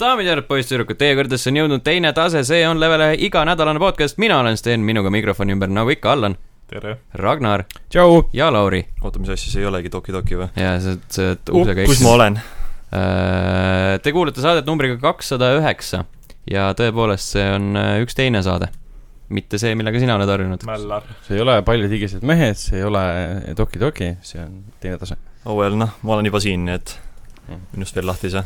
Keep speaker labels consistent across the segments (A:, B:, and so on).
A: daamid ja härrad , poisssüdrukud , teie kõrgedesse on jõudnud teine tase , see on Levelehe iganädalane podcast , mina olen Sten , minuga mikrofoni ümber , nagu ikka , Allan ,
B: tere .
A: Ragnar
C: tšau .
A: ja Lauri .
B: oota , mis asja , see ei olegi Toki Toki või ?
A: ja see , see
C: Uh,
A: ukse
B: Uh, kus ma olen ?
A: käis . Äh, Te kuulete saadet numbriga kakssada üheksa ja tõepoolest , see on äh, üks teine saade , mitte see , millega sina oled harjunud .
B: mällar .
C: see ei ole paljud higised mehed , see ei ole eh, Toki Toki , see on teine tase .
B: oh well , noh , ma olen juba siin , nii et minust veel lahti ei saa .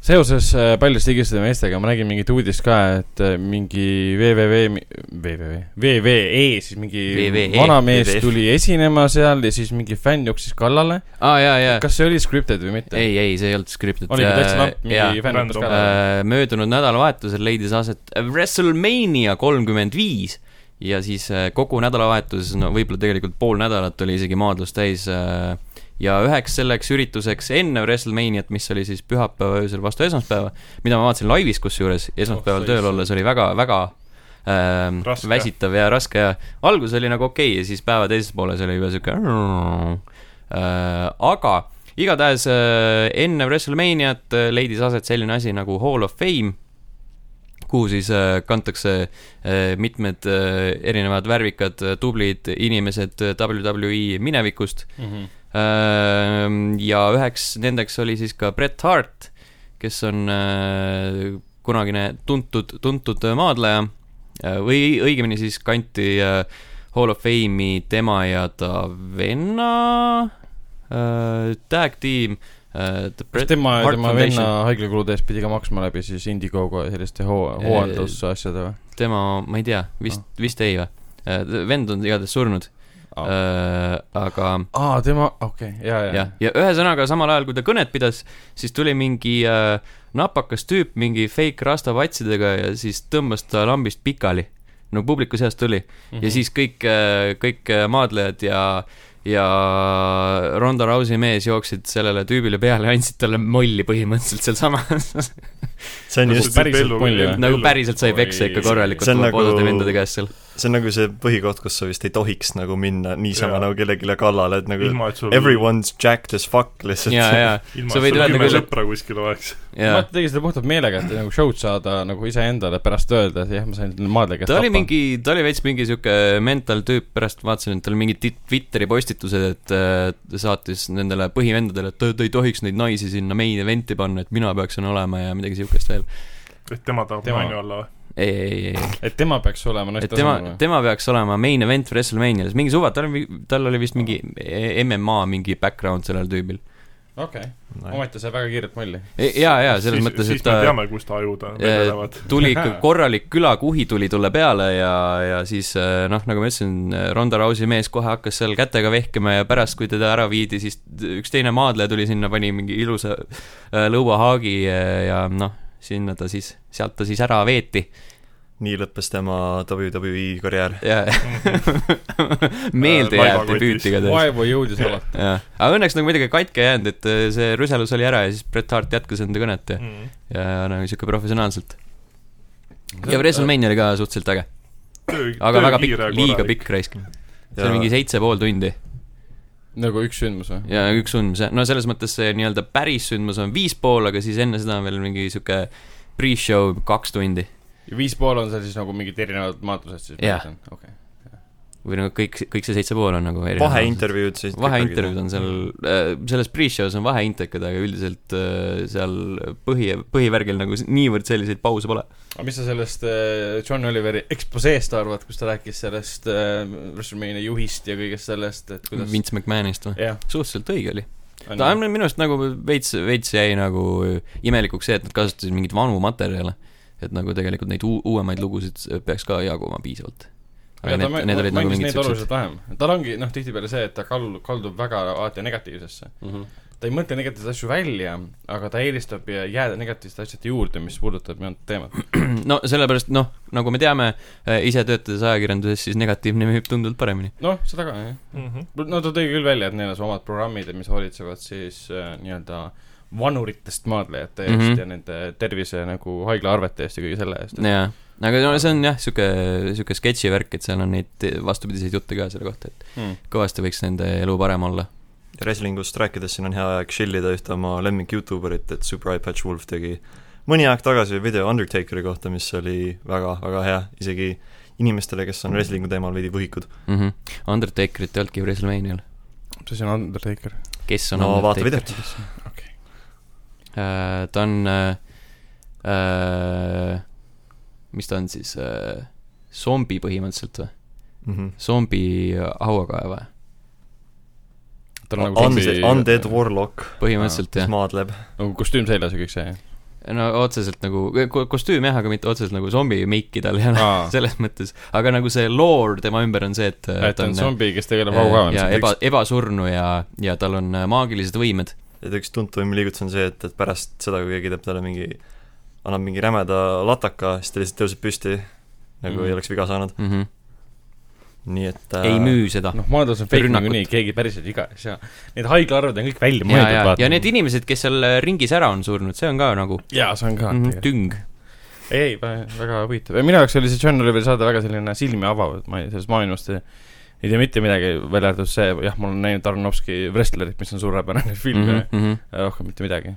C: seoses äh, paljude higisede meestega ma nägin mingit uudist ka , et äh, mingi VVV , VVV , VVE E, siis mingi
A: VVE.
C: vanamees
B: VVF.
C: tuli esinema seal ja siis mingi fänn jooksis kallale .
A: aa , jaa , jaa .
C: kas see oli scripted või mitte ?
A: ei , ei , see ei olnud Äh, skriptid .
C: oligi täitsa napp , mingi fänn jooksis
B: random.
C: kallale .
A: Äh, möödunud nädalavahetusel leidis aset WrestleMania kolmkümmend viis ja siis äh, kogu nädalavahetus , no võib-olla tegelikult pool nädalat oli isegi maadlust täis äh, ja üheks selleks ürituseks enne WrestleManiat , mis oli siis pühapäeva öösel vastu esmaspäeva , mida ma vaatasin laivis kusjuures , esmaspäeval
C: Oh,
A: tööl olles oli väga , väga ähm,
B: Raske.
A: väsitav ja raske ja algus oli nagu okei ja siis päeva teises pooles oli juba sihuke äh, . aga igatahes äh, enne WrestleManiat äh, leidis aset selline asi nagu Hall of Fame , kuhu siis äh, kantakse äh, mitmed äh, erinevad värvikad äh, tublid inimesed äh, WWE minevikust Ähm, ja üheks nendeks oli siis ka Bret Hart , kes on äh, kunagine tuntud , tuntud maadleja äh, või õigemini siis kanti äh, Hall of Fame'i tema ja ta venna äh, tag tiim äh, .
C: kas tema , tema venna haiglakulude eest pidi ka maksma läbi siis Indiegogo ja selliste hoo- ,
A: Eh,
C: hooandlusasjade või ?
A: tema , ma ei tea , vist ,
C: Ah.
A: vist ei või äh, ? vend on igatahes surnud
C: Aa. Ah.
A: äh, , aga
C: aa , tema , okei , ja , ja
A: jah ,, ja ühesõnaga samal ajal , kui ta kõnet pidas , siis tuli mingi äh, napakas tüüp mingi fake rasta patsidega ja siis tõmbas ta lambist pikali . no publiku seast tuli mm
C: Mhm.
B: Mhm.
A: -hmm. ja siis kõik äh, , kõik äh, maadlejad ja , ja Ronda Rousey mees jooksid sellele tüübile peale ja andsid talle molli põhimõtteliselt sealsamas .
B: see on
C: Nagu
B: just ,
C: päriselt mulje.
A: nagu päriselt sai peksa ikka korralikult
B: See on nagu-
A: osade vendade käest seal .
B: see on nagu see põhikoht , kus sa vist ei tohiks nagu minna niisama
D: Jaa.
B: nagu kellelegi kallale , et nagu
D: ilma , et sul
B: everyone's jacked as fuck lihtsalt .
A: ja , ja ,
D: ilma ,
A: sa
D: et
A: võid
D: sul
A: öelda
D: kümme
A: küll, et-
D: sõpra kuskil oleks .
C: ja. .
A: ja
C: ma tegin seda puhtalt meelega , et nagu show'd saada nagu iseendale , pärast öelda , et jah , ma sain maadle käest
A: ta oli . mingi , ta oli veits mingi sihuke mental tüüp , pärast vaatasin , et tal mingid ti- Twitteri postitused , et äh, ta saatis nendele põhivendadele , et ta ta ei tohiks neid naisi sinna main event'i panna , et mina peaksin olema ja midagi siukest veel .
D: et tema tahab
C: Tema-
D: naine olla või ?
A: ei , ei , ei , ei ,
C: et tema peaks olema
A: et
C: naiste
A: tema ,
C: asemel .
A: tema peaks olema main event WrestleManias , mingi suva , tal oli , tal oli vist mingi E MMA mingi background sellel tüübil .
C: okei , ometi sai väga kiirelt molli .
A: ja , ja selles mõttes , et
D: siis me
A: ta
D: teame , kus ta ajud on ,
A: Eh,
D: vedelevad .
A: tuli ikka korralik külakuhi tuli talle peale ja , ja siis eh, noh , nagu ma ütlesin , Ronda Rousey mees kohe hakkas seal kätega vehkima ja pärast , kui teda ära viidi , siis t- üks teine maadleja tuli sinna , pani mingi ilusa eh, lõuahaagi eh, ja noh , sinna ta siis , sealt ta siis ära veeti
B: nii lõppes tema WWE karjäär .
A: ja meeldejääv debüüt igatahes .
C: vaevu jõudis alati .
A: jah , aga õnneks nagu midagi katki ei jäänud , et eh, see rüselus oli ära ja siis Bret Hart jätkas enda kõnet ja ,
D: Mm.
A: ja nagu sihuke professionaalselt . ja WrestleMania oli ka suhteliselt äge . aga väga pikk , liiga . pikk raisk . see
B: Ja-
A: on mingi seitse pool tundi
C: nagu üks sündmus või ?
A: ja üks sündmus , no selles mõttes see nii-öelda päris sündmus on viis pool , aga siis enne seda on veel mingi sihuke pre-show kaks tundi
C: ja viis pool on seal siis nagu mingid erinevad maadlused siis ?
A: Jah.
C: okei .
A: või nagu kõik , kõik see seitse pool on nagu erinevad .
B: vaheintervjuud siis . noh.
A: vaheintervjuud on seal , selles pre-show's on vaheintekad , aga üldiselt äh, seal põhi , põhivärgil nagu s- niivõrd selliseid pause pole .
C: aga mis sa sellest äh, John Oliveri eksposeest arvad , kus ta rääkis sellest äh, WrestleMania juhist ja kõigest sellest , et kuidas
A: Vince McMahonist või ?
C: jah ,
A: suhteliselt õige oli . ta on
C: on
A: minu arust nagu veits , veits jäi nagu imelikuks see , et nad kasutasid mingeid vanu materjale . et nagu tegelikult neid uu- , uuemaid lugusid äh, peaks ka jaguma piisavalt . aga
C: ja,
A: need , need olid nagu mingid siuksed
C: siuksed vähem , tal ongi noh , tihtipeale see , et ta kaldub , kaldub väga alati negatiivsesse mm .
A: Mhm.
C: -hmm. ta ei mõtle negatiivseid asju välja , aga ta eelistab ja- jääda negatiivsete asjade juurde , mis puudutab minu teemat .
A: no sellepärast noh , nagu me teame , ise töötades ajakirjanduses , siis negatiivne müüb tunduvalt paremini .
C: noh , seda ka jah ,
D: Mhm.
C: no ta tõi küll välja , et neil on see omad programmid , mis hoolitsevad siis äh, nii-öelda vanuritest maadlejate eest mm
A: Mhm.
C: -hmm. ja nende tervise nagu haiglaarvete eest ja kõige selle eest .
A: jaa , aga no see on jah , sihuke , sihuke sketši värk , et seal on neid äh, vastupidiseid jutte ka selle kohta , et
C: Mm.
A: kõvasti võiks nende elu parem olla .
B: wrestlingust rääkides siin on hea aeg chill ida ühte oma lemmik Youtuberit , et Super iPatch Wolf tegi mõni aeg tagasi oli video Undertakeri kohta , mis oli väga , väga hea isegi inimestele , kes on wrestling'u teemal veidi võhikud .
A: mm . -hmm. Undertakerit ei olnudki WrestleManial .
C: mis asi on Undertaker ?
A: kes on
B: no vaata
A: Undertaker ?
B: videot .
A: ta on äh, , äh, mis ta on siis äh, , zombi põhimõtteliselt või ?
B: Mhm.
A: zombi hauakaev või ?
C: tal on nagu
B: Undead , Undead Warlock ,
A: põhimõtteliselt
B: kes
A: jah .
B: maadleb .
C: nagu kostüüm seljas ja kõik see , jah ?
A: no otseselt nagu , kostüüm jah , aga mitte otseselt nagu zombi meiki tal ei ole
C: Aa.
A: selles mõttes . aga nagu see lore tema ümber Äh, on see , et
C: et ta on zombi , kes tegeleb
A: ja
C: haukaevamisega
A: eba ,, ebasurnu ja , ja tal on äh, maagilised võimed .
B: et üks tuntuim liigutus on see , et , et pärast seda , kui keegi teeb talle mingi , annab mingi rämeda lataka , siis ta lihtsalt tõuseb püsti , nagu
C: Mhm.
B: ei oleks viga saanud ,
A: Mm -hmm.
B: nii et äh,
A: ei müü seda .
C: noh , maailmas on fake
A: Rünnakut.
C: niikuinii , keegi päriselt viga ei saa . Need haiglaarved on kõik välja
A: ja ,
C: mõeldud ,
A: ja , ja
C: vaata .
A: need inimesed , kes seal äh, ringis ära on surnud , see on ka nagu
C: jaa , see on ka
A: mhm,
C: tegelikult .
A: tüng .
C: ei , ei , väga huvitav . minu jaoks oli see John Oliveri saade väga selline silmi avav , et ma ei , sellest maailmast ei ei tea mitte midagi , välja arvatud see , jah , ma olen näinud Arnovski Wrestlerit , mis on suurepärane film
A: Mhm.
C: mm , -hmm. rohkem mitte midagi .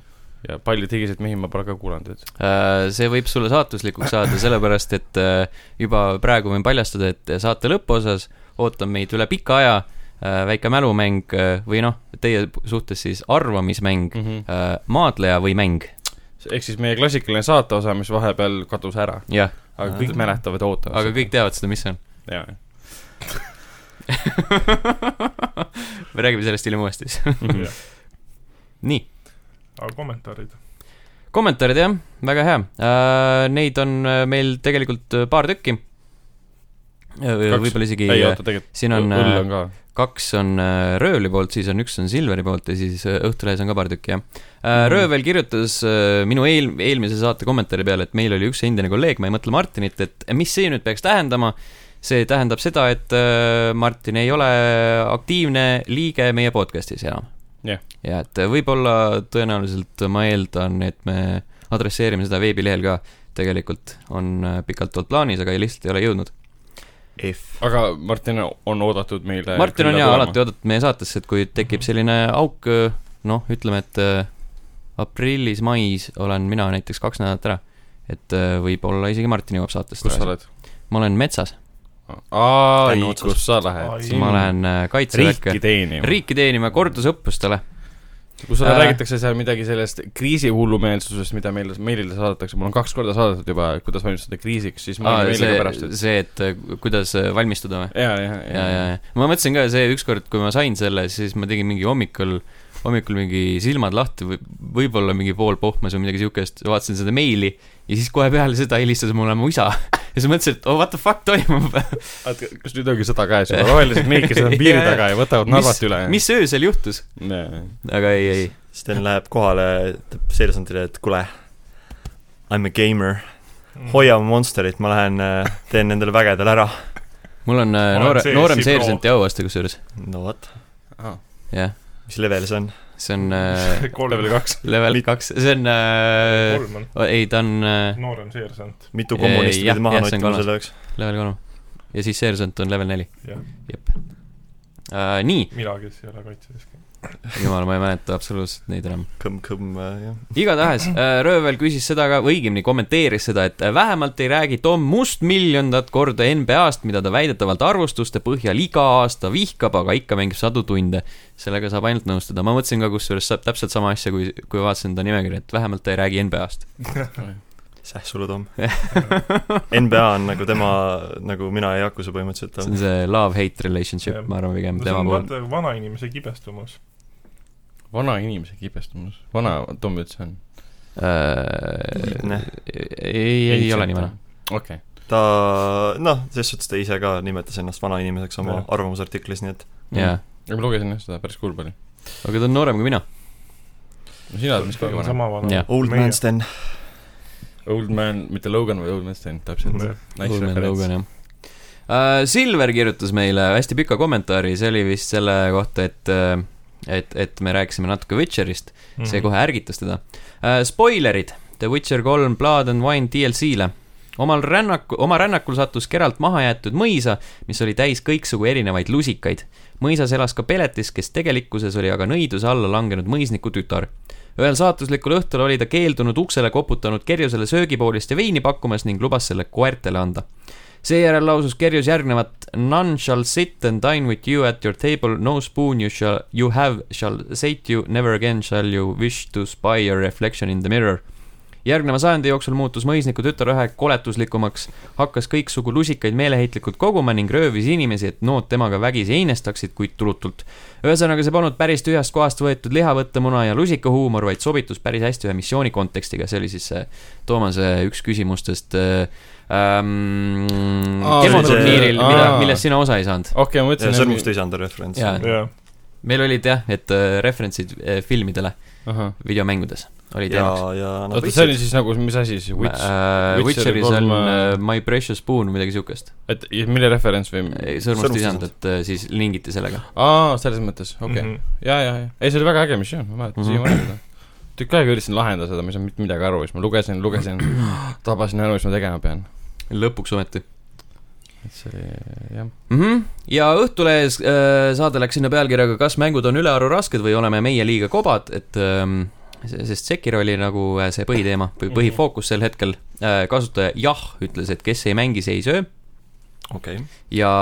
C: ja paljud higised mehi ma pole ka kuulanud , et
A: Äh, see võib sulle saatuslikuks saada , sellepärast et äh, juba praegu võin paljastada , et saate lõpuosas ootab meid üle pika aja äh, väike mälumäng äh, või noh , teie suhtes siis arvamismäng ,
C: mm -hmm.
A: maadleja või mäng ,
C: ehk siis meie klassikaline saateosa , mis vahepeal kadus ära ,
A: jah ,
C: aga kõik mäletavad ja ootavad
A: aga kõik teavad seda , mis see on .
C: seda . jaa ,
A: me räägime sellest hiljem uuesti siis . nii ,
D: aga kommentaarid ?
A: kommentaarid jah , väga hea äh, . Neid on äh, meil tegelikult äh, paar tükki .
C: Kaks.
A: võib-olla isegi äh,
C: ei oota , tegelikult
A: siin on äh,
C: õll on ka .
A: kaks on äh, Röövli poolt , siis on üks on Silveri poolt ja siis äh, Õhtulehes on ka paar tükki , jah äh, . Röövel kirjutas äh, minu eel- , eelmise saate kommentaari peale , et meil oli üks endine kolleeg , ma ei mõtle Martinit , et mis see nüüd peaks tähendama . see tähendab seda , et äh, Martin ei ole aktiivne liige meie podcast'is enam .
C: Jah.
A: ja et äh, võib-olla tõenäoliselt ma eeldan , et me adresseerime seda veebilehel ka , tegelikult on äh, pikalt olnud plaanis , aga ei- lihtsalt ei ole jõudnud .
B: if .
C: aga Martin on oodatud meile .
A: Martin on
C: nagu
A: jaa alati oodatud meie saatesse , et kui tekib selline auk , noh , ütleme , et äh, aprillis-mais olen mina näiteks kaks nädalat ära . et äh, võib-olla isegi Martin jõuab saatesse
C: kus sa
A: tagasi .
C: oled ?
A: ma olen metsas ,
C: ai
B: Tännu , otsas.
C: kus sa
D: Ai.
C: lähed ?
A: ma olen äh,
C: riiki
A: kaitseväkke ,
C: teenima .
A: riiki teenima kordusõppustele .
C: kui sulle
A: Äh.
C: äh. räägitakse seal midagi sellest kriisihullumeelsusest , mida meile , meilile saadetakse , mul on kaks korda saadetud juba , kuidas valmistuda kriisiks , siis ma olin meiliga pärast ,
A: Ah, see , see , et äh, kuidas äh, valmistuda või ?
C: et ja , ja ,
A: ja , ja , ja ma mõtlesin ka see ükskord , kui ma sain selle , siis ma tegin mingi hommikul , hommikul mingi silmad lahti või võib-olla mingi pool pohmas või midagi siukest , vaatasin seda meili ja siis kohe peale seda helistas mulle mu isa . ja siis mõtlesin , et oh what the fuck toimub ,
C: ja . kas nüüd ongi sõda käes juba , rohelised meikesed on
A: Ja,
C: piiri
A: ja.
C: taga ja võtavad Narvat üle .
A: mis öösel juhtus , aga ei , ei ,
B: Sten läheb kohale , ütleb seersantile , et kuule , I m a gamer ,
A: Mm.
B: hoia mu monsterit , ma lähen äh, teen nendele vägedele ära .
A: mul on äh,
D: Ma olen
A: noore ,
D: CS-i
A: noorem
D: pro.
A: seersant Jao vastu kusjuures ,
B: no vot ,
A: jah ,
B: mis level see on ?
A: see on äh,
D: kolm
C: level kaks .
A: level kaks , see on äh, ,
D: kolm on ,
A: ei , ta on äh,
D: noorem seersant ,
B: mitu
A: Ei,
B: kommunisti
A: jah,
B: pidi maha
A: jah, see on kolmas.
B: nottima selle jaoks ?
A: level kolm ja siis seersant on level neli ,
D: jah ,
A: jep äh, . nii ,
D: mina , kes ei ole kaitseväes käinud .
A: jumal , ma ei mäleta absoluutselt neid enam .
B: kõmm , kõmm , jah .
A: igatahes äh, Röövel küsis seda ka , või õigemini kommenteeris seda , et äh, vähemalt ei räägi Tom Must miljondat korda NBA-st , mida ta väidetavalt arvustuste põhjal iga aasta vihkab , aga ikka mängib sadu tunde . sellega saab ainult nõustuda , ma mõtlesin ka kusjuures sa- täpselt sama asja , kui , kui vaatasin ta nimekirja , et vähemalt ta ei räägi NBA-st .
B: sähsulu Tom . NBA on nagu tema , nagu mina ja Jakuse põhimõtteliselt
A: see
B: on
A: on see love-hate relationship
D: Jah. ,
A: ma arvan pigem
D: no see
A: tema
D: on
A: puhul .
D: vaata vanainimese kibestumus .
C: vana inimese kibestumus , vana , Tom üldse on .
A: ei ,
B: lihtne .
A: Äh, ei , ei ole nii vana ..
C: okei ,
B: ta , noh , selles suhtes ta ise ka nimetas ennast vanainimeseks oma
D: Jah.
B: arvamusartiklis , nii et
A: jaa ,
C: Mm. ma lugesin jah seda , päris kurb oli .
A: aga ta on noorem kui mina .
C: sina oled vist kõige vanem .
D: sama vana
A: Jah. .
B: old man . Sten .
C: Old man , mitte Logan , vaid Old man Sten , täpselt . Nice
A: Coolman
C: referents
A: Logan , jah . Silver kirjutas meile hästi pika kommentaari , see oli vist selle kohta , et äh, et , et me rääkisime natuke Witcherist , see kohe ärgitas teda . Spoilerid The Witcher kolm Blood and Wine DLC-le . omal rännaku , oma rännakul sattus Geralt mahajäetud mõisa , mis oli täis kõiksugu erinevaid lusikaid . mõisas elas ka Peletis , kes tegelikkuses oli aga nõidluse alla langenud mõisniku tütar . ühel saatuslikul õhtul oli ta keeldunud uksele koputanud Kerjusele söögipoolist ja veini pakkumas ning lubas selle koertele anda . seejärel lausus Kerjus järgnevat None shall sit and dine with you at your table , no spoon you shall , you have shall sate you , never again shall you wish to spy your reflection in the mirror . järgneva sajandi jooksul muutus mõisniku tütar üha koletuslikumaks , hakkas kõiksugu lusikaid meeleheitlikult koguma ning röövis inimesi , et nood temaga vägisi heinestaksid , kuid tulutult . ühesõnaga , see polnud päris tühjast kohast võetud lihavõttemuna ja lusikahuumor , vaid sobitus päris hästi ühe missiooni kontekstiga , see oli siis see Toomase üks küsimustest äh, ähm,
C: Aa,
A: kemoturniiril ,
C: see-
A: mida
C: aa. ,
A: millest sina osa ei saanud .
C: okei , ma
B: ja
C: mõtlesin .
B: sõrmusteisanda referents .
A: Jaa.
D: jaa ,
A: meil olid jah , et äh, referentsid äh, filmidele ,
C: ahah ,
A: videomängudes olid
B: ja
A: teemaks .,
B: ja noh ,
C: oota , see oli siis nagu , mis asi siis , Witch ?
A: Äh,
C: Witcheri
A: Witcheris on
C: kolm,
A: äh,
C: äh,
A: My Precious Spoon , midagi siukest .
C: et ja mille referents või ?
A: Mm. sõrmust
B: Sõrmust
A: ei saanud , et äh, siis lingiti sellega .
C: aa , selles mõttes , okei
D: Mhm.
C: okay. . ja , ja , ja , ei see oli väga äge missioon , ma mäletan
A: Mhm.
C: siiamaani seda . tükk aega üritasin lahendada seda , ma ei saanud mitte midagi aru , siis ma lugesin , lugesin , tabasin aru , mis ma tegema pean .
A: lõpuks ometi .
C: et see oli , jah .
A: mm . -hmm. ja Õhtulehes äh, saade läks sinna pealkirjaga , kas mängud on ülearu rasked või oleme meie liiga kobad , et ähm, se- sest Sekiro oli nagu äh, see põhiteema või põhifookus sel hetkel äh, . kasutaja jah ütles , et kes ei mängi , see ei söö
B: okei .
A: ja ,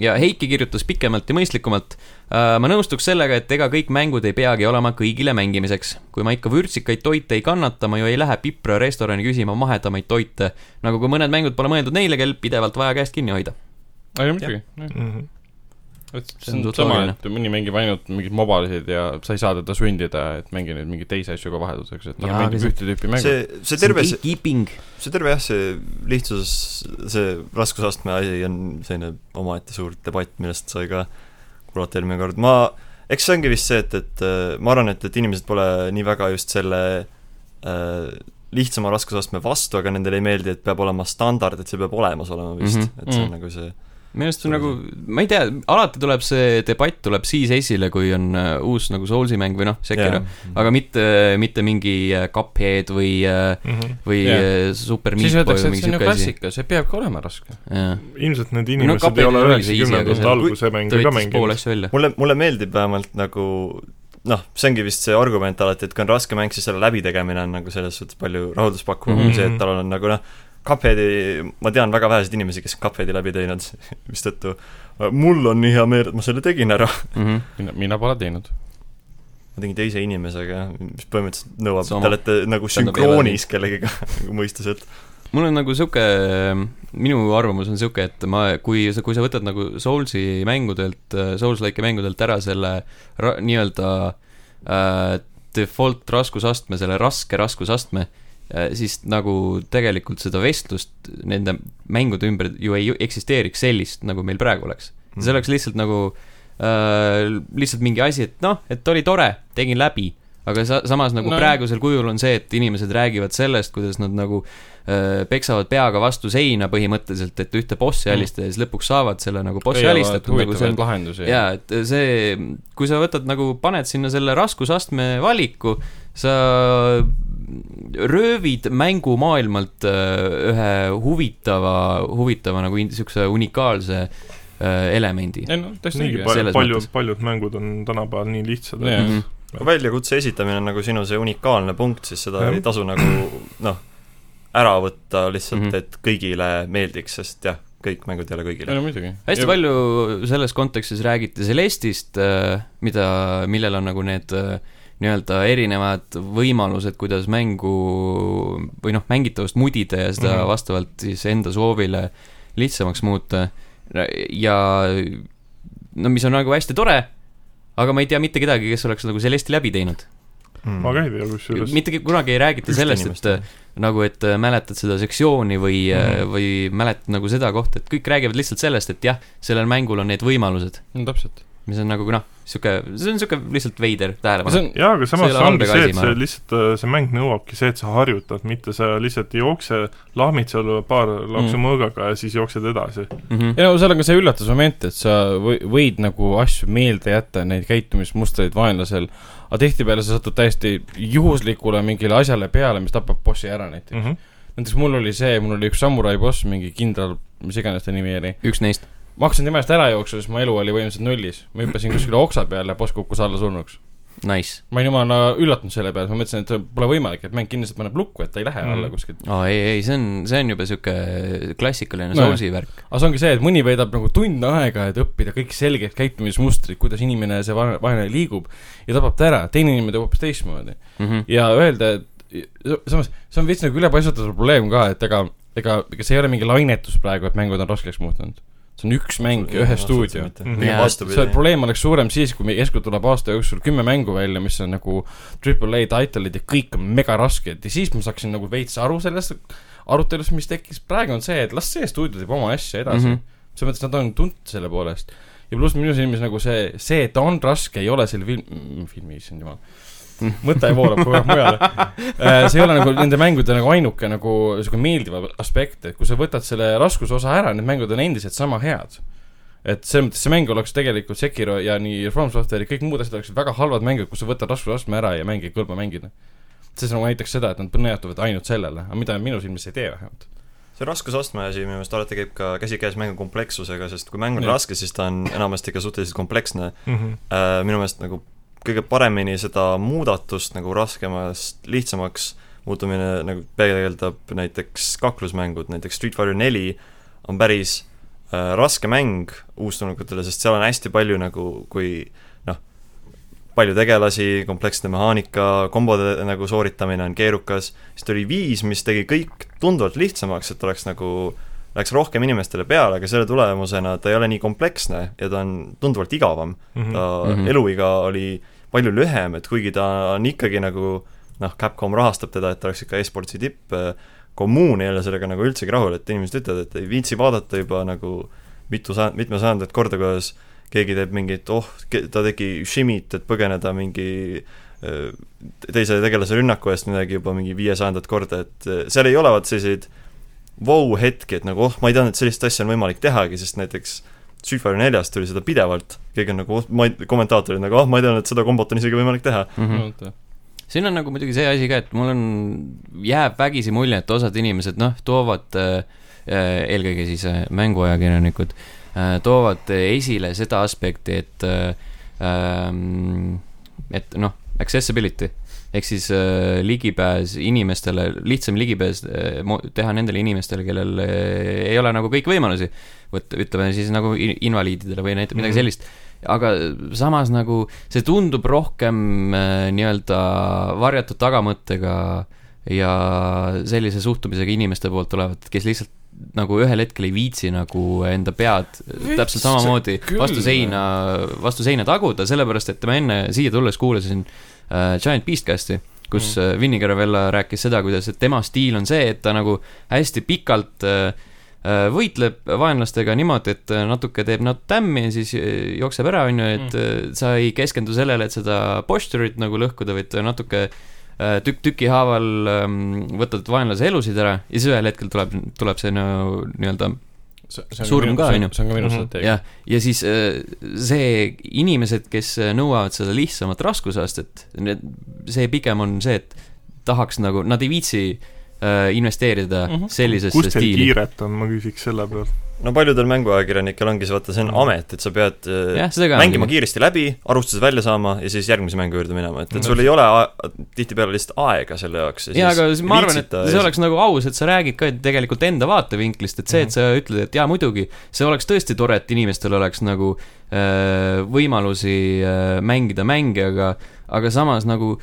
A: ja Heiki kirjutas pikemalt ja mõistlikumalt . ma nõustuks sellega , et ega kõik mängud ei peagi olema kõigile mängimiseks . kui ma ikka vürtsikaid toite ei kannata , ma ju ei lähe Pipra restorani küsima mahedamaid toite , nagu ka mõned mängud pole mõeldud neile , kel pidevalt vaja käest kinni hoida .
C: aga muidugi ,
D: Mhm.
C: et
A: See
C: see
A: on
C: on sama ,
A: tutoriaalne.
C: et mõni mängib ainult mingeid mobailiseid ja sa ei saa teda sundida , et mängi nüüd mingeid teisi asju ka vahelduseks ,
A: Jaa,
C: et talle
A: aga
C: meeldib
A: see-
C: ühte tüüpi mäng .
B: see , see terve , see ,
A: keeping .
B: see terve jah , see lihtsus , see raskusastme asi on selline omaette suur debatt , millest sai ka kuulata eelmine kord , ma , eks see ongi vist see , et , et äh, ma arvan , et , et inimesed pole nii väga just selle äh, lihtsama raskusastme vastu , aga nendele ei meeldi , et peab olema standard , et see peab olemas olema vist
A: Mhm.
B: mm , -hmm. et see on
C: Mm.
B: nagu see
A: minu arust on nagu , ma ei tea , alati tuleb see debatt tuleb siis esile , kui on äh, uus nagu Soulsi mäng või noh , Sekiro ,
B: aga
A: aga mitte , mitte mingi äh, Cuphead või ,
D: Mhm.
A: või
C: Jah.
A: yeah. Super Meat
C: siis
A: Boy
C: öeldakse ,
A: või
C: et
A: mingi
C: see on ju
A: siuke asi .
C: klassika , see peabki olema raske .
A: jaa ,
D: ilmselt need
A: No
D: inimesed ei
A: Cupheadil
D: ole
A: oli see easy, aga
D: üheksakümnendate
A: seal-
D: alguse
A: ta
D: mänge ka
A: võttis pool
D: mänginud .
A: asju välja .
B: mulle , mulle meeldib vähemalt nagu noh , see ongi vist see argument alati , et kui on raske mäng , siis selle läbitegemine on nagu selles suhtes palju rahulduspakkuvam mm
A: Mhm.
B: -hmm. see , et tal on nagu noh , Cupheadi , ma tean väga väheseid inimesi , kes on Cupheadi läbi teinud , mistõttu mul on nii hea meel , et ma selle tegin ära .
C: mina , mina pole teinud .
B: ma tegin teise inimesega , mis põhimõtteliselt nõuab ,
A: Sama.
B: te olete nagu
A: Tähendab,
B: sünkroonis kellegagi nagu mõistuselt .
A: mul on nagu sihuke , minu arvamus on sihuke , et ma , kui sa , kui sa võtad nagu Soulsi mängudelt , Souls-like mängudelt ära selle ra- nii-öelda äh, default raskusastme , selle raske raskusastme , siis nagu tegelikult seda vestlust nende mängude ümber ju ei eksisteeriks sellist , nagu meil praegu oleks . see oleks lihtsalt nagu äh, lihtsalt mingi asi , et noh , et oli tore , tegin läbi , aga sa, samas nagu no.
C: No.
A: praegusel kujul on see , et inimesed räägivad sellest , kuidas nad nagu äh, peksavad peaga vastu seina põhimõtteliselt , et ühte bossi
C: Mm.
A: alistada ja siis lõpuks saavad selle nagu bossi alistatud , nagu see on
C: huvitavaid lahendusi .
A: jaa , et see , kui sa võtad nagu , paned sinna selle raskusastme valiku , sa röövid mängumaailmalt äh, ühe huvitava , huvitava nagu in- siukse unikaalse äh, elemendi .
C: ei noh , täiesti
D: niigi
C: õige .
A: palju-
D: pa-
A: Selles
D: paljud
A: mõttes. ,
D: paljud mängud on tänapäeval nii lihtsad ,
C: Jaa.
D: et
A: Mhm.
B: väljakutse esitamine on nagu sinu see unikaalne punkt , siis seda
D: Jah.
B: ei tasu nagu noh , ära võtta lihtsalt mm ,
A: Mhm.
B: -hmm. et kõigile meeldiks , sest jah , kõik mängud ei ole kõigile
C: ei . no muidugi .
A: hästi palju selles kontekstis räägiti Celestist , mida , millel on nagu need äh, nii-öelda erinevad võimalused , kuidas mängu või noh , mängitavust mudida ja seda
D: Mhm.
A: vastavalt siis enda soovile lihtsamaks muuta . ja no mis on nagu hästi tore , aga ma ei tea mitte kedagi , kes oleks nagu Celesti läbi teinud .
B: Mhm.
D: ma ka ei tea , kusjuures
A: mitte kunagi ei räägita sellest , et nagu , et äh, mäletad seda sektsiooni või mm , -hmm.
D: Mhm.
A: või mäletad nagu seda kohta , et kõik räägivad lihtsalt sellest , et jah , sellel mängul on need võimalused ,
C: no täpselt .
A: mis on nagu noh , sihuke , see on sihuke lihtsalt veider tähelepanu .
C: see on ,
D: jaa , aga samas
A: ei
D: see
A: ole
D: ongi
A: halb
D: see ,
A: asi,
D: et
A: ma
D: see
A: arvan.
D: lihtsalt , see mäng nõuabki see , et sa harjutad , mitte sa lihtsalt ei jookse , lahmid seal paar laksu
C: Mm.
D: mõõgaga ja siis jooksed edasi .
A: Mm -hmm.
C: ei no seal on ka see üllatusmoment , et sa või- võid nagu asju meelde jätta , neid käitumismustreid vaenlasel , aga tihtipeale sa satud täiesti juhuslikule mingile asjale peale , mis tapab bossi ära näiteks mm .
D: Mm
C: -hmm.
D: -hmm.
C: näiteks mul oli see , mul oli üks samurai boss , mingi kindral , mis iganes ta nimi oli ,
A: üks neist .
C: ma hakkasin tema eest ära jooksma , siis mu elu oli võimaliselt nullis . ma hüppasin kuskile oksa peale ja boss kukkus alla surnuks .
A: Nice .
C: ma olin jumala üllatunud selle peale , ma mõtlesin , et pole võimalik , et mäng kindlasti paneb lukku , et ta ei lähe
D: Mm.
C: alla kuskilt .
A: aa , ei , ei , see on , see on juba sihuke klassikaline
C: No
A: no,
C: jah.
A: Soulsi värk .
C: aga see ongi see , et mõni veedab nagu tund aega , et õppida kõik selged käitumismustrid , kuidas inimene , see vaene , vaene liigub ja tapab ta ära , teine inimene teeb hoopis teistmoodi .
A: Mhm.
C: ja öelda , et samas , see on veits nagu ülepaisutatud probleem ka , et ega , ega , ega see ei ole mingi lainetus praegu , et mängud on raskeks muutunud . see on üks mäng ja ühe stuudio .
D: Mhm.
B: pigem
A: Jaa,
C: see
B: vastupidi .
C: probleem oleks suurem siis , kui meie keskel tuleb aasta jooksul kümme mängu välja , mis on nagu Triple A title'id ja kõik on megarasked ja siis ma saaksin nagu veits aru sellest arutelust , mis tekkis . praegu on see , et las see stuudio teeb oma asja edasi mm .
A: Mhm.
C: -hmm. selles mõttes nad on tuntud selle poolest . ja pluss minu silmis nagu see , see , et ta on raske , ei ole selle film- , filmi , issand jumal . mõte voolab kogu aeg mujale . see ei ole nagu nende mängude nagu ainuke nagu sihuke meeldiv aspekt , et kui sa võtad selle raskusosa ära , need mängud on endiselt sama head . et selles mõttes see mäng oleks tegelikult Sekiro ja nii From Software'i , kõik muud asjad oleksid väga halvad mängud , kus sa võtad raskusastme ära ja mäng ei kõlba mängida . see nagu näitaks seda , et nad põnetuvad ainult sellele , aga mida minu silmis ei tee vähemalt .
B: see raskusastme asi minu meelest alati käib ka käsikäes mängu komplekssusega , sest kui mäng on
C: Jah.
B: raske , siis ta on enamasti ka suhteliselt kompleksne
D: mhmh .
B: Äh, minu meelest nagu kõige paremini seda muudatust nagu raskemast lihtsamaks muutumine nagu peegeldab näiteks kaklusmängud , näiteks Street Fighter neli on päris äh, raske mäng uustulnukutele , sest seal on hästi palju nagu , kui noh , palju tegelasi , kompleksne mehaanika , kombode nagu sooritamine on keerukas , siis tuli viis , mis tegi kõik tunduvalt lihtsamaks , et oleks nagu läks rohkem inimestele peale , aga selle tulemusena ta ei ole nii kompleksne ja ta on tunduvalt igavam .
D: Mm-hmm.
B: ta mm
A: Mhm.
B: -hmm. eluiga oli palju lühem , et kuigi ta on ikkagi nagu noh , Capcom rahastab teda , et ta oleks ikka e-sportsi tipp , kommuun ei ole sellega nagu üldsegi rahul , et inimesed ütlevad , et ei viitsi vaadata juba nagu mitu sa- , mitmesajandat korda , kuidas keegi teeb mingit , oh , ta tegi shimit , et põgeneda mingi öö, teise tegelase rünnaku eest midagi juba mingi viiesajandat korda , et öö, seal ei ole vaat selliseid vau-hetki , et nagu oh , ma ei teadnud , et sellist asja on võimalik tehagi , sest näiteks Street Fighter neljas tuli seda pidevalt , keegi on nagu , ma ei , kommentaatorid nagu ah , ma ei teadnud , et seda kombot on isegi võimalik teha .
C: äh,
A: siin on nagu muidugi see asi ka , et mul on , jääb vägisi mulje , et osad inimesed , noh , toovad äh, äh, eelkõige siis äh, mänguajakirjanikud äh, , toovad esile seda aspekti , et äh, ähm, et noh , accessibility ehk siis äh, ligipääs inimestele , lihtsam ligipääs äh, mo- teha nendele inimestele , kellel äh, ei ole nagu kõik võimalusi . vot ütleme siis nagu in- invaliididele või näiteks midagi
D: Mhm.
A: sellist . aga samas nagu see tundub rohkem äh, nii-öelda varjatud tagamõttega ja sellise suhtumisega inimeste poolt olevat , kes lihtsalt nagu ühel hetkel ei viitsi nagu enda pead
C: Veits
A: täpselt samamoodi
C: küll.
A: vastu seina , vastu seina taguda , sellepärast et ma enne siia tulles kuulasin äh, Giant Beastcasti , kus mm. Vinnie Caravella rääkis seda , kuidas et tema stiil on see , et ta nagu hästi pikalt äh, äh, võitleb vaenlastega niimoodi , et äh, natuke teeb nad tämmi ja siis äh, jookseb ära , on ju , et mm. sa ei keskendu sellele , et seda posture'it nagu lõhkuda , vaid natuke äh, tükk tüki haaval ähm, võtad vaenlase elusid ära ja siis ühel hetkel tuleb , tuleb see no nii-öelda Surm ka, on ju.
C: see on ka minu
D: Mhm.
C: strateegia .
A: jah , ja siis äh, see , inimesed , kes nõuavad seda lihtsamat raskusastet , need , see pigem on see , et tahaks nagu , nad ei viitsi äh, investeerida mm
C: Mhm.
A: -hmm. sellisesse
D: kus teil
A: stiili .
D: kiiret on , ma küsiks selle pealt .
B: no paljudel mänguajakirjanikel ongi see , vaata , see on amet , et sa pead äh,
A: jah , seda ka .
B: mängima . kiiresti läbi , arvustuse välja saama ja siis järgmise mängu juurde minema , et , et sul ei ole a- tihtipeale lihtsalt aega selle jaoks .
A: Mm-hmm. jaa , aga s- ma arvan , et see oleks nagu aus , et sa räägid ka tegelikult enda vaatevinklist , et
B: Mhm.
A: see , et sa ütled , et jaa , muidugi , see oleks tõesti tore , et inimestel oleks nagu äh, võimalusi äh, mängida mänge , aga , aga samas nagu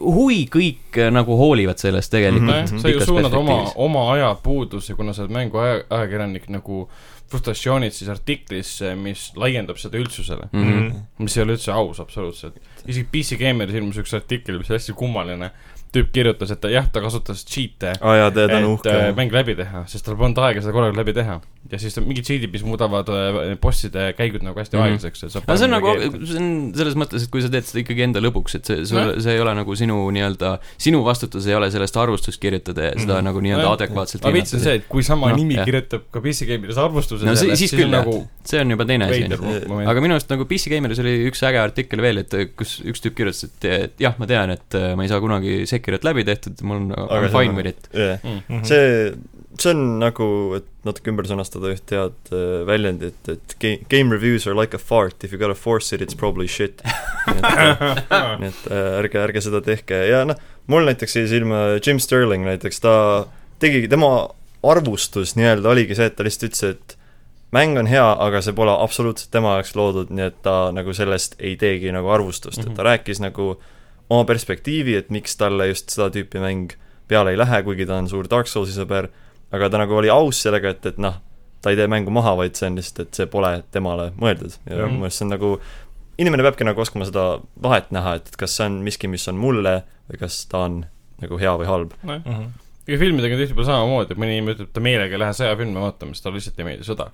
A: huvi kõik äh, nagu hoolivad sellest tegelikult
B: Mhm.
C: nojah , sa ju
A: pikas
C: suunad oma
A: perspektiivis. ,
C: oma aja puudusi , kuna sa oled mänguaja , ajakirjanik nagu frustratsioonid siis artiklisse , mis laiendab seda üldsusele .
A: mm . -hmm.
D: Mhm,
C: mis ei ole üldse aus absoluutselt . isegi PC Gameris ilmus üks artikkel , mis oli hästi kummaline . tüüp kirjutas , et ta- jah , ta kasutas cheat'e ,
B: aa jaa , tead , on
C: et
B: uhke
C: äh, . mäng läbi teha , sest tal polnud aega seda korraga läbi teha . ja siis ta- mingid cheat'id , mis muudavad äh, bosside käigud nagu hästi
A: Mhm.
C: aeglaseks , et saab
A: aga see on nagu , see on selles mõttes , et kui sa teed seda ikkagi enda lõbuks , et see , sul , see ei ole nagu sinu nii-öelda , sinu vastutus ei ole sellest arvustust kirjutada ja
B: Mhm.
A: seda nagu nii-öelda
C: Nojah.
A: adekvaatselt
C: aga veits on
A: hinnata.
C: see , et kui sama
A: Noh,
C: nimi
A: jah.
C: kirjutab ka PC Gameris arvustuse
A: no
C: sellest,
A: si- siis küll
C: on
A: jah
C: nagu ,
A: see on juba teine asi .
C: veider moment .
A: aga minu arust nagu PC Gameris oli üks äge artikkel veel , et eh, kus üks tüüp kirjutas , et et jah , ma tean , et ma ei saa kunagi Sekirot läbi tehtud , mul on I m
B: Aga see
A: fine
B: on-
D: Mhm.
A: with it .
B: jah , see , see on nagu , et natuke ümber sõnastada üht head äh, väljendit , et game, game reviews are like a fart , if you gotta force it , it's probably shit . nii et äh, ärge , ärge seda tehke ja noh , mul näiteks jäi silma Jim Sterling näiteks , ta tegigi , tema arvustus nii-öelda oligi see , et ta lihtsalt ütles , et mäng on hea , aga see pole absoluutselt tema jaoks loodud , nii et ta nagu sellest ei teegi nagu arvustust mm , -hmm. et ta rääkis nagu oma perspektiivi , et miks talle just seda tüüpi mäng peale ei lähe , kuigi ta on suur Dark Soulsi sõber , aga ta nagu oli aus sellega , et , et noh , ta ei tee mängu maha , vaid see on lihtsalt , et see pole temale mõeldud ja
D: Mhm.
B: minu meelest see on nagu , inimene peabki nagu oskama seda vahet näha , et , et kas see on miski , mis on mulle või kas ta on nagu hea või halb .
D: Mhm.
C: ega filmidega on tihtipeale samamoodi , et mõni inimene ütleb , ta meelega ei lähe sõjafilme vaatama , sest talle lihtsalt ei meeldi sõda .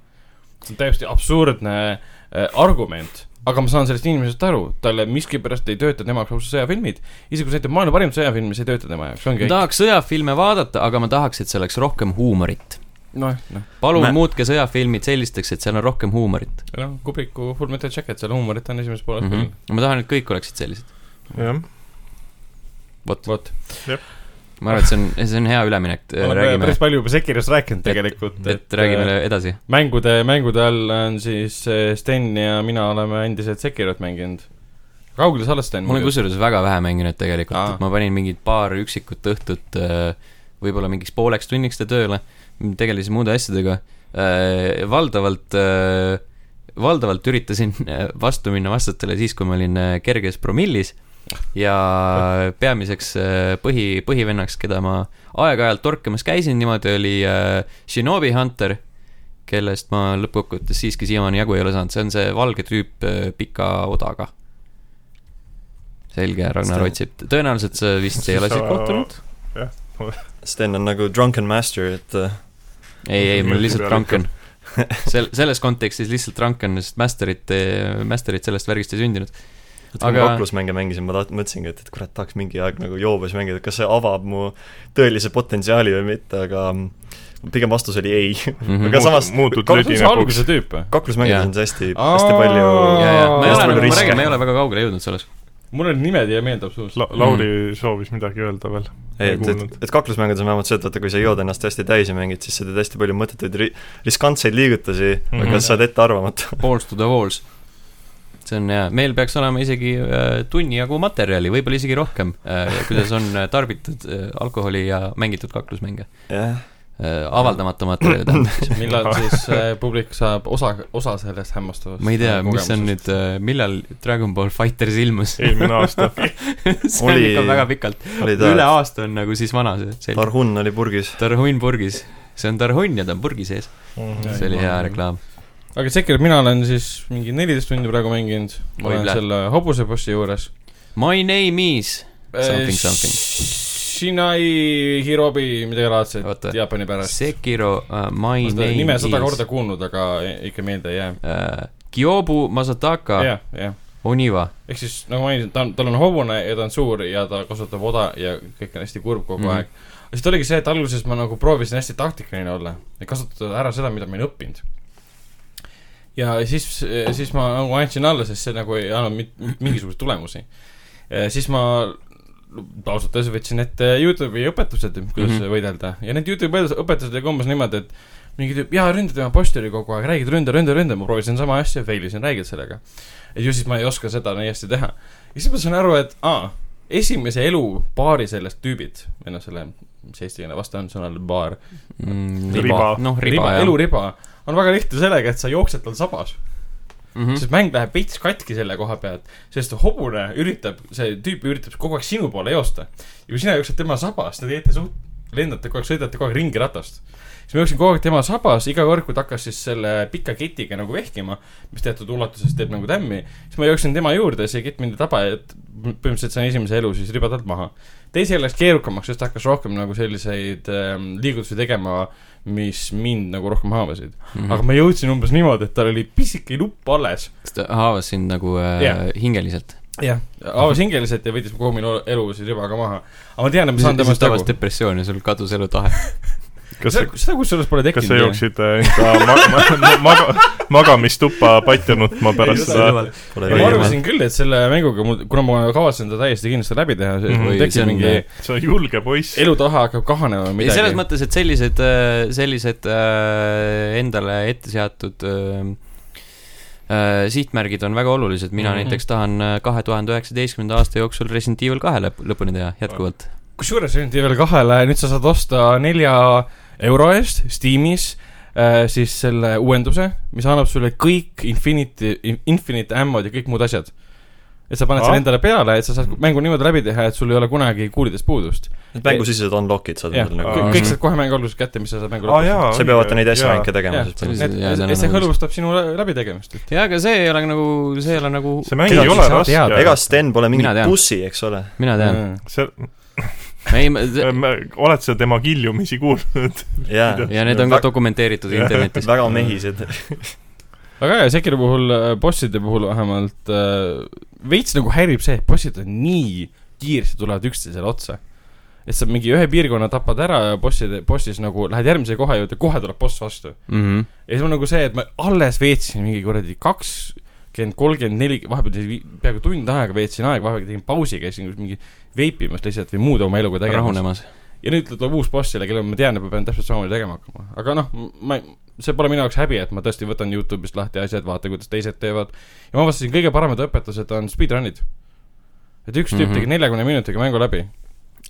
C: see on täiesti absurdne äh, argument , aga ma saan sellest inimesest aru , talle miskipärast ei tööta tema jaoks ausalt sõjafilmid . isegi kui sa ütled maailma parim sõjafilm , siis ei tööta tema jaoks , ongi
A: ma
C: kõik .
A: tahaks sõjafilme vaadata , aga ma tahaks , et seal oleks rohkem huumorit .
C: noh , noh ,
A: palun
B: Ma-
A: ma... muutke sõjafilmid sellisteks , et seal on rohkem huumorit
C: noh , Kubriku Full Metal Jacket , seal huumorit on esimeses pooles
A: mm .
C: küll
A: -hmm. ma tahan , et kõik oleksid sellised .
D: Mhm. jah ,
A: vot ,
C: vot ,
A: ma arvan , et see on , see on hea üleminek ,
C: oleme
A: räägime
C: päris , palju juba Sekirist rääkinud
A: et-
C: tegelikult . äh,
A: et räägime edasi .
C: mängude , mängude all on siis äh, Sten ja mina oleme endiselt Sekirot mänginud . kaugel sa oled , Sten ?
A: ma olen kusjuures väga vähe mänginud tegelikult ,
C: Aa.
A: et ma panin mingid paar üksikut õhtut äh, võib-olla mingiks pooleks tunniks ta tööle , tegelesin muude asjadega , valdavalt äh, valdavalt üritasin äh, vastu minna vastutele siis , kui ma olin äh, kerges promillis ja peamiseks äh, põhi , põhivennaks , keda ma aeg-ajalt torkamas käisin , niimoodi oli äh, Shinobi Hunter , kellest ma lõppkokkuvõttes siiski siiamaani jagu ei ole saanud , see on see valge tüüp äh, pika odaga . selge , Ragnar
B: Seda-
A: otsib , tõenäoliselt sa vist ei ole siit kohtunud ?
B: Sten on nagu drunken master , et äh,
A: ei , ei , mul
D: Juhti
A: lihtsalt
D: peal
A: rank on . sel- , selles kontekstis lihtsalt rank on , sest masterit , masterit sellest värgist ei sündinud .
B: et kui
A: Aga-
B: ma kaklusmänge mängisin , ma taht- , mõtlesingi , et , et kurat , tahaks mingi aeg nagu joobes mängida , kas see avab mu tõelise potentsiaali või mitte , aga mm, pigem vastus oli ei .
A: Mhm.
B: aga samas
D: muutud
C: kas on see
D: lõdinapuks
C: alguse . tüüp või ?
B: kaklusmängides
A: Jah.
B: on see hästi ,
C: Aa.
B: hästi palju
A: ja , ja ma ei ole
B: Hästi palju
A: nagu , ma
B: riske.
A: räägin , ma ei ole väga kaugele jõudnud selles .
C: mul on nimed ei meeldi absoluutselt .
D: La- ,
A: Mhm.
D: Lauri soovis midagi öelda veel .
B: Ei, et , et , et kaklusmängudes on vähemalt see , et vaata , kui sa jood ennast hästi täis ja mängid , siis sa teed hästi palju mõttetuid ri- , riskantseid liigutusi mm , -hmm.
D: Mhm.
B: aga sa oled ettearvamatu .
A: Balls to the walls . see on hea , meil peaks olema isegi äh, tunni jagu materjali , võib-olla isegi rohkem äh, , kuidas on äh, tarbitud äh, alkoholi ja mängitud kaklusmänge
B: jah ,
A: äh, . avaldamata materjali tähendab .
C: millal siis äh, publik saab osa , osa sellest hämmastavast eh,
A: ma ei tea , mis on nüüd , millal Dragon Ball Fighters ilmus ?
D: eelmine aasta .
A: see on
B: Oli-
A: ikka väga pikalt ,
B: oli ta ,
A: üle aasta on nagu siis vana see , selge .
B: Tarhun oli purgis .
A: Tarhun purgis , see on Tarhun ja ta on purgi sees , see oli hea reklaam .
C: aga Sekir , mina olen siis mingi neliteist tundi praegu mänginud , ma
A: Oi,
C: olen
A: plä-
C: selle hobusebossi juures .
A: My name is , Something, something.
C: Shinai Hirobi , midagi laadset
A: Oota. ,
C: Jaapani pärast .
A: Sekiro uh, , My
C: ma seda
A: name
C: nime sada
A: is
C: korda kuulnud , aga i- ikka meelde ei jää .
A: uh, Kyobu Masataka yeah.
C: jah , jah .
A: Oniwa
C: ehk siis nagu mainisin , ta on , tal on hobune ja ta on suur ja ta kasutab oda ja kõik on hästi kurb kogu
A: Mhm.
C: mm -hmm. aeg . aga siis oligi see , et alguses ma nagu proovisin hästi taktikaline olla ja kasutada ära seda , mida ma olin õppinud . ja siis , siis ma nagu andsin alla , sest see nagu ei andnud mit- mit- mingisuguseid tulemusi . Äh, siis ma ausalt öeldes võtsin ette Youtube'i õpetused , kuidas mm
A: Mhm.
C: -hmm. võidelda ja need Youtube'i õpetus- õpetused olid umbes niimoodi , et mingi tüüp , jaa , ründa tema posteri kogu aeg , räägid ründa , ründa , ründa , ma proovisin sama asja , fail isin , räägid sellega . et ju siis ma ei oska seda nii hästi teha . ja siis ma sain aru , et aa , esimese elu paari sellest tüübid , või noh , selle , mis eestikeelne vaste on sõnal baar ,
A: mm, .
D: Riba.
A: noh , riba,
C: riba ,
A: riba , jah .
C: eluriba on väga lihtne sellega , et sa jooksed tal sabas
A: Mm
C: sest mäng läheb veits katki selle koha pealt , sest hobune üritab , see tüüp üritab kogu aeg sinu poole joosta . ja kui sina jooksed tema sabas , te teete suht , lendate kogu aeg , sõidate kogu aeg ringi ratast . siis ma jooksin kogu aeg tema sabas , iga kord , kui ta hakkas siis selle pika ketiga nagu vehkima , mis teatud ulatuses teeb nagu tämmi , siis ma jooksin tema juurde , see kett mind ei taba ja t- põhimõtteliselt sain esimese elu siis ribadalt maha . teisel läks keerukamaks , sest ta hakkas rohkem nagu selliseid ähm, liigutusi tegema , mis mind nagu rohkem haavasid .
A: -hmm.
C: aga ma jõudsin umbes niimoodi , et tal oli pisike nupp alles
A: kas ta haavas sind nagu äh,
C: Jah.
A: yeah. hingeliselt ?
C: jah , avas hingeliselt ja võttis kogu minu elu siis ribaga maha . aga ma tean , et ma saan
A: mis
C: temast
A: tabas
C: jagu .
A: depressioon ja sul kadus elutahe .
D: kas
C: seda , seda kusjuures pole
D: kas sa
C: tekkinud .
D: jooksid äh, enda ma- , ma- , maga- , magamistuppa patja nutma pärast
B: Ei,
D: seda ?
B: Pole
C: ma
B: veel.
C: arvasin küll , et selle mänguga mul , kuna ma kavatsen ta täiesti kindlasti läbi teha , siis
D: Mhm.
C: mul
A: See
C: tekib
A: on-
C: mingi
D: sa julge poiss .
C: elutaha hakkab kahanema või
A: ei , selles
C: midagi .
A: mõttes , et sellised , sellised äh, endale ette seatud äh, äh, sihtmärgid on väga olulised , mina mm
C: Mhm.
A: -hmm. näiteks tahan kahe tuhande üheksateistkümnenda aasta jooksul Resident Evil kahe lõp- , lõpuni teha , jätkuvalt .
C: kusjuures Resident Evil kahele nüüd sa saad osta nelja euro eest Steamis äh, siis selle uuenduse , mis annab sulle kõik Infinity , Infinite Ammod ja kõik muud asjad . et sa paned
D: Ah.
C: selle endale peale , et sa saad mängu niimoodi läbi teha , et sul ei ole kunagi kuulidest puudust .
B: Need mängusisesed unlock'id saad
C: jah ,
B: endale nagu
D: Aa.
C: kõik saad kohe mängu alguses kätte , mis sa saad mängu
D: aa Ah, jaa .
B: sa ei pea vaata neid asju mänge tegema
C: Jaa.
B: siis palju
A: Sellised- jaa, seal on
C: et see
A: nagu-
C: hõlbustab sinu lä- läbitegemist .
A: jaa , aga see ei ole nagu , see ei ole nagu ,
D: see mäng
B: Ega
D: ei
B: sa
D: ole
C: saad teada.
D: raske .
B: ega Sten pole mingi
A: Mina tean.
B: bussi , eks ole
A: mina tean .
C: Mm.
D: see ,
A: ei , ja
D: oled sa tema killumisi kuulnud ?
B: jaa
A: need on ka
B: Väga-
A: dokumenteeritud internetis .
B: väga mehised
C: väga hea , Sekiro puhul , bosside puhul vähemalt äh, veits nagu häirib see , et bossid on nii kiiresti tulevad üksteisele otsa . et sa mingi ühe piirkonna tapad ära ja bosside , bossis nagu lähed järgmise koha juurde , kohe tuleb boss vastu .
A: mhmh ,
C: ja siis on nagu see , et ma alles veetsin mingi kuradi kakskümmend , kolmkümmend , neli , vahepeal isegi vi- peaaegu tund aega veetsin aega , vahepeal tegin pausi , käisin kus mingi veipimas lihtsalt või muud oma eluga tegemas .
A: rahunemas .
C: ja nüüd tuleb uus boss jälle , kellega ma tean , et ma pean täpselt samamoodi tegema hakkama , aga noh , ma , see pole minu jaoks häbi , et ma tõesti võtan Youtube'ist lahti asjad , vaatan , kuidas teised teevad . ja ma avastasin , kõige paremad õpetused on speedrun'id . et üks tüüp
A: Mhm.
C: tegi neljakümne minutiga mängu läbi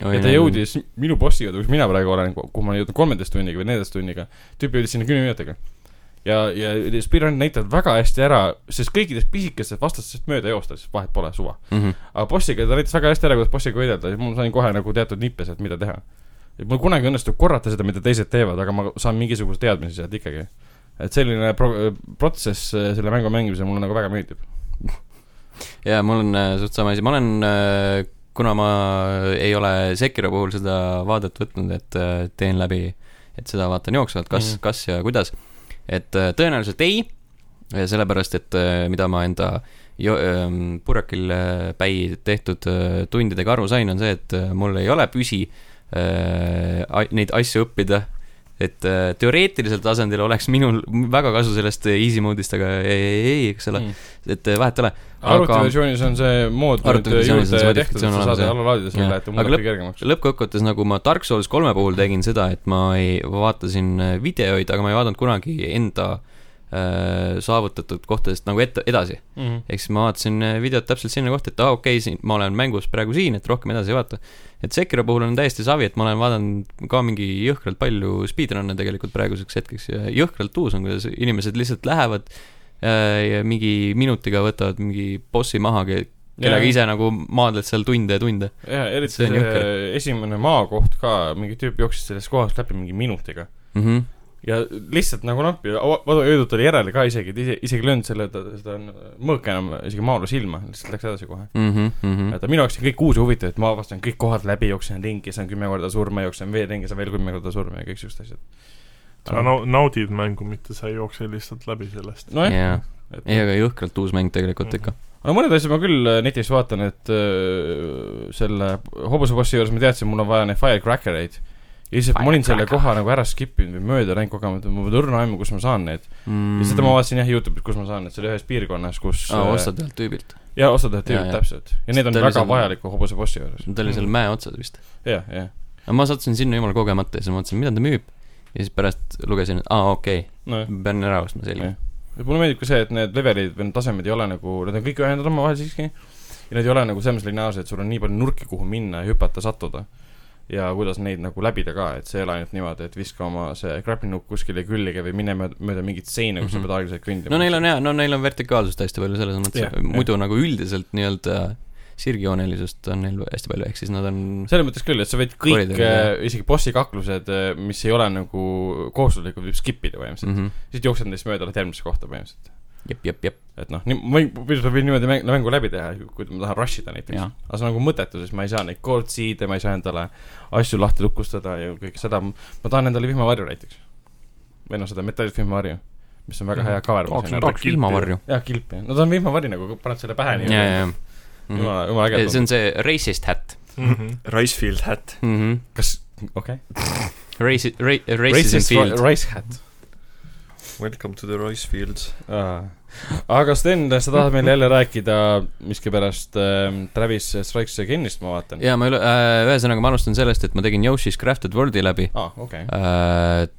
C: ja ta . jõudis minu bossi juurde , kus mina praegu olen , kuhu ma olen jõudnud kolmeteist tunniga või neljateist tunniga , tüüp jõudis sinna kümne minutiga . ja , ja speedrun'id näitavad väga hästi ära , sest kõikidest pisikestest vastastest mööda joosta , siis vahet pole , suva .
A: Mhm.
C: aga bossiga , ta näitas väga hästi ära , kuidas bossiga võidelda ja mul sain kohe nagu teatud nippe sealt , mida teha . et mul kunagi õnnestub korrata seda , mida teised teevad , aga ma saan mingisuguse teadmise sealt ikkagi . et selline pro- , protsess äh, selle mängu mängimisel mulle nagu väga meeldib .
A: jaa , mul on äh, suht sama asi , ma olen , kuna ma ei ole Sekiro puhul seda vaadet võtnud , et äh, teen läbi , et seda vaatan jooksvalt , kas mm ,
C: Mhm.
A: -hmm. kas ja kuidas , et äh, tõenäoliselt ei , sellepärast et äh, mida ma enda jo- , purjekil äh, päi tehtud äh, tundidega aru sain , on see , et äh, mul ei ole püsi äh, a- neid asju õppida , et äh, teoreetilisel tasandil oleks minul väga kasu sellest äh, easy mode'ist , aga ei , ei , ei , eks
C: Mhm.
A: ole , et äh, vahet ei ole .
C: arvutiversioonis Mm. on see mood nüüd
A: Arvutiversioonis on see
C: juurde tehtud , et
A: modifikatsioon
C: sa
A: olemas,
C: saad
A: jah.
C: alla laadida selle ,
A: Jah.
C: et ta
A: Aga
C: muudab
A: lõpp-
C: kõige kergemaks .
A: lõppkokkuvõttes nagu ma Dark Souls kolme puhul tegin seda , et ma ei , vaatasin äh, videoid , aga ma ei vaadanud kunagi enda äh, saavutatud kohtadest nagu ette , edasi .
C: Mhm.
A: ehk siis ma vaatasin äh, videot täpselt sinna kohta , et aa ah, okei okay, , siin , ma olen mängus praegu siin , et rohkem edasi ei vaata . et Sekiro puhul on täiesti savi , et ma olen vaadanud ka mingi jõhkralt palju speedrun'e tegelikult praeguseks hetkeks ja jõhkralt uus on , kuidas inimesed lihtsalt lähevad äh, ja mingi minutiga võtavad mingi bossi maha , kellega ise nagu maadled seal tunde ja tunde .
C: jaa , eriti
A: see on
C: see
A: jõhker.
C: esimene maakoht ka , mingi tüüp jooksis sellest kohast läbi mingi minutiga .
A: Mm -hmm.
C: ja lihtsalt nagu nappi , öödut oli järele ka isegi , et ise , isegi ei löönud selle , seda mõõka enam isegi maale silma , lihtsalt läks edasi kohe .
A: Mm -hmm.
C: et minu jaoks on kõik uus ja huvitav , et ma avastan kõik kohad läbi , jooksen ringi , saan kümme korda surma , jooksen veel ringi , saan veel kümme korda surma ja kõik siuksed
D: sa
C: asjad .
D: nau- , naudid mängu , mitte sa ei jookse lihtsalt läbi sellest .
A: jaa.
C: nojah ,
A: ei ,
C: et
A: aga jõhkralt uus mäng
C: Mhm.
A: tegelikult ikka .
C: no mõned asjad ma küll äh, netist vaatan , et öö, selle hobusebossi juures ma teadsin , mul on vaja neid firecracker eid . ja siis ma olin selle koha nagu ära skip inud või mööda läinud kogemata , mul on õrna aimu , kus ma saan neid .
A: mm.
C: ja seda ma vaatasin jah Youtube'is , kus ma saan , et see oli ühes piirkonnas , kus
A: aa , ostad ühelt tüübilt .
C: ja ostad need
A: Jaa,
C: tüübid
A: jaa.
C: täpselt . ja need on
A: Ta oli
C: väga
A: seal-
C: vajaliku hobuse bossi juures .
A: ta oli seal mäe otsas vist .
C: jah , jah .
A: aga ma sattusin sinna jumala kogemata ja siis ma mõtlesin , mida ta müüb . ja siis pärast lugesin , et aa , okei okay, ,
C: nojah .
A: pean ära ostma selge .
C: mulle meeldib ka see , et need levelid või need tasemed ei ole nagu , need on kõik ühendatud omavahel siiski . ja need ei ole nagu selles mõttes lineaarsed , et sul on nii palju nurki , kuhu minna ja hüpata , sattuda . ja kuidas neid nagu läbida ka , et see ei ole ainult niimoodi , et viska oma see grappling-hook kuskile külge või mine mööda, mööda mingit seina , kus sa
A: Mhm.
C: pead aeglaselt kõndima .
A: no neil on hea , no neil on vertikaalsust hästi palju selles mõttes
C: Jah,
A: yeah, ,
C: jah.
A: muidu nagu üldiselt nii-öelda sirgjoonelisust on neil hästi palju , ehk siis nad on
C: selles mõttes küll , et sa võid kõik äh,
A: Koridori, jah. ,
C: isegi bossi kaklused , mis ei ole nagu kohustuslikud , võib skip ida põhimõtteliselt .
A: mhm.
C: siis jooksed neist mööda , lähed järgmisse kohta põhimõtteliselt .
A: jep , jep , jep .
C: et noh , nii , ma võin , ma võin niimoodi mäng, mängu läbi teha , kui ma tahan rush ida näiteks .
A: Jaa.
C: aga see on nagu mõttetu , sest ma ei saa neid chord seed'e , ma ei saa endale asju lahti lukustada ja kõike seda . ma tahan endale vihmavarju näiteks . või noh , seda metallit vihmavarju , mis on
A: Mhm.
C: väga hea cover .
D: Tahaks
C: jah ,
D: näha.
A: tahaks ilmavarju .
C: kilp jah , no ta on vihmavari nagu , paned selle pähe
A: ja ,
C: nii-öelda .
A: ja , Mhm. ja .
C: jumala , jumala äge
A: see . on see racist hat
D: mm . -hmm.
B: Ricefield hat
A: mm . -hmm.
C: kas , okei .
A: Raci- , ra- , racism field .
C: Rice Hat
B: Welcome to the rice fields .
C: Aa. aga Sten , sa tahad meile jälle rääkida miskipärast ähm, Travis Strikes Againist , ma vaatan .
A: ja ma üle- äh, , ühesõnaga ma alustan sellest , et ma tegin Yoshi's Crafted World'i läbi
C: aa , okei .
A: äh, .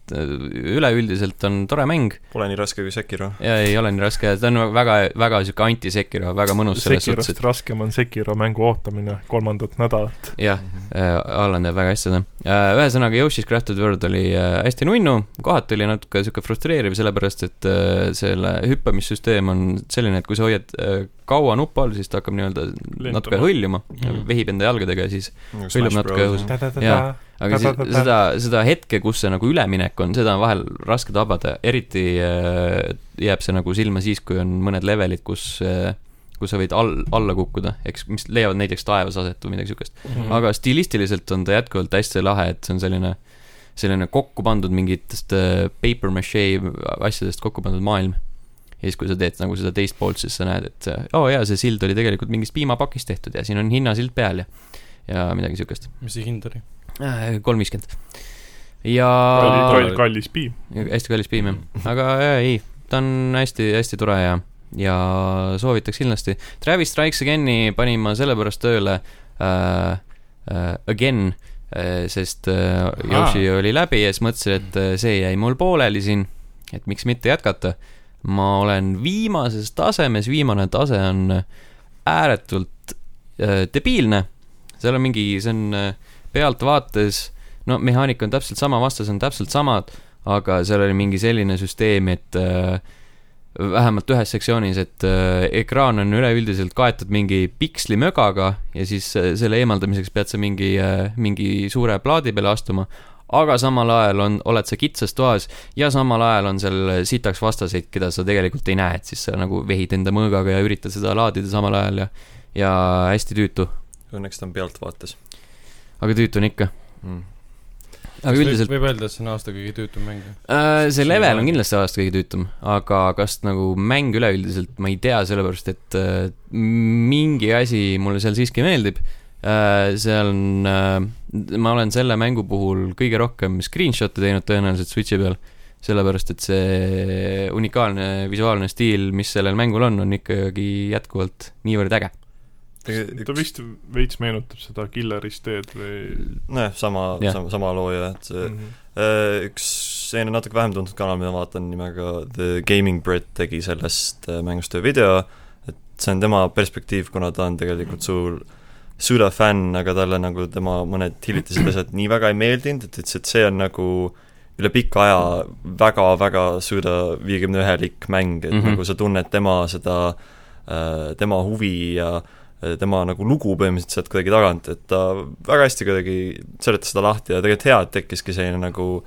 A: üleüldiselt on tore mäng
B: Pole nii raske kui Sekiro .
A: ja ei ole nii raske , ta on väga , väga sihuke anti-Sekiro , väga mõnus selles suhtes ,
D: Sekirost raskem on Sekiro mängu ootamine kolmandat nädalat .
A: et jah ,
B: Mhm.
A: Allan teab väga hästi seda äh, . ühesõnaga Yoshi's Crafted World oli äh, hästi nunnu , kohati oli natuke sihuke frustreeriv , sellepärast et äh, selle hüppamissüsteem on selline , et kui sa hoiad äh, kaua nupu all , siis ta hakkab nii-öelda natuke hõljuma
C: Mhm. ,
A: vehib enda jalgadega ja siis Hõljub natuke õhus.
D: ta-ta-ta-ta
A: Jaa. aga si-
D: Ta-ta-ta-ta.
A: seda , seda hetke , kus see nagu üleminek on , seda on vahel raske tabada , eriti äh, jääb see nagu silma siis , kui on mõned levelid , kus äh, kus sa võid all , alla kukkuda , eks , mis leiavad näiteks taevas aset või midagi siukest .
C: Mhm.
A: aga stilistiliselt on ta jätkuvalt hästi lahe , et see on selline , selline kokku pandud mingitest äh, paper mache asjadest kokku pandud maailm . ja siis , kui sa teed nagu seda teist poolt , siis sa näed , et äh, oo oh, jaa , see sild oli tegelikult mingist piimapakist tehtud ja siin on hinnasild peal ja , ja midagi siukest .
C: mis see hind oli ?
A: Äh, kolm viiskümmend . ja
D: kallis , kallis , kallis piim .
A: hästi kallis piim jah , aga äh, ei , ta on hästi-hästi tore ja , ja soovitaks kindlasti . Travis Strikes Again'i panin ma sellepärast tööle äh, äh, again äh, , sest äh, Yoshi oli läbi ja siis mõtlesin , et äh, see jäi mul pooleli siin , et miks mitte jätkata . ma olen viimases tasemes , viimane tase on ääretult äh, debiilne , seal on mingi , see on äh, pealtvaates , no mehaanika on täpselt sama , vastas on täpselt samad , aga seal oli mingi selline süsteem , et äh, vähemalt ühes sektsioonis , et äh, ekraan on üleüldiselt kaetud mingi pikslimögaga ja siis äh, selle eemaldamiseks pead sa mingi äh, , mingi suure plaadi peale astuma , aga samal ajal on , oled sa kitsas toas ja samal ajal on seal sitaks vastaseid , keda sa tegelikult ei näe , et siis sa nagu vehid enda mõõgaga ja üritad seda laadida samal ajal ja , ja hästi tüütu ,
B: Õnneks ta on pealtvaates
A: aga tüütu on ikka ,
B: mm. .
A: aga üldiselt
C: võib öelda , et see on aasta kõige tüütum mäng .
A: Äh, see
C: See
A: level
C: on-
A: on kindlasti aasta kõige tüütum , aga kas nagu mäng üleüldiselt , ma ei tea , sellepärast et äh, mingi asi mulle seal siiski meeldib . see on , ma olen selle mängu puhul kõige rohkem screenshot'e teinud tõenäoliselt Switch'i peal , sellepärast et see unikaalne visuaalne stiil , mis sellel mängul on , on ikkagi jätkuvalt niivõrd äge .
D: ta vist veits meenutab seda Killerist teed või
B: nojah , sama
A: Jah.
B: yeah. , sama , sama looja , et see mm.
D: Mhm.
B: üks selline natuke vähem tuntud kanal , mida ma vaatan nimega The Gaming Bread tegi sellest äh, mängust ühe video , et see on tema perspektiiv , kuna ta on tegelikult suur Suda fänn , aga talle nagu tema mõned hiljutised asjad nii väga ei meeldinud , et ütles , et see on nagu üle pika aja väga-väga Suda viiekümne ühelik mäng , et mm
A: Mhm.
B: -hmm. nagu sa tunned tema seda äh, tema huvi ja äh, tema nagu lugu põhimõtteliselt sealt kuidagi tagant , et ta väga hästi kuidagi seletas seda lahti ja tegelikult hea , et tekkiski selline nagu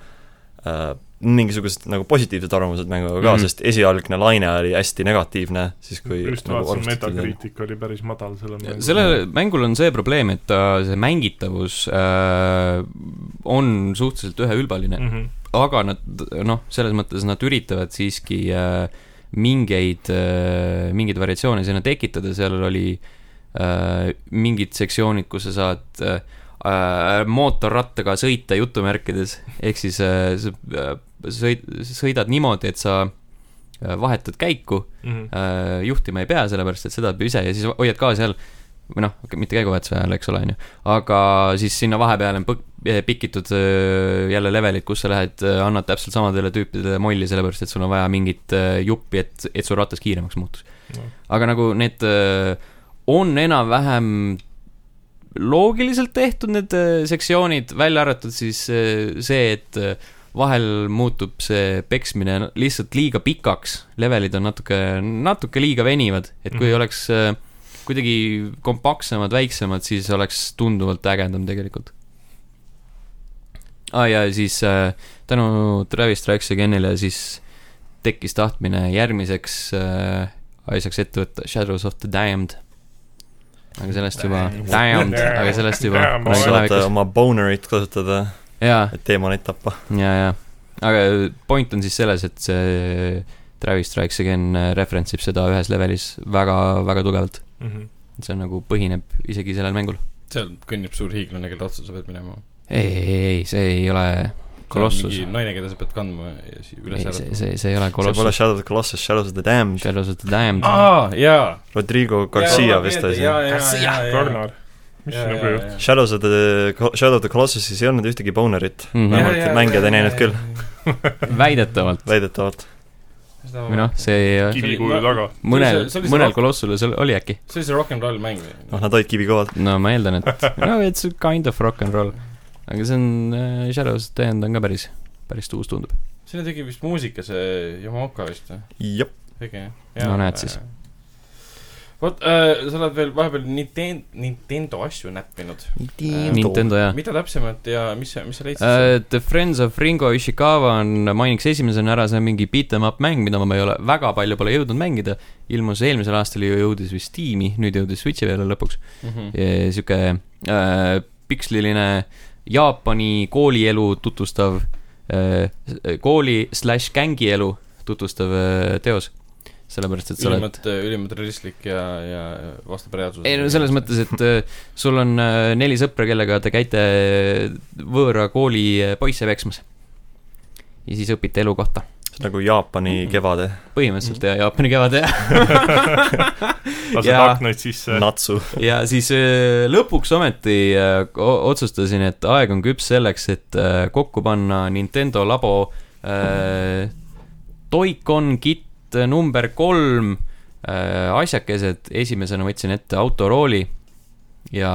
B: äh, mingisugused nagu positiivsed arvamused mänguga ka mm ,
A: Mhm.
B: -hmm. sest esialgne laine oli hästi negatiivne , siis kui
D: just
B: nagu
D: vaatasin ,
B: arvestati-
D: Metacritic oli päris madal selle mängu .
A: sellel mängul on see probleem , et ta , see mängitavus äh, on suhteliselt üheülbaline ,
D: -hmm.
A: aga nad noh , selles mõttes nad üritavad siiski äh, mingeid äh, , mingeid variatsioone sinna tekitada , seal oli äh, mingid sektsioonid , kus sa saad äh, äh, mootorrattaga sõita jutumärkides , ehk siis äh, sa äh, sõid- , sõidad niimoodi , et sa äh, vahetad käiku
D: Mm -hmm.
A: äh, juhtima ei pea , sellepärast et seda peab ise ja siis hoiad ka seal või noh , mitte käiguvahetuse ajal , eks ole , on ju , aga siis sinna vahepeale on põk- , pikitud äh, jälle levelid , kus sa lähed , annad täpselt samadele tüüpidele molli , sellepärast et sul on vaja mingit äh, juppi , et , et su ratas kiiremaks muutus
D: No.
A: no. . aga nagu need äh, on enam-vähem loogiliselt tehtud , need äh, sektsioonid , välja arvatud siis äh, see , et äh, vahel muutub see peksmine lihtsalt liiga pikaks , levelid on natuke , natuke liiga venivad , et kui mm
D: Mhm.
A: -hmm. oleks äh, kuidagi kompaktsemad , väiksemad , siis oleks tunduvalt ägedam tegelikult . aa ah, ja siis äh, tänu Travis Strikes Againile siis tekkis tahtmine järgmiseks äh, asjaks ette võtta Shadows of the Damned . aga sellest juba , Damned , aga sellest juba
D: Damned.
A: kunagi
B: saad
A: tulevikus .
B: oma bonerit kasutada ,
A: jaa ,
B: et teemaneid tappa .
A: ja , ja , aga point on siis selles , et see Travis Strikes Again reference ib seda ühes levelis väga , väga tugevalt .
D: Mm -hmm.
A: see nagu põhineb isegi sellel mängul .
C: seal kõnnib suur hiiglane , kelle otsa sa pead minema .
A: ei , ei , ei , see ei ole , Colossus.
C: mingi naine , keda sa pead kandma ja siis üles
A: ei , see ,
C: äratada .
A: see , see ei ole
B: see pole
A: Colossus ,
B: Shadow of the Colossus , Shadow of the Damned ,
A: Shadows of the Damned .
C: aa , jaa .
B: Rodrigo Garcia vist asi .
C: Garcia .
D: Karnar , mis
A: nagu
D: nagu sinuga juhtus ?
B: Shadows of the , Shadow of the Colossusis ei olnud ühtegi bonerit
A: Mhm.
B: vähemalt need mängijad ei näinud küll ,.
A: väidetavalt .
B: väidetavalt .
A: või noh , see
D: kivikuju taga .
A: mõnel
C: see oli see ,
A: mõnel
C: rock-
A: kolossusel seal oli äkki .
C: see oli see rock n roll mäng või ?
B: noh , nad olid kivikohad .
A: no ma eeldan , et no it's a kind of rock n roll . aga see on äh, , Shadows of the Damned on ka päris , päris uus tundub .
C: sinna tegi vist muusika see Yamaoka vist või ?
B: jah ,
C: tegi jah
A: No näed siis. .
C: vot äh, , sa oled veel vahepeal Nintendo , Nintendo asju näppinud .
A: Nintendo jaa .
C: mida täpsemalt ja mis , mis sa leidsid ?
A: Uh, The Friends of Ringo Ishikawa on , mainiks esimesena ära , see on mingi beat em up mäng , mida ma ei ole , väga palju pole jõudnud mängida . ilmus eelmisel aastal ju , jõudis vist Steam'i , nüüd jõudis Switch'i peale lõpuks .
C: Mhm.
A: sihuke uh, piksliline Jaapani koolielu tutvustav uh, , kooli slaš gängielu tutvustav uh, teos . sellepärast , et sa oled
C: ülimalt , ülimalt realistlik ja , ja vastab reaalsusele .
A: ei no selles mõttes , et äh, sul on äh, neli sõpra , kellega te käite äh, võõra kooli äh, poisse peksmas . ja siis õpite elu kohta .
B: nagu Jaapani kevade ,
A: põhimõtteliselt jah , Jaapani kevad jah .
D: lased
A: Jaa.
D: aknaid sisse .
B: natsu .
A: ja siis äh, lõpuks ometi äh, o- otsustasin , et aeg on küps selleks , et äh, kokku panna Nintendo labo äh, Toikon kit number kolm äh, asjakesed , esimesena võtsin ette autorooli ja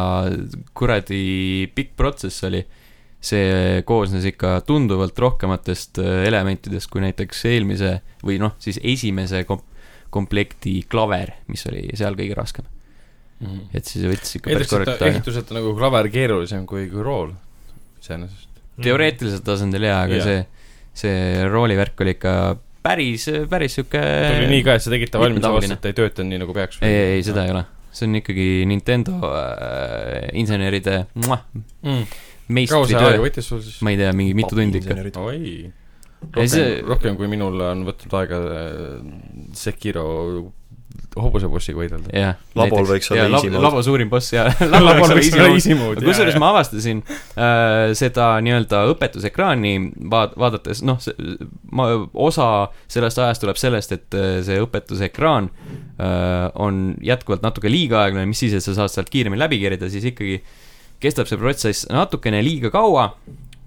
A: kuradi pikk protsess oli . see koosnes ikka tunduvalt rohkematest äh, elementidest kui näiteks eelmise või noh , siis esimese kom- , komplekti klaver , mis oli seal kõige raskem .
C: mõttes .
A: et siis võttis ikka päris
C: Mhm. eeldaks , et
A: korralikult
C: ta-
A: aega .
C: ehituselt on nagu klaver keerulisem kui , kui rool iseenesest .
A: teoreetilisel tasandil jaa , aga
C: Mm. Jaa.
A: see , see roolivärk oli ikka päris , päris sihuke .
C: ta oli nii ka , et sa tegid ta
A: Äh,
C: valmis ,
A: mitmetahuline.
C: avastad , et ta ei töötanud nii nagu peaks .
A: ei , ei , seda ei ole . see on ikkagi Nintendo äh, inseneride muah,
C: ole . Mhm. kaua see aega
A: meistritöö .
C: võttis sul siis ?
A: ma ei tea , mingi mitu tundi ikka .
B: ikka .
C: oi .
A: Ei,
C: rohkem
A: see-
C: see... , rohkem kui minul on võtnud aega äh, Sekiro hobusebussiga võidelda .
A: jah .
B: Labol võiks olla easy mode.
A: labo suurim boss ja labol võiks olla easy mode . kusjuures ma avastasin äh, seda nii-öelda õpetusekraani vaat- , vaadates , noh , ma , osa sellest ajast tuleb sellest , et äh, see õpetusekraan äh, on jätkuvalt natuke liiga aeglane , mis siis , et sa saad sealt kiiremini läbi kerida , siis ikkagi kestab see protsess natukene liiga kaua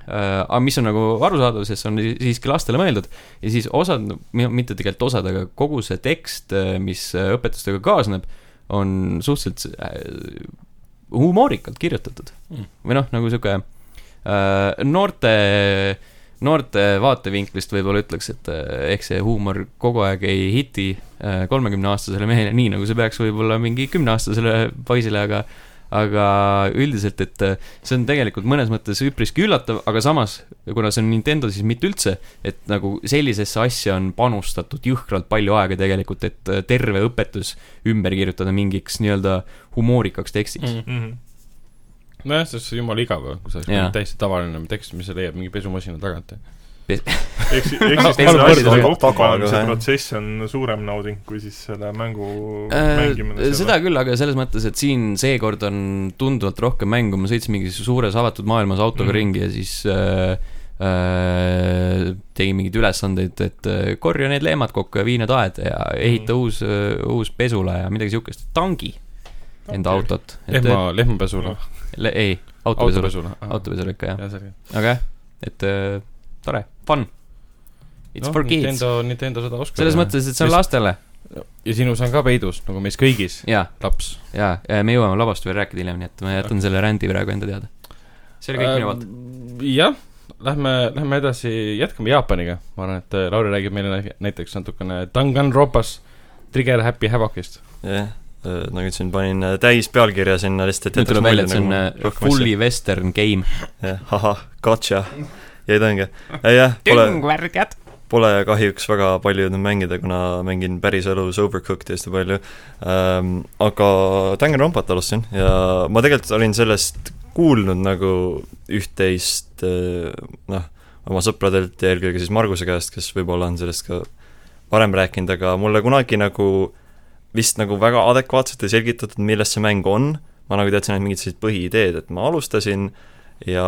A: äh, aga mis on nagu arusaadav , sest see on si- siiski lastele mõeldud ja siis osad , mitte tegelikult osad , aga kogu see tekst , mis äh, õpetustega kaasneb , on suhteliselt äh, humoorikalt kirjutatud
C: Mm.
A: mm. . või noh , nagu sihuke äh, noorte , noorte vaatevinklist võib-olla ütleks , et äh, eks see huumor kogu aeg ei hiti äh, kolmekümneaastasele mehele , nii nagu see peaks võib-olla mingi kümneaastasele poisile , aga aga üldiselt , et äh, see on tegelikult mõnes mõttes üpriski üllatav , aga samas , kuna see on Nintendo , siis mitte üldse , et nagu sellisesse asja on panustatud jõhkralt palju aega tegelikult , et äh, terve õpetus ümber kirjutada mingiks nii-öelda humoorikaks tekstiks mm. .
D: Mhm.
C: nojah , see oleks jumala igav , kui see oleks
A: Jaa.
C: mingi täiesti tavaline tekst , mis leiab mingi pesumasina tagant .
D: eks , eks siis
A: Palun
D: nende asjade
B: võrdle-
D: kokkupanemise
B: taga-
D: protsess on suurem nauding kui siis selle mängu Äh, mängimine .
A: Äh, seda küll , aga selles mõttes , et siin seekord on tunduvalt rohkem mängu , ma sõitsin mingis suures avatud maailmas autoga
D: Mhm.
A: mm. ringi ja siis äh, äh, tegin mingeid ülesandeid , et äh, korja need leemad kokku ja vii need aeda ja ehita mm. uus äh, , uus pesula ja midagi siukest , tangi enda autot .
C: lehma , lehmapesule .
A: ei , autopesula ,
C: autopesule .
A: autopesula ikka jah ,
C: jah , selge .
A: aga jah , et äh, tore , fun . It's no, for kids ,
C: Noh, Nintendo , Nintendo seda oskab .
A: selles . mõttes , et see on
C: Mis-
A: lastele
C: ja sinus on ka peidus , nagu meis kõigis ,
A: ja
C: laps .
A: jaa , me jõuame labost veel rääkida hiljem , nii et ma jätan selle rändi praegu enda teada . see oli kõik minu poolt .
C: poolt . Äh, jah , lähme , lähme edasi , jätkame Jaapaniga . ma arvan , et äh, Lauri räägib meile nä- näiteks natukene Danganronpas Trigger Happy Havocist .
B: jah , nagu ütlesin , panin äh, täispealkirja sinna lihtsalt , et
A: nüüd tuleb välja , et see on äh,
B: rohkem asja.
A: fully western game .
B: jah , ahah , gotcha , jäid õnge . Äh, jah , pole ,
E: tüngvärgad .
B: pole kahjuks väga palju jõudnud mängida , kuna mängin päriselus Overcooked hästi palju ähm, . aga Danganronpat alustasin ja ma tegelikult olin sellest kuulnud nagu üht-teist äh, noh , oma sõpradelt ja eelkõige siis Marguse käest , kes võib-olla on sellest ka varem rääkinud , aga mulle kunagi nagu vist nagu väga adekvaatselt ei selgitatud , milles see mäng on , ma nagu teadsin ainult mingit sellist põhiideed , et ma alustasin ja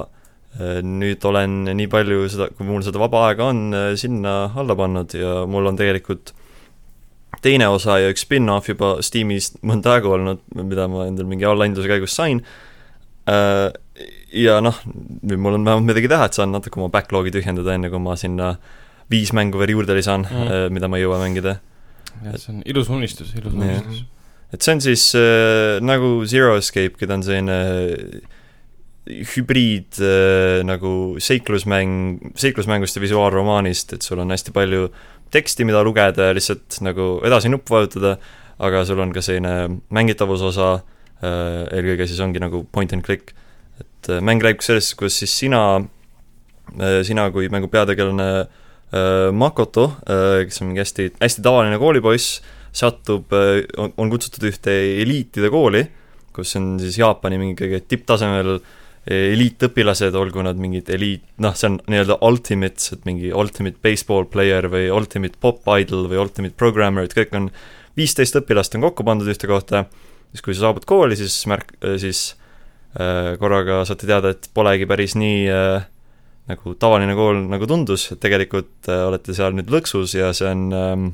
B: äh, nüüd olen nii palju seda , kui mul seda vaba aega on , sinna alla pannud ja mul on tegelikult teine osa ja üks spin-off juba Steamis mõnda aega olnud , mida ma endal mingi allahindluse käigus sain , ja noh , nüüd mul on vähemalt midagi teha , et saan natuke oma backlog'i tühjendada , enne kui ma sinna viis mängu veel juurde lisan
A: Mm.
B: mm. , mida ma ei jõua mängida .
C: jah , see on ilus unistus , ilus
B: Jah.
C: unistus .
B: et see on siis äh, nagu Zero Escape , keda on selline äh, hübriid äh, nagu seiklusmäng , seiklusmängust ja visuaalromaanist , et sul on hästi palju teksti , mida lugeda ja lihtsalt nagu edasi nuppu vajutada , aga sul on ka selline mängitavusosa äh, , eelkõige siis ongi nagu point and click . et äh, mäng räägib sellest , kus siis sina äh, , sina kui mängu peategelane äh, Makoto äh, , kes on mingi hästi , hästi tavaline koolipoiss , satub , on, on kutsutud ühte eliitide kooli , kus on siis Jaapani mingi kõige tipptasemel äh, eliitõpilased , olgu nad mingid eliit , noh , see on nii-öelda ultimates , et mingi ultimate baseball player või ultimate pop idol või ultimate programmer , et kõik on viisteist õpilast on kokku pandud ühte kohta , siis kui sa saabud kooli , siis märk- , siis äh, korraga saate teada , et polegi päris nii äh, nagu tavaline kool nagu tundus , et tegelikult äh, olete seal nüüd lõksus ja see on ähm,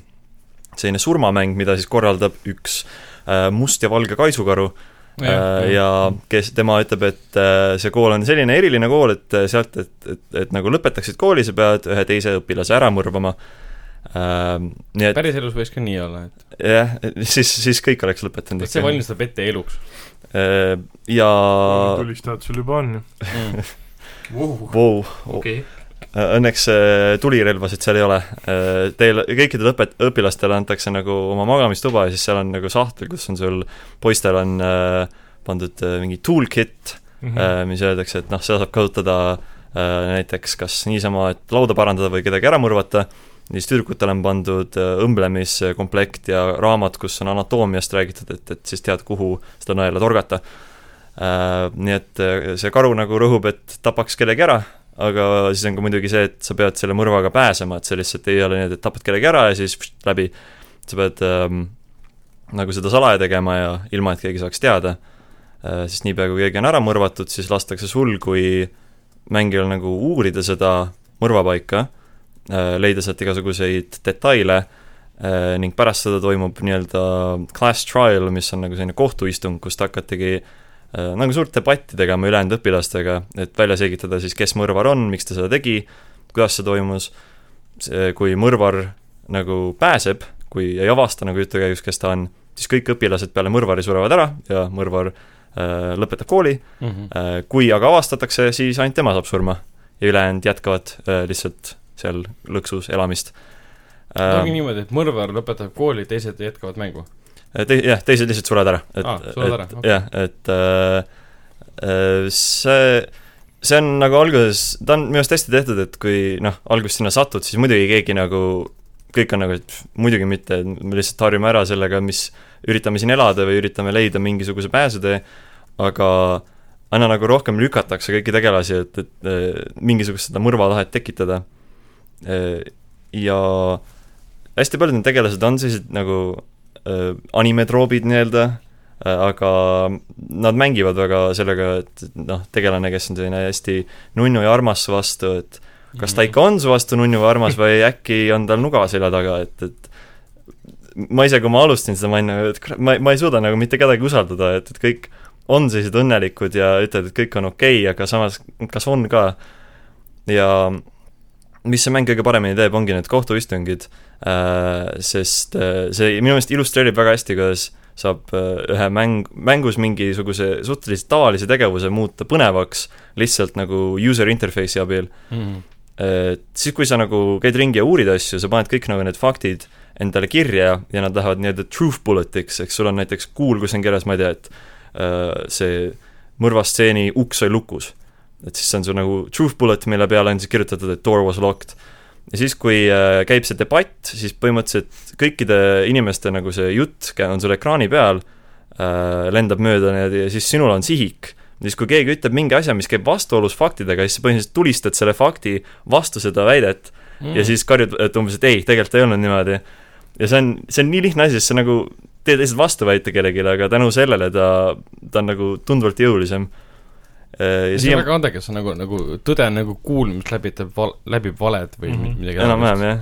B: selline surmamäng , mida siis korraldab üks äh, must ja valge kaisukaru ja, Äh, ja kes , tema ütleb , et äh, see kool on selline eriline kool , et äh, sealt , et, et , et nagu lõpetaksid kooli , sa pead ühe teise õpilase ära mõrvama . Nii et
C: päriselus võiks ka nii olla , et
B: jah , siis , siis kõik oleks lõpetanud Äh,
C: et see . valmistab ette eluks .
B: ja
D: tulistajad sul juba on ju .
B: vau ,
A: okei .
B: õnneks äh, tulirelvasid seal ei ole . Teil , kõikidel õpet- , õpilastele antakse nagu oma magamistuba ja siis seal on nagu sahtel , kus on sul , poistel on äh, pandud äh, mingi toolkit ,
D: Mhm.
B: äh, mis öeldakse , et noh , seda saab kasutada äh, näiteks kas niisama , et lauda parandada või kedagi ära mõrvata , siis tüdrukutele on pandud äh, õmblemiskomplekt ja raamat , kus on anatoomiast räägitud , et , et siis tead , kuhu seda nõela torgata . Nii et äh, see karu nagu rõhub , et tapaks kellegi ära , aga siis on ka muidugi see , et sa pead selle mõrvaga pääsema , et see lihtsalt ei ole nii , et tapad kellegi ära ja siis pšt, läbi . sa pead ähm, nagu seda salaja tegema ja ilma , et keegi saaks teada äh, . siis niipea , kui keegi on ära mõrvatud , siis lastakse sul kui mängijal nagu uurida seda mõrvapaika äh, , leida sealt igasuguseid detaile äh, ning pärast seda toimub nii-öelda class trial , mis on nagu selline kohtuistung , kus te hakategi äh, nagu suurt debatti tegema ülejäänud õpilastega , et välja selgitada siis , kes mõrvar on , miks ta seda tegi , kuidas see toimus , kui mõrvar nagu pääseb , kui ei avasta nagu jutu käigus , kes ta on , siis kõik õpilased peale mõrvari surevad ära ja mõrvar äh, lõpetab kooli ,
C: Mhm.
B: kui aga avastatakse , siis ainult tema saab surma ja ülejäänud jätkavad äh, lihtsalt seal lõksus elamist .
C: ongi
B: Äh,
C: niimoodi , et mõrvar lõpetab kooli , teised jätkavad mängu .
B: te- , jah , teised lihtsalt surevad ära , et
C: Aa, surevad ära,
B: et
C: okei.
B: jah , et äh, äh, see , see on nagu alguses , ta on minu arust hästi tehtud , et kui noh , alguses sinna satud , siis muidugi keegi nagu kõik on nagu , et pff, muidugi mitte , me lihtsalt harjume ära sellega , mis üritame siin elada või üritame leida mingisuguse pääsetee , aga aina nagu rohkem lükatakse kõiki tegelasi , et , et eh, mingisugust seda mõrvatahet tekitada . ja hästi paljud need tegelased on sellised nagu eh, animetroobid nii-öelda , aga nad mängivad väga sellega , et et noh , tegelane , kes on selline hästi nunnu ja armas su vastu , et kas ta ikka on su vastu nunnu või armas või äkki on tal nuga selja taga , et , et ma ise , kui ma alustasin seda , ma olin nagu , et kurat , ma , ma ei suuda nagu mitte kedagi usaldada , et , et kõik on sellised õnnelikud ja ütlevad , et kõik on okei okay, , aga samas , kas on ka . ja mis see mäng kõige paremini teeb , ongi need kohtuistungid äh, , sest äh, see minu meelest illustreerib väga hästi , kuidas saab äh, ühe mäng , mängus mingisuguse suhteliselt tavalise tegevuse muuta põnevaks lihtsalt nagu user interface'i abil .
C: Mhm.
B: et Äh, siis , kui sa nagu käid ringi ja uurid asju , sa paned kõik nagu need faktid endale kirja ja nad lähevad nii-öelda truth bullet'iks , ehk sul on näiteks kuul , kus on kirjas , ma ei tea , et äh, see mõrvastseeni uks oli lukus . et siis see on sul nagu truth bullet , mille peale on siis kirjutatud , et door was locked . ja siis , kui äh, käib see debatt , siis põhimõtteliselt kõikide inimeste nagu see jutt kä- on sul ekraani peal äh, , lendab mööda need ja siis sinul on sihik . ja siis , kui keegi ütleb mingi asja , mis käib vastuolus faktidega , siis sa põhimõtteliselt tulistad selle fakti vastu seda väidet
C: Mhm.
B: ja siis karjud , et umbes , et ei , tegelikult ei olnud niimoodi . ja see on , see on nii lihtne asi , sest sa nagu teed lihtsalt vastuväite kellelegi , aga tänu sellele ta , ta on nagu tunduvalt jõulisem . ja
C: see on
B: siia
C: väga andekas , see on nagu , nagu tõde on nagu kuul , mis läbitab val- , läbib valed või mm
D: Mhm.
C: -hmm. midagi
B: enam-vähem jah .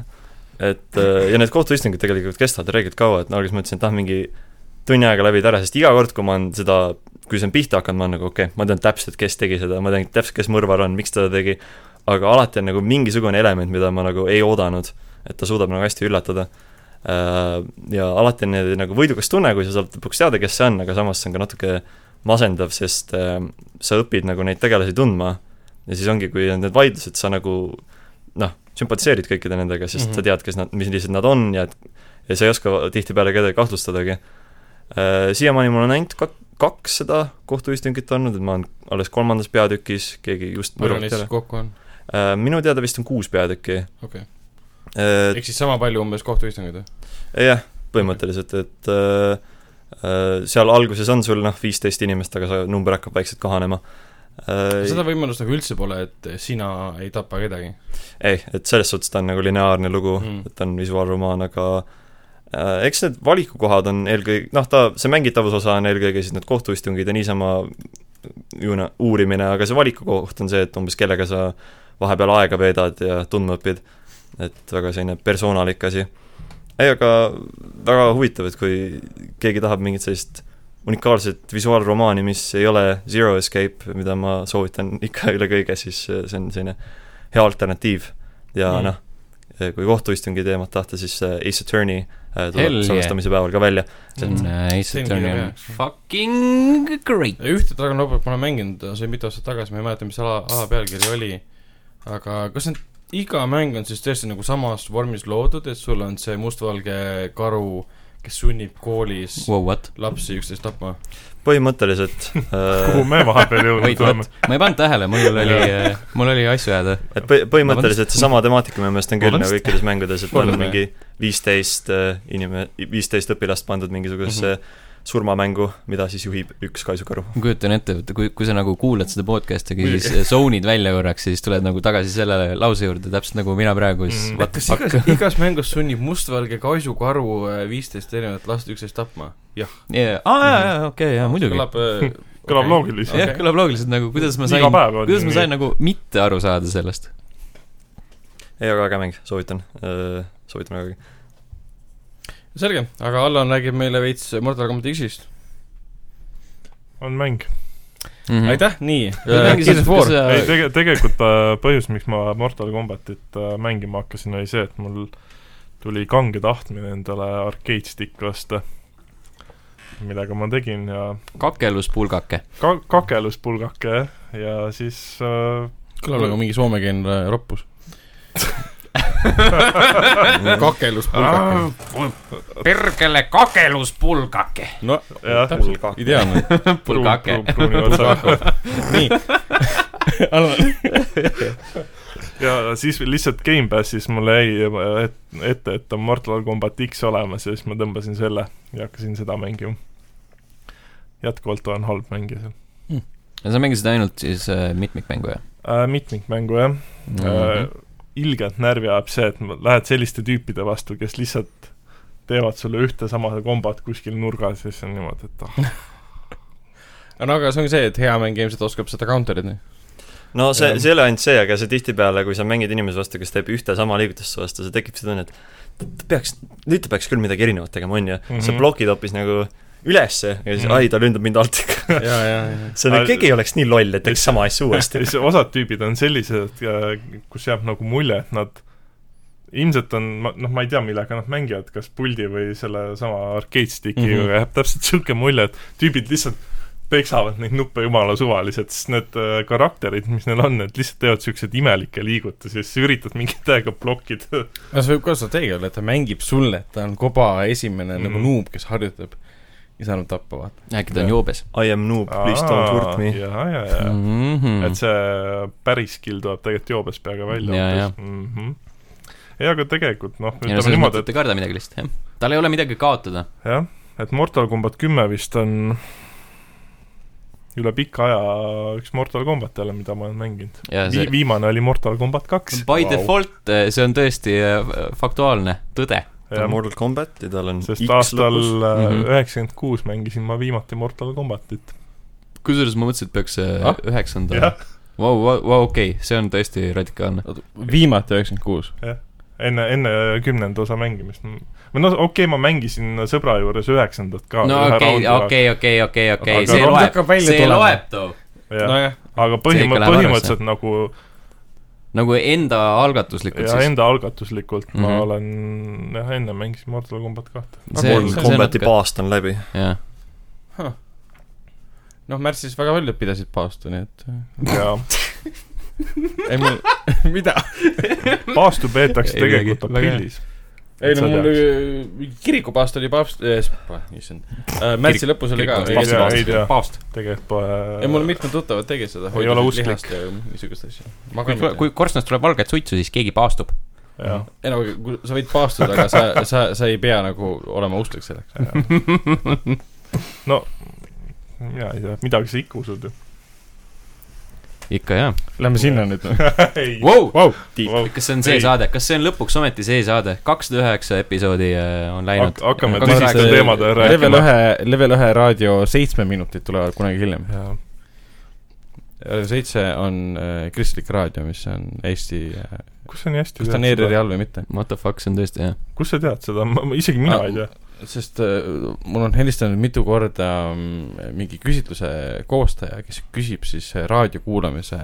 B: et äh, ja need kohtuistungid tegelikult kestavad reeglilt kaua , et no alguses mõtlesin , et ah , mingi tunni aega läbid ära , sest iga kord , kui ma olen seda , kui see on pihta hakanud , ma olen nagu okei okay, , ma tean täpselt , kes tegi seda , ma tean täpselt , kes mõrvar on , miks ta seda tegi , aga alati on nagu mingisugune element , mida ma nagu ei oodanud , et ta suudab nagu hästi üllatada . Äh, Ja alati on niimoodi nagu võidukas tunne , kui sa saad lõpuks teada , kes see on , aga samas see on ka natuke masendav , sest äh, sa õpid nagu neid tegelasi tundma ja siis ongi , kui on need vaidlused , sa nagu noh , sümpatiseerid kõikide nendega , sest mm
D: Mhm.
B: -hmm. sa tead , kes nad , millised nad on ja et ja sa ei oska tihtipeale kedagi kahtlustadagi . Siiamaani mul on ainult kak- , kaks seda kohtuistungit olnud , et ma olen alles kolmandas peatükis , keegi just
C: palju
B: mõrvab
C: neid siis
B: peale .
C: kokku on ?
B: minu teada vist on kuus peatükki . Äh,
C: okei okay. , ehk siis sama palju umbes kohtuistungeid või ?
B: jah , põhimõtteliselt , et äh, äh, seal alguses on sul noh , viisteist inimest , aga see number hakkab vaikselt kahanema . Äh,
C: seda võimalust nagu üldse pole , et sina ei tapa kedagi .
B: ei , et selles suhtes ta on nagu lineaarne lugu mm.
C: Mm. ,
B: et ta on visuaalromaan , aga äh, eks need valikukohad on eelkõige , noh , ta , see mängitavusosa on eelkõige siis need kohtuistungid ja niisama juuna- , uurimine , aga see valikukoht on see , et umbes kellega sa vahepeal aega veedad ja tundma õpid . et väga selline persoonalik asi . ei , aga väga huvitav , et kui keegi tahab mingit sellist unikaalset visuaalromaani , mis ei ole Zero Escape , mida ma soovitan ikka üle kõige , siis äh, see on selline hea alternatiiv ja
C: Mm.
B: mm. noh , kui kohtuistungi teemat tahta , siis äh, Ace Attorney äh,
A: Hell
B: tuleb
A: yeah.
B: salvestamise päeval ka välja .
A: Nice ,
C: See on
A: et on
C: kiire
A: ju
C: peaks.
A: fucking great .
C: ühte Dragon Lordat ma olen mänginud , see oli mitu aastat tagasi , ma ei mäleta , mis ala , ala pealkiri oli , aga kas nüüd iga mäng on siis tõesti nagu samas vormis loodud , et sul on see mustvalge karu , kes sunnib koolis
A: Wow, what ?
C: lapsi üksteist tapma ?
B: põhimõtteliselt
D: kuhu
B: äh, ,
D: me vahepeal
A: Wait ,
D: jõudnud oleme
A: what ?? ma ei pannud tähele , mul oli , mul oli asju ajada .
B: et põhi- põhimõtteliselt seesama temaatika minu meelest on küll nagu kõikides mängudes , et on
C: Vabandust.
B: mingi viisteist inime- , viisteist õpilast pandud mingisugusesse surmamängu , mida siis juhib üks kaisukaru .
A: ma kujutan ette , et kui , kui sa nagu kuulad seda podcast'i , siis äh, zone'id välja korraks ja siis tuled nagu tagasi selle lause juurde , täpselt nagu mina praegu , siis
D: Mm.
A: what the
C: kas
A: fuck .
C: igas , igas mängus sunnib mustvalge kaisukaru äh, viisteist erinevat last üksteist tapma ?
A: aa , jaa , jaa , okei , jaa , muidugi .
C: kõlab äh,
D: kõlab
C: okei.
D: loogiliselt.
A: jah , kõlab loogiliselt nagu , kuidas ma sain
D: iga , päev on
A: kuidas ma sain nagu mitte aru saada sellest .
B: ei , aga äge mäng , soovitan , soovitan vägagi .
C: selge , aga Allan räägib meile veits Mortal Combat X-ist
D: on mäng .
C: mm. . aitäh , nii .
D: ei , tege- , tegelikult äh, põhjus , miks ma Mortal Combatit äh, mängima hakkasin , oli see , et mul tuli kange tahtmine endale arcade stick osta , millega ma tegin ja
A: kakeluspulgake .
D: ka- , kakeluspulgake jah, ja siis äh,
C: kõlab nagu mingi soomekeelne roppus . kakelus pulgakas .
A: perkele kakeluspulgake .
C: no
D: jah ,
C: ideaalne .
A: Pulgake.
D: pruuni otsa
C: nii . Allan ,
D: ja siis lihtsalt Gamepassis mulle jäi äh, et- ette , et on Mortal Combat X olemas ja siis ma tõmbasin selle ja hakkasin seda mängima . jätkuvalt olen halb mängija seal
A: ja sa mängisid ainult siis äh, mitmikmängu , jah
D: äh, . mitmikmängu jah mm -hmm. äh,
A: Mhm. ?
D: ilgelt närvi ajab see , et ma- lähed selliste tüüpide vastu , kes lihtsalt teevad sulle ühte sama kombat kuskil nurgas ja siis on niimoodi , et ah ,
C: no aga see ongi see , et hea mängija ilmselt oskab seda counter'it .
B: no see
D: Jah. ,
B: see ei ole ainult see , aga see tihtipeale , kui sa mängid inimese vastu , kes teeb ühte sama liigutust su vastu , see tekib see tunne , et ta- ta peaks , nüüd ta peaks küll midagi erinevat tegema , on ju mm . -hmm. sa
D: Mhm.
B: blokid hoopis nagu ülesse ja siis mm
D: Mhm.
B: -hmm. ai , ta lündab mind alt ikka .
C: ja , ja , ja .
B: see on ,
D: Aga-
B: et keegi ei oleks nii loll , et teeks sama asja
D: ja
B: uuesti .
D: siis osad tüübid on sellised , kus jääb nagu mulje , et nad ilmselt on , noh , ma ei tea , millega nad mängivad , kas puldi või selle sama arcade stick'iga mm ,
A: Mhm.
D: -hmm. aga jääb täpselt niisugune mulje , et tüübid lihtsalt peksavad neid nuppe jumala suvaliselt , sest need äh, karakterid , mis neil on , need lihtsalt teevad niisuguseid imelikke liigutusi ja siis sa üritad mingi täiega blokkida .
C: no see võib ka strateegia olla , et ta mängib sulle , et ta on koba esimene mm. nagu
D: Mhm.
C: nuub , kes harjutab ja saab tappa , vaata .
A: äkki ta on joobes ?
B: I am noob , please don't hurt me .
D: jaa , jaa , jaa .
A: Mm. Mhm.
D: et see päris skill tuleb tegelikult joobes peaga välja
A: Jaa,
D: umbes. Mhm. ei , aga tegelikult noh ,
A: ei no
D: ütleme
A: selles
D: niimoodi ,
A: mõttes , et ei karda midagi lihtsalt , jah . tal ei ole midagi kaotada .
D: et jah , et Mortal Combat kümme vist on üle pika aja üks Mortal Combat jälle , mida ma olen mänginud .
A: ja
D: Vi-
A: see ,
D: viimane oli Mortal Combat kaks .
A: by default äh, see on tõesti äh, faktuaalne tõde .
B: ta on Mortal Combat ja tal on
D: sest
B: X
D: aastal äh,
B: lõpus .
A: Mhm.
D: üheksakümmend kuus mängisin ma viimati Mortal Combatit .
A: kusjuures ma mõtlesin , et peaks äh,
C: Ah.
A: üheksanda
D: jah ,
A: vau , vau , okei , see on tõesti radikaalne .
C: viimati üheksakümmend kuus .
D: enne , enne kümnenda osa mängimist . või noh , okei okay, , ma mängisin sõbra juures üheksandat ka .
A: no okei , okei , okei , okei , okei ,
D: Aga
A: see
D: rong
A: loeb
C: hakkab , välja
A: see
C: tulema.
A: loeb too .
C: nojah ,
D: aga
A: ikka
D: põhimõ- ,
A: läheb
D: põhimõtteliselt nagu
A: nagu enda algatuslikult
D: ja
A: siis .
D: enda algatuslikult mm -hmm. ma
A: Mhm.
D: olen , jah , enne mängisin Mortal Combat kahte .
B: Mortal Combati . paast on läbi .
A: jah ,
C: noh , märtsis väga paljud pidasid paastu , nii et
D: ja
C: ei mul , mida ?
D: paastu peetakse
A: Ei midagi,
D: tegelikult
A: väga hea.
D: aprillis .
C: ei no
D: Sa
C: mul
D: tead.
C: äh, kirikupaast oli paavst äh, , issand äh, , märtsi lõpus oli ka
A: kirikupaast.
D: Ei tea, ei tea.
C: paavst .
D: tegelikult pole
C: ja mul mitmed tuttavad tegid seda .
D: Ei ole usklik.
C: niisugust asja .
A: kui , kui korstnast tuleb valget suitsu , siis keegi paastub .
D: jah ,
C: ei no , sa võid paastuda , aga sa , sa , sa ei pea nagu olema usklik selleks .
D: mina ei tea , midagi sa ikka usud ju .
A: ikka jah .
C: Lähme sinna nüüd .
D: ei ,
A: Vau ,
C: Vau , Tiit .
D: Vau.
A: kas see on see
D: Ei.
A: ei. saade , kas see on lõpuks ometi see saade , kakssada üheksa episoodi äh, on läinud
D: Hak- . hakkame
A: Kaks
D: tõsiste
A: rääkida-
D: teemade
C: Level
D: rääkima .
C: ühe , Level ühe raadio seitsme minutid tulevad kunagi hiljem . raadio seitse on äh, kristlik raadio , mis on Eesti äh, ,
D: kus sa nii hästi
C: kas ta on ERR-i ? all või mitte ,
A: What the fuck , see on tõesti jah .
D: kus sa tead seda , isegi mina
C: Ah,
D: ei tea .
C: sest äh, mul on helistanud mitu korda mm, mingi küsitluse koostaja , kes küsib siis äh, raadio kuulamise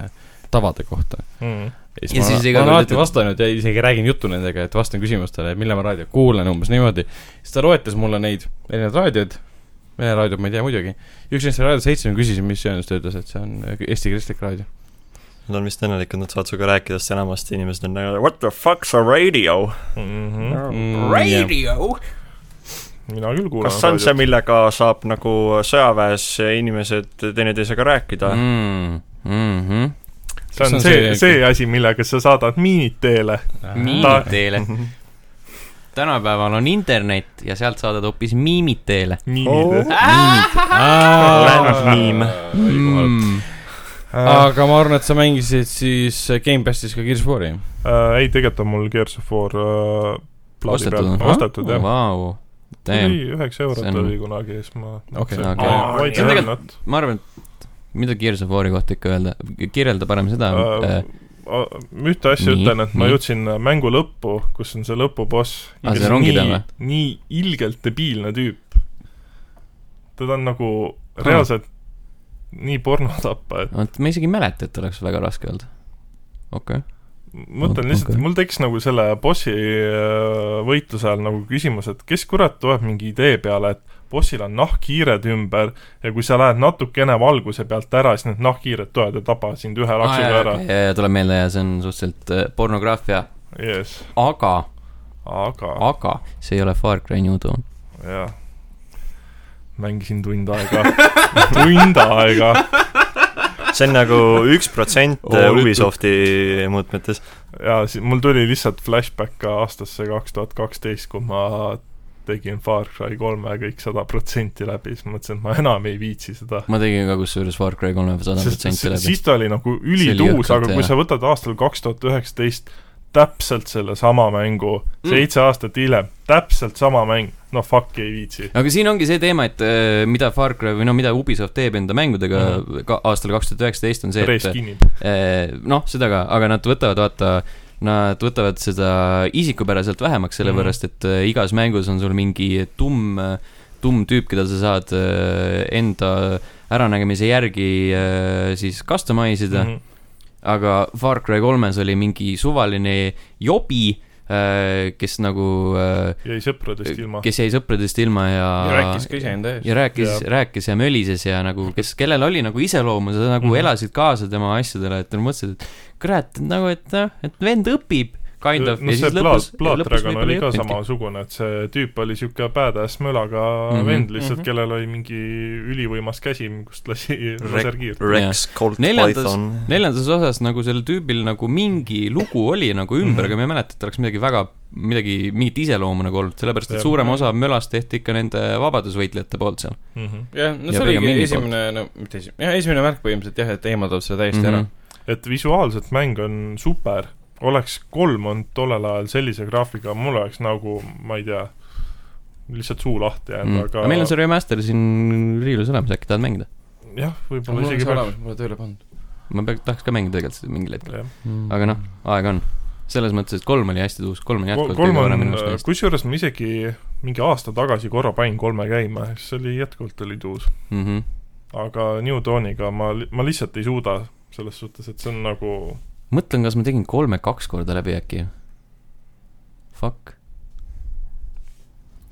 C: tavade kohta .
A: Ah.
D: Mm.
C: ja
A: Ja
C: siis
A: siis
C: ma,
A: iga
C: ma olen
A: kord
C: alati
A: ütled-
C: vastanud ja isegi räägin juttu nendega , et vastan küsimustele , et millal ma raadiot kuulan , umbes niimoodi . siis ta loetles mulle neid erinevaid raadioid , Vene raadiot ma ei tea muidugi . üks neist oli Raadio seitse , ma küsisin , mis see on , siis ta ütles , et see on äh, Eesti Kristlik Raadio .
B: Nad on vist õnnelikud , nad saavad sinuga rääkida , sest enamasti inimesed on nagu what the fuck's a radio ?
D: Mhm.
C: Oh, Mm,
A: Mm, Radio .
D: mina küll kuulan .
B: kas see on see ,? millega saab nagu sõjaväes inimesed teineteisega rääkida mm. ?
A: mm-hmm.
D: see on see , see asi , millega sa saadad miinid teele .
A: miimid teele . tänapäeval on internet ja sealt saadad hoopis miimid teele .
B: Oh.
D: miinid .
A: Ah!
C: Oh. Ah.
B: Lennart Miim. .
A: Mm.
D: Äh,
A: Ah.
C: aga ma arvan , et sa mängisid siis äh, Gamepassis ka Gears of War'i .
D: äh, ei , tegelikult on mul Gears of War äh, plaadi
A: ostetud
D: peal
A: on .
D: ostetud jah .
A: Vau ,
D: tuli
A: damn ,
D: üheksa
A: See
D: eurot
A: on-
D: oli kunagi ja siis ma .
C: Okei,
A: okei. See on
D: tegelikult .
A: ma arvan , et mida Gears of War'i kohta ikka öelda , kirjelda parem seda
D: Äh,
A: uh, .
D: ühte asja
A: Nii,
D: ütlen , et ma
A: nii.
D: jõudsin äh, mängu lõppu , kus on see lõpuboss .
A: Aa, see rongi peal või?
D: nii ilgelt debiilne tüüp . teda on nagu
A: Ah.
D: reaalselt nii porno tappa , et
A: vot ma isegi ei mäleta , et oleks väga raske olnud . okei okay. ,
D: mõtlen lihtsalt
A: Okei.
D: okay. , mul tekkis nagu selle bossi äh, võitluse ajal nagu küsimus , et kes kurat tuleb mingi idee peale , et bossil on nahkhiired ümber ja kui sa lähed natukene valguse pealt ära , siis need nahkhiired tulevad ja tapavad sind ühe laksuga ära .
A: tuleb meelde ja see on suhteliselt äh, pornograafia ,
D: jess ,
A: aga ,
D: aga
A: aga see ei ole Far Cry New Dawn .
D: jah , mängisin tund aega , tund aega ,
B: see on nagu üks protsent
D: Oo, nüüd-
B: Ubisofti mõõtmetes .
D: ja si- mul tuli lihtsalt flashback ka aastasse kaks tuhat kaksteist , kui ma tegin Far Cry kolme kõik sada protsenti läbi , siis mõtlesin , et ma enam ei viitsi seda
A: ma tegin ka kusjuures Far Cry kolme sada
D: sest
A: protsenti
D: si-
A: läbi .
D: siis ta oli nagu
A: See oli
D: ülituus ,
A: jõhkralt
D: aga kui
A: hea.
D: sa võtad aastal kaks tuhat üheksateist täpselt sellesama mängu mm. , seitse aastat hiljem , täpselt sama mäng , no fuck ei viitsi .
A: aga siin ongi see teema , et äh, mida Far Cry või no mida Ubisoft teeb enda mängudega ka aastal kaks tuhat üheksateist on see ,
D: Mhm. Race
A: et
D: kinni .
A: äh, noh , seda ka , aga nad võtavad , vaata , nad võtavad seda isikupäraselt
C: Mhm.
A: vähemaks , sellepärast et äh, igas mängus on sul mingi tumm , tumm tüüp , keda sa saad äh, enda äranägemise järgi äh, siis customise ida
C: Mhm.
D: Mhm,
A: mm , -hmm. aga Far Cry kolmes oli mingi suvaline jobi äh, kes nagu äh,
D: jäi sõpradest ilma .
A: kes jäi sõpradest ilma ja,
C: Oh. rääkis ka iseenda ees .
A: ja rääkis , rääkis ja mölises ja nagu , kes , kellel oli nagu iseloomu , sa nagu mm
D: Mhm.
A: -hmm. elasid kaasa tema asjadele , et mõtlesid , et kurat , nagu , et noh , et vend õpib , kind of .
D: Äh, no see plaat , Plaatdragon oli ka . samasugune , et see tüüp oli siuke badass mölaga mm
A: Mhm.
D: -hmm, vend lihtsalt mm ,
A: mhm.
D: -hmm. kellel oli mingi ülivõimas käsi , kust lasi laserkiir .
B: Rex , Colt ,
A: Neljandas-
B: Python .
A: neljandas osas nagu sellel tüübil nagu mingi lugu oli nagu
D: Mhm.
A: ümber , aga ma ei mäleta , et oleks midagi väga , midagi , mingit iseloomu nagu olnud , sellepärast
D: Jah.
A: et suurem osa mölast tehti ikka nende vabadusvõitlejate poolt seal .
D: Mhm.
C: jah , no
A: Ja
C: see
A: pigem
C: oligi
A: mängi
C: esimene , no mitte esimene , jah , esimene märk põhimõtteliselt jah , et eemaldab selle täiesti mm -hmm.
D: et visuaalselt mäng on super , oleks kolm olnud tollel ajal sellise graafika , mul oleks nagu , ma ei tea , lihtsalt suu lahti jäänud mm. ,
A: Mhm. aga meil on see
D: aga
A: remaster siin riiulis olemas , äkki tahad mängida ?
D: jah ,
C: mul
D: võib-olla
C: on
D: isegi
C: see
D: peab ,
C: olemas , ma pole tööle pannud .
A: ma peaks , tahaks ka mängida tegelikult seda mingil hetkel ,
D: jah .
C: Mhm.
A: aga noh , aega on . selles mõttes , et kolm oli hästi tuus , kolm on jätkuvalt
D: kolm
A: kõige parem
D: on äh,
A: minu , arust
D: kusjuures ma isegi mingi aasta tagasi korra panin kolme käima , see oli jätkuvalt oli tuus .
A: neist .
D: aga New Dawniga ma , ma lihtsalt ei suuda selles suhtes , et see on nagu
A: mõtlen , kas ma tegin kolme kaks korda läbi äkki . Fuck .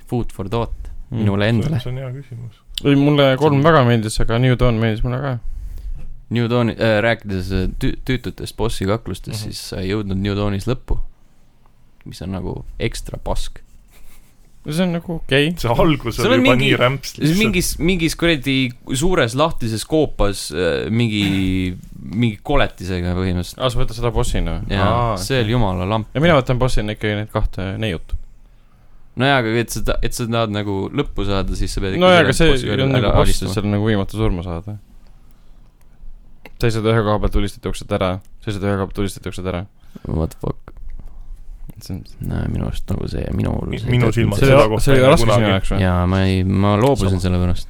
A: Food for thought
C: Mm. Mhm.
A: minule endale .
D: see on hea küsimus .
C: ei , mulle kolm väga meeldis , aga New Dawn meeldis mulle ka .
A: New Dawn äh, , rääkides äh, tü- , tüütutest bossi kaklustest mm ,
D: Mhm.
A: -hmm. siis sa ei jõudnud New Dawnis lõppu . mis on nagu ekstra pask .
C: see on nagu okei okay. .
D: see algus
A: Seal
D: oli
A: on
D: juba
A: mingi-
D: nii rämps
A: siis . mingis , mingis kuradi suures lahtises koopas äh, mingi , mingi koletisega põhimõtteliselt .
C: aa , Ah, sa võtad seda bossina või ?
A: jaa , see oli jumala lamp .
C: ja mina võtan bossina ikkagi need kahte neiut .
A: nojah , aga et sa , et sa tahad nagu lõppu saada , siis sa pead
C: nojah , aga see on nagu boss , seal on nagu viimatu surma saada . sa ei saa ta ühe koha pealt tulistada , jooksed ära , sa ei saa ta ühe koha pealt tulistada , jooksed ära .
A: What the fuck ,
C: see on ,
A: no minu arust nagu see , minu
D: Mi- minu silmad
C: see
D: seda
C: oli ,
D: kohta
C: see
D: ei
C: oli
D: tea
C: raske sinu
D: kunagi.
C: jaoks või ?
A: jaa , ma ei , ma loobusin selle pärast .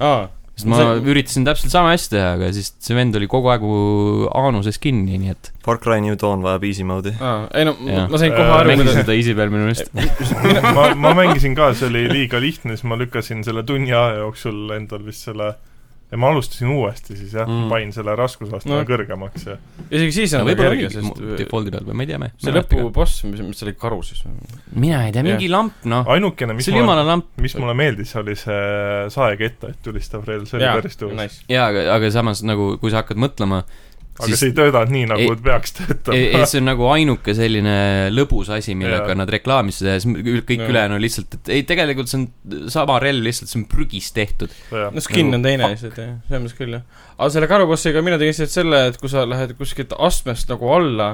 C: aa ,
A: sest ma see...
C: See-
A: üritasin täpselt sama asja teha , aga siis see vend oli kogu aeg mu aanuses kinni , nii et
B: Far Cry New Dawn vajab easy mode'i .
C: aa , ei no
A: Jaa.
C: ma sain kohe
D: Äh,
C: aru ,
A: mängisin
C: kuidas ,
A: seda easy peal minu meelest .
D: ma , ma mängisin ka , see oli liiga lihtne , siis ma lükkasin selle tunni aja jooksul endal vist selle ja ma alustasin uuesti siis jah
A: Mm.
D: mm. , panin selle raskusastme
C: No.
D: no. kõrgemaks ja
C: isegi siis on väga
A: võib-olla
C: kerge , sest
A: oligi default'i peal või ma ei tea , me .
C: see lõpuboss , mis , mis see oli , karu siis või ?
A: mina ei tea , mingi lamp , noh .
D: ainukene , mis
A: see oli
D: mulle ,
A: jumala lamp
D: mis mulle meeldis , oli see saeketta , et tulistav relv , see oli päris tõus .
C: nice .
A: jaa , aga , aga samas nagu , kui sa hakkad mõtlema ,
D: aga
A: siis-
D: siis... see ei töötanud nii , nagu
A: ei-
D: ei, peaks
A: ei , ei
D: töötama .
A: see on nagu ainuke selline lõbus asi , millega
D: Jaa.
A: nad reklaamisse tehes , kõik
C: Jaa.
A: ülejäänu lihtsalt , et ei , tegelikult see on sama relv , lihtsalt see on prügist tehtud .
C: no skin on teine
A: Fuck.
C: lihtsalt jah , selles mõttes küll jah . aga selle karubossiga mina tegin lihtsalt selle , et kui sa lähed kuskilt astmest nagu alla ,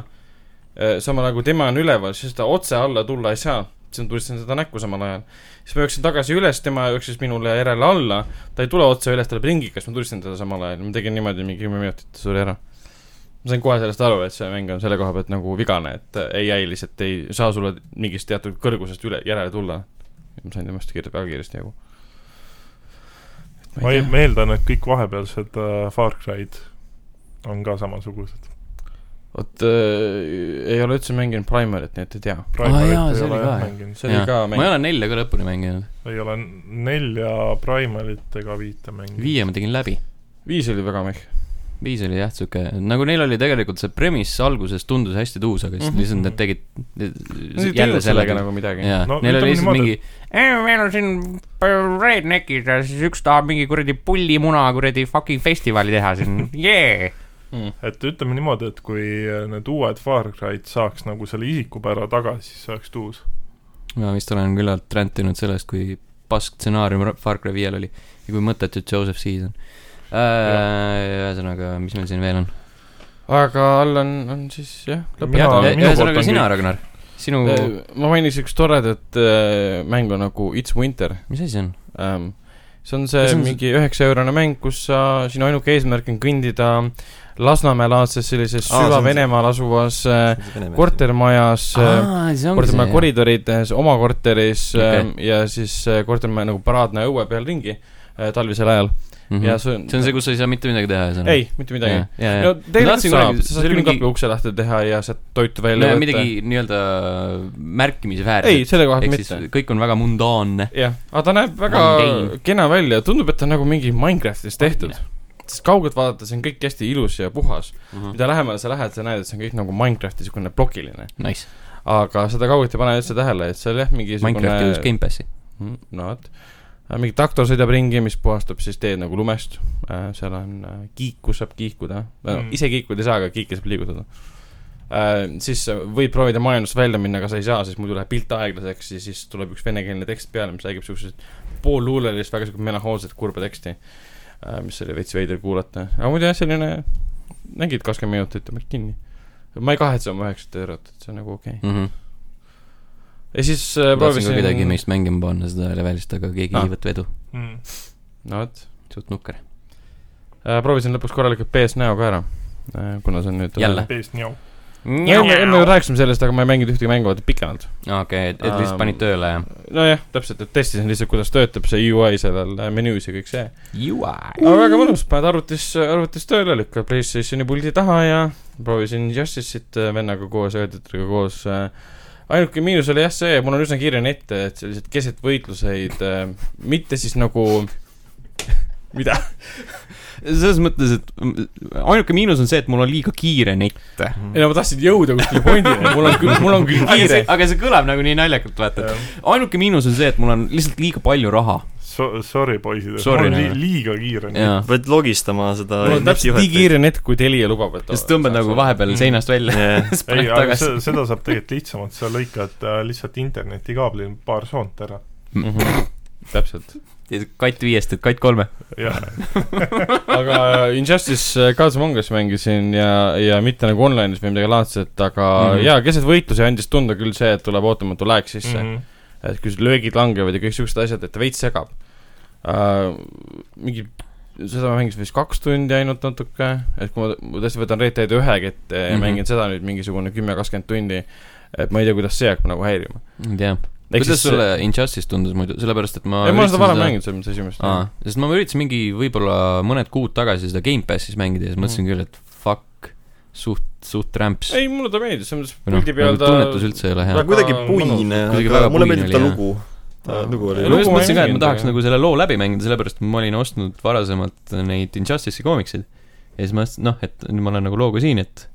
C: sama nagu tema on üleval , siis ta otse alla tulla ei saa . siis ma tulistasin teda näkku samal ajal . siis ma jooksin tagasi üles , tema jooksis minule järele alla , ta ei tule otse üles , ta läheb ringi , kas ma tulistasin teda samal ajal , ma tegin niimoodi mingi kümme minutit , ta suri ära . ma sain kohe sellest aru , et see mäng on selle koha pealt nagu vigane , et ei , ei lihtsalt ei saa sulle mingist teatud kõrgusest üle , järele tulla . ma sain temast kiir- , väga kiiresti jagu .
D: ma ei- ma eeldan , et kõik vahepealsed äh, Far Cry'd on ka samasugused .
C: vot äh, ei ole üldse mänginud Primarit , nii et ei tea .
A: jaa, see oli ka, jah.
D: mänginud ,
C: see oli ka
A: ma ei
C: mäng .
A: ole nelja ka lõpuni mänginud ,
D: ei ole nelja Primarit ega viite mänginud .
A: viie ma tegin läbi .
C: viis oli väga meh .
A: viis oli jah , sihuke , nagu neil oli tegelikult see premise alguses tundus hästi tuus , aga siis mm
C: Mhm.
A: -hmm. lihtsalt nad tegid jälle sellega nagu
C: nagu midagi .
A: jaa no,
D: No ,
A: neil
D: ütleme
A: oli lihtsalt
D: niimoodi,
A: mingi meil on siin redneck'id ja siis üks tahab mingi kuradi pullimuna kuradi fucking festivali teha siin , jee .
D: et ütleme niimoodi , et kui need uued Far Cry'd saaks nagu selle isikupära tagasi , siis see oleks tuus .
A: ma vist olen küllalt räntinud sellest , kui pask stsenaarium Ra- Far Cry viiel oli ja kui mõttetu Joseph Seas on . ühesõnaga , mis meil siin veel on ?
C: aga all on , on siis jah ,
D: Mina-
C: lõpetame .
D: minu poolt
A: ühesõnaga
D: on
A: sina ,
D: kõik.
A: Ragnar , sinu ,
C: ma mainiks üks toredat äh, mängu nagu It's Winter
A: mis asi see on ?
C: ähm, . see on see
A: Kas see on-
C: mingi üheksa eurone mäng , kus sa , sinu ainuke eesmärk on kõndida Lasnamäe-laadses sellises
B: Aa, see on see-
C: süva-Venemaal asuvas äh, kortermajas äh,
A: aa , see ongi
C: kortermaja
A: see .
C: koridorides , oma korteris
A: Okei.
C: okay. ja siis äh, kortermaja nagu paraadne õue peal ringi äh, talvisel ajal mm -hmm. ja
A: Mhm. see
C: see on
A: on see , kus sa ei saa mitte midagi teha , ühesõnaga .
C: ei , mitte midagi yeah. .
A: midagi
C: no . tegelikult
A: tahtsin
C: saab ,
A: kunagi-
C: sa
A: see
C: saad
A: oli
C: külmkapi
A: mingi-
C: mingi... ukse lahti teha ja sealt toitu välja
A: no
C: võtta .
A: midagi nii-öelda märkimisväärset .
C: ei , selle koha pealt
A: ehk siis
C: mitte .
A: kõik on väga mundaanne .
C: jah , aga ta näeb väga
A: Mundane.
C: kena välja , tundub , et ta on nagu mingi Minecraftis tehtud . sest kaugelt vaadates on kõik hästi ilus ja puhas . mida lähemale sa lähed , sa näed , et see on kõik nagu Minecrafti niisugune plokiline .
A: Nice ,
C: aga seda kaugelt ei pane üldse tähele , et seal jah , mingisugune
A: Minecraft jõudis Gamepassi .
C: Mm, no vot , mingi traktor sõidab ringi , mis puhastab siis teed nagu lumest , seal on äh, kiiku saab kiikuda no, mm.
D: Mm. ,
C: ise kiikuda ei saa , aga kiike saab liigutada . siis sa võid proovida majandust välja minna , aga sa ei saa , sest muidu läheb pilt aeglaseks ja siis tuleb üks venekeelne tekst peale , mis räägib siuksest poolluulelist , väga siukest melanhoolset kurba teksti , mis oli veits veider kuulata , aga muidu jah , selline , nägid kakskümmend minutit ja panid kinni . ma ei kahetse oma üheksat eurot , et see on nagu okei okay. . ja siis äh,
A: Mm. Mhm. tahtsin ka kedagi
C: proovisin ,
A: meist mängima panna seda levelist , aga keegi
C: Ah.
A: ei võta vedu .
D: Mm.
C: no vot
A: suht nukker .
C: Äh, proovisin lõpuks korralikult PS Neo ka ära , kuna see on nüüd
A: Jälle?
D: Based New .
C: enne , enne rääkisime sellest , aga ma ei mänginud ühtegi mängu vaata pikemalt .
A: okei , et , et lihtsalt
C: Ähm,
A: panid tööle ja .
C: nojah , täpselt , et testisin lihtsalt , kuidas töötab see UI sellel äh, menüüs ja kõik see .
A: UI .
C: aga väga mõnus , paned arvutis , arvutis tööle , lükkad Playstationi puldi taha ja proovisin Justice'it äh, vennaga koos , õdedega koos . ainuke miinus oli jah see , mul on üsna kiire net , et sellised keset võitluseid , mitte siis nagu , mida ?
A: selles mõttes , et mm, ainuke miinus on see , et mul on liiga kiire net .
B: Mhm.
C: ei no ma tahtsin jõuda kuskile pointile , mul on küll , mul on küll
A: aga see
C: kiire ,.
A: aga see kõlab nagu nii naljakalt , vaata .
C: Ähm.
A: ainuke miinus on see , et mul on lihtsalt liiga palju raha .
D: So- , sorry , poisid , et
A: Sorry,
D: ma olen li-
A: nagu.
D: liiga kiire .
A: jaa .
B: pead logistama seda
C: mul on täpselt nii kiire net , kui Telia lubab , et
A: ja siis tõmbad nagu
C: Mm.
A: vahepeal seinast välja .
B: yeah.
A: siis
D: ei ,
A: paned
D: aga
A: tagasi
D: se- . seda saab tegelikult lihtsamalt , sa lõikad äh, lihtsalt internetikaablil paar soont ära .
C: vahepeal . Mhm. täpselt .
A: katt viiest , et katt kolme .
D: jah ,
C: aga äh, Injustice Gods Among Us mängisin ja , ja mitte nagu online'is või midagi laadset , aga mm
A: Mhm.
C: -hmm. jaa , keset võitlusi andis tunda küll see , et tuleb ootamatu lag sisse mm .
D: Mhm.
C: -hmm. et kui sul löögid langevad ja kõik siuksed asjad , et ta veits segab uh, . mingi , seda ma mängisin vist kaks tundi ainult natuke , et kui ma, ma tõesti võtan Red Dead ühe kätte ja
A: Mhm.
C: mm -hmm. mängin seda nüüd mingisugune kümme , kakskümmend tundi , et ma ei tea , kuidas see hakkab nagu häirima .
A: ei tea . kuidas sulle Injustice tundus muidu , sellepärast et ma
C: ei , ma olen seda
A: üritasin
C: varem mänginud , selles mõttes esimest .
A: aa , sest ma üritasin mingi võib-olla mõned kuud tagasi seda Gamepassis mängida ja siis mõtlesin küll , et fuck , suht , suht rämps .
C: Mm. ei , mulle ta meeldis , selles mõttes
A: või noh ,
C: puldi peal
A: nagu
C: ta
A: tunnetus üldse ei ole hea
C: Väga-
B: aga kuidagi puine ,
A: Kuidagi
B: aga
A: väga
B: mulle
A: puine
B: meeldib ta
A: oli, jah.
B: lugu . ta
C: Aa.
B: lugu oli
A: ei , ma
C: lugu
A: just
C: ma
A: mõtlesin ka , et
C: mänginud,
A: ma tahaks
C: aga-
A: nagu selle loo läbi mängida , sellepärast et ma olin ostnud varasemalt neid Injustice'i koomikseid . ja siis ma mõtlesin , et noh , et nüüd ma olen nagu looga siin , et ,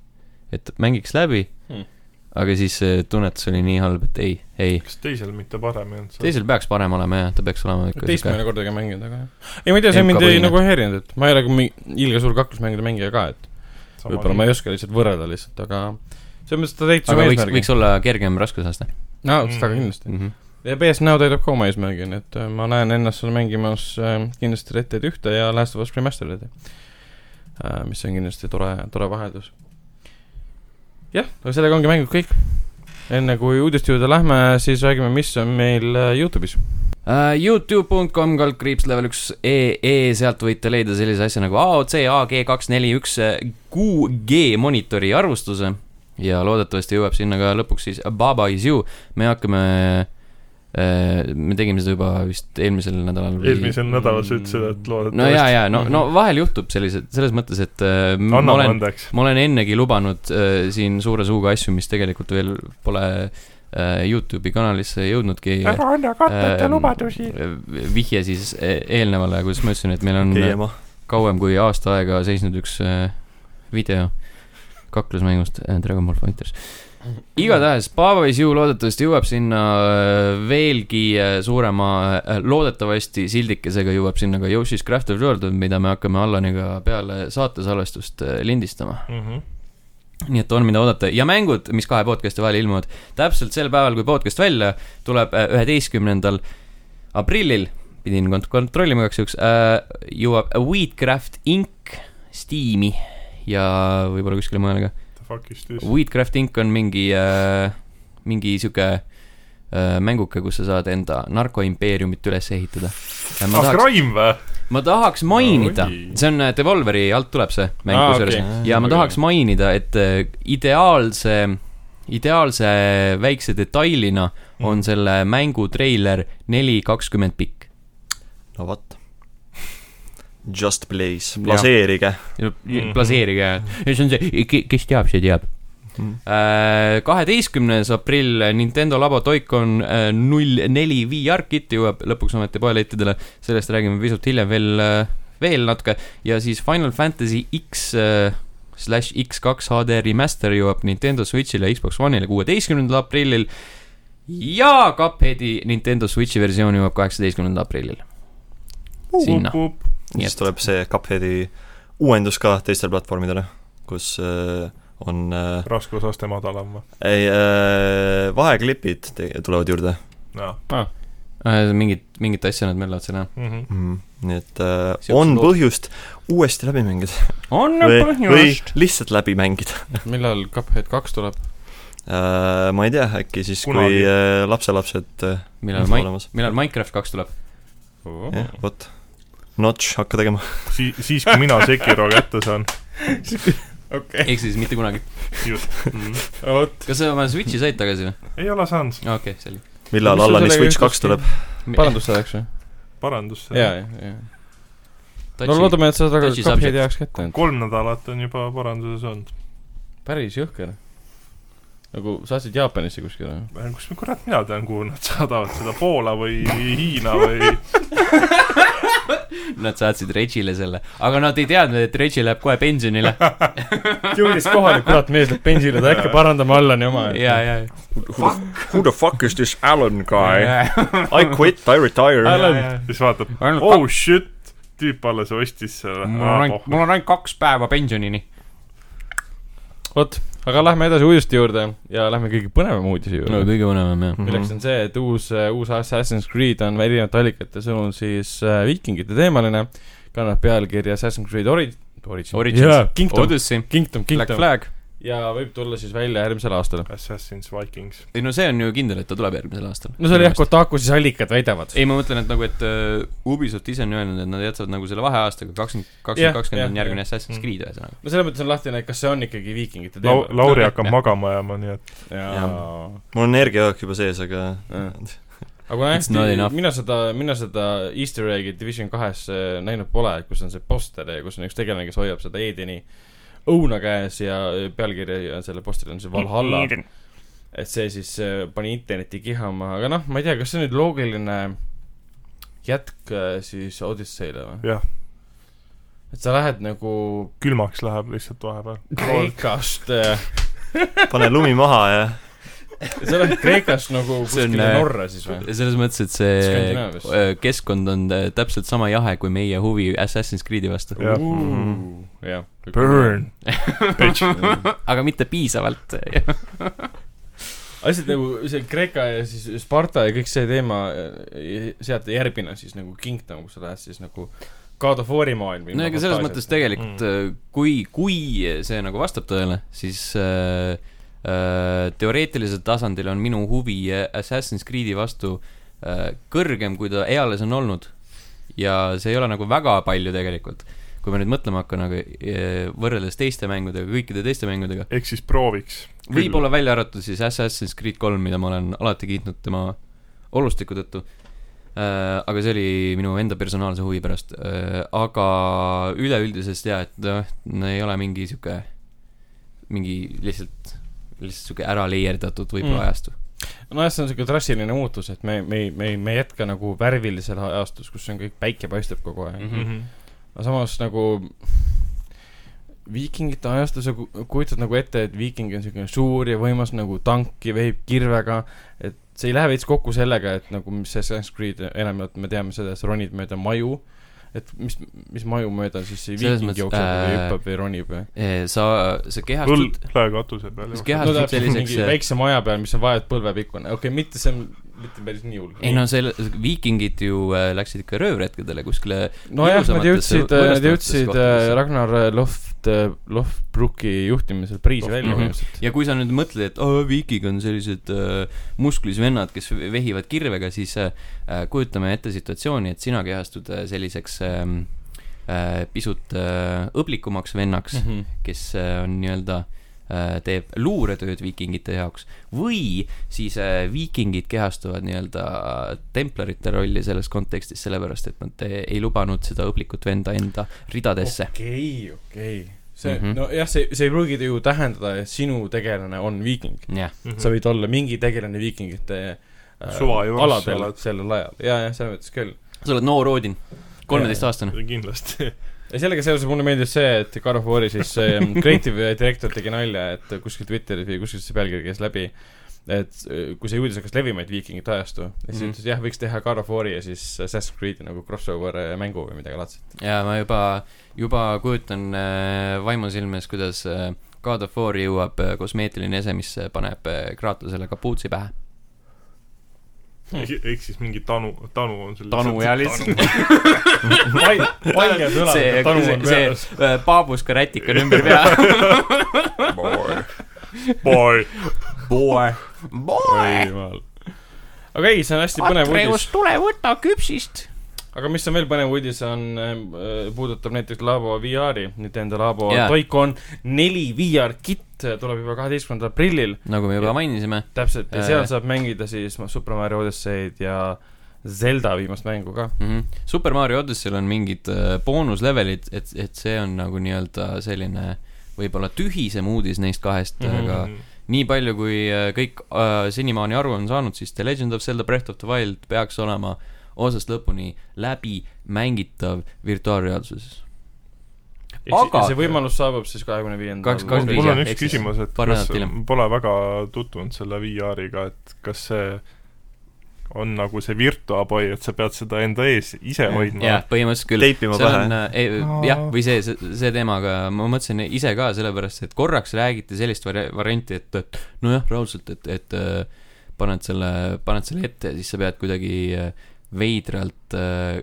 A: et mängiks läbi
C: Hmm.
A: hmm. . aga siis see tunnetus oli nii halb , et ei , ei .
D: kas teisel mitte parem ei olnud ?
A: teisel peaks parem olema jah , ta peaks olema ikka
C: teistmoodi nagu- kordagi mänginud , aga jah . ei , ma ei tea , see mind ei
A: MK-põhine.
C: nagu häirinud , et ma ei ole ka mingi ilge suur kaklusmängide mängija ka , et võib-olla ma ei oska lihtsalt võrrelda lihtsalt , aga selles mõttes ta täitis
A: aga
C: oma
A: võiks ,
C: eesmärgi . Mhm.
A: võiks olla kergem raskusaste
C: aa , seda kindlasti .
A: mm . -hmm.
C: ja BS Now täidab ka oma eesmärgi , nii et äh, ma näen ennast seal mängimas äh, kindlasti Red Dead ühte ja Last of Us Remastered'i . mis on kindlasti tore , tore vaheldus . jah , aga sellega ongi mängud kõik . enne kui uudiste juurde lähme , siis räägime , mis on meil äh, Youtube'is .
A: Uh, Youtube.com kaldkriips level üks ee , sealt võite leida sellise asja nagu AOC AG241 QG äh, monitori arvustuse ja loodetavasti jõuab sinna ka lõpuks siis Baba is you . me hakkame , me tegime seda juba vist eelmisel nädalal .
D: eelmisel nädalal sa ütlesid , et loodetavasti
A: no jaa , jaa , no , no vahel juhtub sellised , selles mõttes , et äh, ma
D: anname
A: olen
D: Mhm. andeks .
A: ma olen ennegi lubanud äh, siin suure suuga asju , mis tegelikult veel pole äh, Youtube'i kanalisse jõudnudki . ära anna katteta äh, lubadusi . vihje siis e- eelnevale , kuidas ma ütlesin , et meil on
B: okei
A: okay,
B: ema .
A: kauem kui aasta aega seisnud üks äh, video kaklusmängust äh, Dragon Ball Fighters . igatahes , Paavo is you loodetavasti jõuab sinna äh, veelgi äh, suurema , loodetavasti sildikesega jõuab sinna ka Yoshi's Craft of World , mida me hakkame Allaniga peale saatesalvestust äh, lindistama .
D: Mhm.
A: nii et on , mida oodata ja mängud , mis kahe podcast'i vahel ilmuvad täpselt sel päeval , kui podcast välja tuleb , üheteistkümnendal aprillil , pidin kont- , kontrollima igaks juhuks äh, , jõuab Wheatcraft Inc Steam'i ja võib-olla kuskile mujale ka .
D: The fuck is this ?
A: Wheatcraft Inc on mingi äh, , mingi sihuke äh, mänguke , kus sa saad enda narkoimpeeriumit üles ehitada . ma
D: ah ,
A: tahaks ,
D: Crime või ?
A: ma tahaks mainida , see on äh, Devolveri alt tuleb see mäng
C: Aa,
A: kusjuures
C: okei.
A: ja ma tahaks mainida , et äh, ideaalse , ideaalse väikse detailina
C: Mm.
A: on selle mängu treiler neli kakskümmend pikk .
B: no vot . Just Blaze ,
A: Jah.
B: plaseerige .
D: Mhm.
A: plaseerige , see on see , kes teab , see teab . kaheteistkümnes aprill Nintendo Labo Toikon null neli VR kit jõuab lõpuks ometi poelettidele , sellest räägime pisut hiljem veel , veel natuke ja siis Final Fantasy X äh, slash X2 HD remaster jõuab Nintendo Switchile ja Xbox One'ile kuueteistkümnendal aprillil ja Cupheadi Nintendo Switchi versioon jõuab kaheksateistkümnendal aprillil . sinna , Nii
B: siis
A: et-
B: tuleb see Cupheadi uuendus ka teistele platvormidele , kus äh, on äh,
D: raskusaste madalam või ?
B: ei äh, , vaheklipid te- tulevad juurde
D: jaa .
A: Äh, mingit , mingit asja nad möllavad seal jah .
C: Mhm.
B: mm. . nii et äh,
A: See on
B: on
A: lood-
B: põhjust uuesti läbi mängida
A: on
B: või , või lihtsalt läbi mängida
C: millal Cuphead kaks tuleb ?
B: äh, . ma ei tea , äkki siis , kui
D: Kunagi.
B: äh, lapselapsed äh,
A: millal
B: on Oh.
A: Mike ,
B: olemas ,
A: millal Minecraft kaks tuleb ?
B: jah , vot . Notch , hakka tegema .
D: Siis , siis kui mina Sekiro kätte saan .
C: okei ,
A: ehk siis mitte kunagi .
C: vot .
A: kas sa oma Switchi said tagasi või ?
D: ei ole saanud
A: okei okay, , selge .
B: millal
C: Mis sul
B: Allani
C: sellega
B: Switch
C: juhtus?
B: kaks tuleb ?
C: parandust saadaks või ?
D: parandust .
C: jaa , jaa , jaa . no loodame , et sa saad väga
A: touchy
C: kapi
A: subject.
C: heaks kätte .
D: kolm nädalat on juba paranduses olnud .
C: päris jõhker . nagu sa ostsid Jaapanisse kuskile või ?
D: kus ma kurat mina tean , kuhu nad saadavad seda , Poola või Hiina või
A: Nad saatsid Regile selle , aga nad ei teadnud , et Regi läheb kohe pensionile .
C: jõudis kohale , kurat , mees läheb bensile , ta äkki parandab Allani oma .
A: ja , ja ,
B: Who the fuck is this Alan guy ?
A: ja .
B: I quit , I retire .
C: Alan.
D: siis vaatab ,
A: Ainult
D: oh shit , tüüp alles ostis selle .
A: mul on ainult , mul on ainult kaks päeva pensionini .
C: vot , aga lähme edasi uudiste juurde ja lähme kõige põnevama uudise juurde .
A: kõige vanem
B: Mhm.
A: jah .
C: milleks on see , et uus , uus Assassin's Creed on erinevate allikate sõnul siis äh, viikingite teemaline , kannab pealkirja Assassin's Creed Ori- , Origin .
A: Origins
C: jaa
A: yeah, ,
C: Kingdom ,
A: Odyssey ,
C: Kingdom ,
A: Black
C: Kingdom .
A: Flag .
C: ja võib tulla siis välja järgmisel aastal .
D: Assassin's Vikings .
A: ei no see on ju kindel , et ta tuleb järgmisel aastal .
C: no see oli jah ,. Kotaku siis allikad väidavad .
A: ei , ma mõtlen , et nagu , et uh, Ubisoft ise on öelnud , et nad jätavad nagu selle vaheaastaga kakskümmend ,
C: Jah,
A: kakskümmend kakskümmend on
C: jah, Mm.
A: järgmine
C: jah.
A: Assassin's Creed ühesõnaga .
C: no selles mõttes on lahtine , et kas see on ikkagi viikingite teema
D: Lau- ,. Lauri hakkab magama jääma , nii et
C: jaa .
B: mul on energiajook juba sees , aga
D: Äh.
C: aga kuna
A: It's not
C: hästi
A: enough. ,
C: mina seda , mina seda Easter egg'i Division kahes äh, näinud pole , kus on see poster ja kus on üks tegelane , kes hoiab seda Edeni õuna käes ja äh, pealkiri on sellel posteril on see Valhalla . et see siis äh, pani interneti kihama , aga noh , ma ei tea , kas see on nüüd loogiline jätk äh, siis Odysseile või ?
D: jah ,
C: et sa lähed nagu
D: külmaks läheb lihtsalt vahepeal .
C: Kreekast , äh, sa
B: pane lumi maha ja
C: lähed Kreekast nagu
A: See on,
C: kuskile
A: äh,
C: Norra siis või ?
A: selles mõttes , et see
C: Skandinaavias.
A: äh, keskkond on äh, täpselt sama jahe kui meie huvi Assassin's Creed'i vastu .
D: Jah.
A: Mhm.
C: jah .
D: Burn .
A: aga mitte piisavalt .
C: asjad nagu see Kreeka ja siis Sparta ja kõik see teema , sealt järgmine on siis nagu Kingdom , kus sa lähed siis nagu God of War'i maailma .
A: no ega selles mõttes tegelikult mm. kui , kui see nagu vastab tõele , siis äh, äh, teoreetilisel tasandil on minu huvi äh, Assassin's Creed'i vastu äh, kõrgem , kui ta eales on olnud . ja see ei ole nagu väga palju tegelikult , kui ma nüüd mõtlema hakkan , aga äh, võrreldes teiste mängudega , kõikide teiste mängudega ,
D: ehk siis prooviks .
A: võib-olla välja arvatud siis Assassin's Creed kolm , mida ma olen alati kiitnud tema olustiku tõttu äh, . aga see oli minu enda personaalse huvi pärast äh, . aga üleüldisest jaa , et noh , ei ole mingi sihuke , mingi lihtsalt , lihtsalt sihuke ära leierdatud võib-olla
C: Mm.
A: mm. ajastu .
C: nojah , see on siuke drastiline muutus , et me , me , me , me ei jätka nagu värvilisel ajastus , kus on kõik , päike paistab kogu aeg mm .
A: Mhm.
C: -hmm. aga samas nagu viikingite ajastus , sa ku- kujutad nagu ette , et viiking on siukene suur ja võimas nagu tanki vehib kirvega , et see ei lähe veits kokku sellega , et nagu mis see Assassin's Creed enamjaolt me teame seda , sa ronid mööda maju , et mis , mis maju mööda siis see
A: Selles
C: viiking
A: mõttes,
C: jookseb või
A: äh,
C: hüppab või ronib või ?
A: sa , sa
D: õlg
A: kehastud ,
D: läheb katuse peale
A: sa .
C: no
A: kehastud
C: täpselt
A: selliseks äh,
C: mingi väikse maja peal , mis on vaevalt põlvepikkune , okei okay, , mitte see , mitte päris nii hull .
A: ei no selle , viikingid ju äh, läksid ikka röövretkedele kuskile
C: nojah , nad
A: ilusamatesse
C: jõudsid , nad
A: võõrastavatesse
C: jõudsid
A: kohtadesse.
C: äh, Ragnar Loft , Loftbrooki juhtimisel priisi välja
A: Mhm.
C: põhimõtteliselt .
A: ja kui sa nüüd mõtled , et oh, viikig on sellised äh, musklis vennad , kes vehivad kirvega , siis äh, kujutame ette situatsiooni , et sina kehastud äh, selliseks ähm, äh, pisut äh, õblikumaks
C: Mhm.
A: vennaks , kes äh, on nii-öelda äh, teeb luuretööd viikingite jaoks või siis äh, viikingid kehastuvad nii-öelda templarite rolli selles kontekstis , sellepärast et nad eh, ei lubanud seda õblikut venda enda ridadesse .
C: okei , okei . see
A: Mhm. ,
C: nojah , see , see ei pruugi ju tähendada , et sinu tegelane on viiking .
A: jah ,
D: Mhm.
C: sa võid olla mingi tegelane viikingite äh,
D: Suva juures sa
C: aladel
D: oled.
C: sellel ajal ja , ja selles mõttes küll .
A: sa oled noor Odin , kolmeteistaastane .
D: kindlasti .
C: ja sellega seoses mulle meeldis see , et God of War'i siis see mm, creative direktor tegi nalja , et kuskil Twitteris või kuskilt see pealkiri käis läbi , et äh, kui see uudis hakkas levima , et viikingid ajastu , ja siis
A: Mhm.
C: ütles , jah , võiks teha God of War'i ja siis Assassin's Creed'i nagu crossover äh, mängu või midagi laadset .
A: ja ma juba , juba kujutan äh, vaimusilmes , kuidas äh, God of War jõuab äh, kosmeetiline ese , mis äh, paneb äh, Kraatosele kapuutsi pähe .
D: ehk siis mingi Tanu , Tanu on seal .
A: Tanu ja lihtsalt- .
C: paljad
A: see , see , see äh, paabuska rätik on ümber pea .
D: Boy .
A: Boe . Boe .
C: jumal . aga ei , see on hästi põnev uudis .
A: Atreus , tule võta küpsist .
C: aga mis on veel põnev uudis , on äh, , puudutab näiteks Labo VR-i , Nintendo Labo
A: Jaa.
C: yeah. Toicon neli VR-kit tuleb juba kaheteistkümnendal aprillil ,
A: nagu me juba mainisime .
C: täpselt , ja seal
A: Äh.
C: saab mängida siis Super Mario Odyssey'd ja Zelda viimast mängu ka .
A: mm . -hmm. Super Mario Odyssey'l on mingid äh, boonuslevelid , et , et see on nagu nii-öelda selline võib-olla tühisem uudis neist kahest mm , -hmm. aga nii palju , kui äh, kõik äh, senimaani aru on saanud , siis The Legend of Zelda Breath of the Wild peaks olema osast lõpuni läbi mängitav virtuaalreaalsuses . Aga-
C: see võimalus saabub siis kahekümne viiendal
A: Kaks-
D: mul mul on
A: jah,
D: üks
A: ehk siis
D: küsimus , et
A: paar
D: kas
A: nädalat hiljem. ,
D: pole väga tutvunud selle VR-iga , et kas see on nagu see virtuaboy , et sa pead seda enda ees ise hoidma
A: jah ,? põhimõtteliselt küll .
B: teipima
A: seal
B: pähe
A: on , ei, jah , või see , see , see teema , aga ma mõtlesin ise ka sellepärast , et korraks räägiti sellist vari- , varianti , et , et nojah , raudselt , et , et äh, paned selle , paned selle ette ja siis sa pead kuidagi äh, veidralt äh,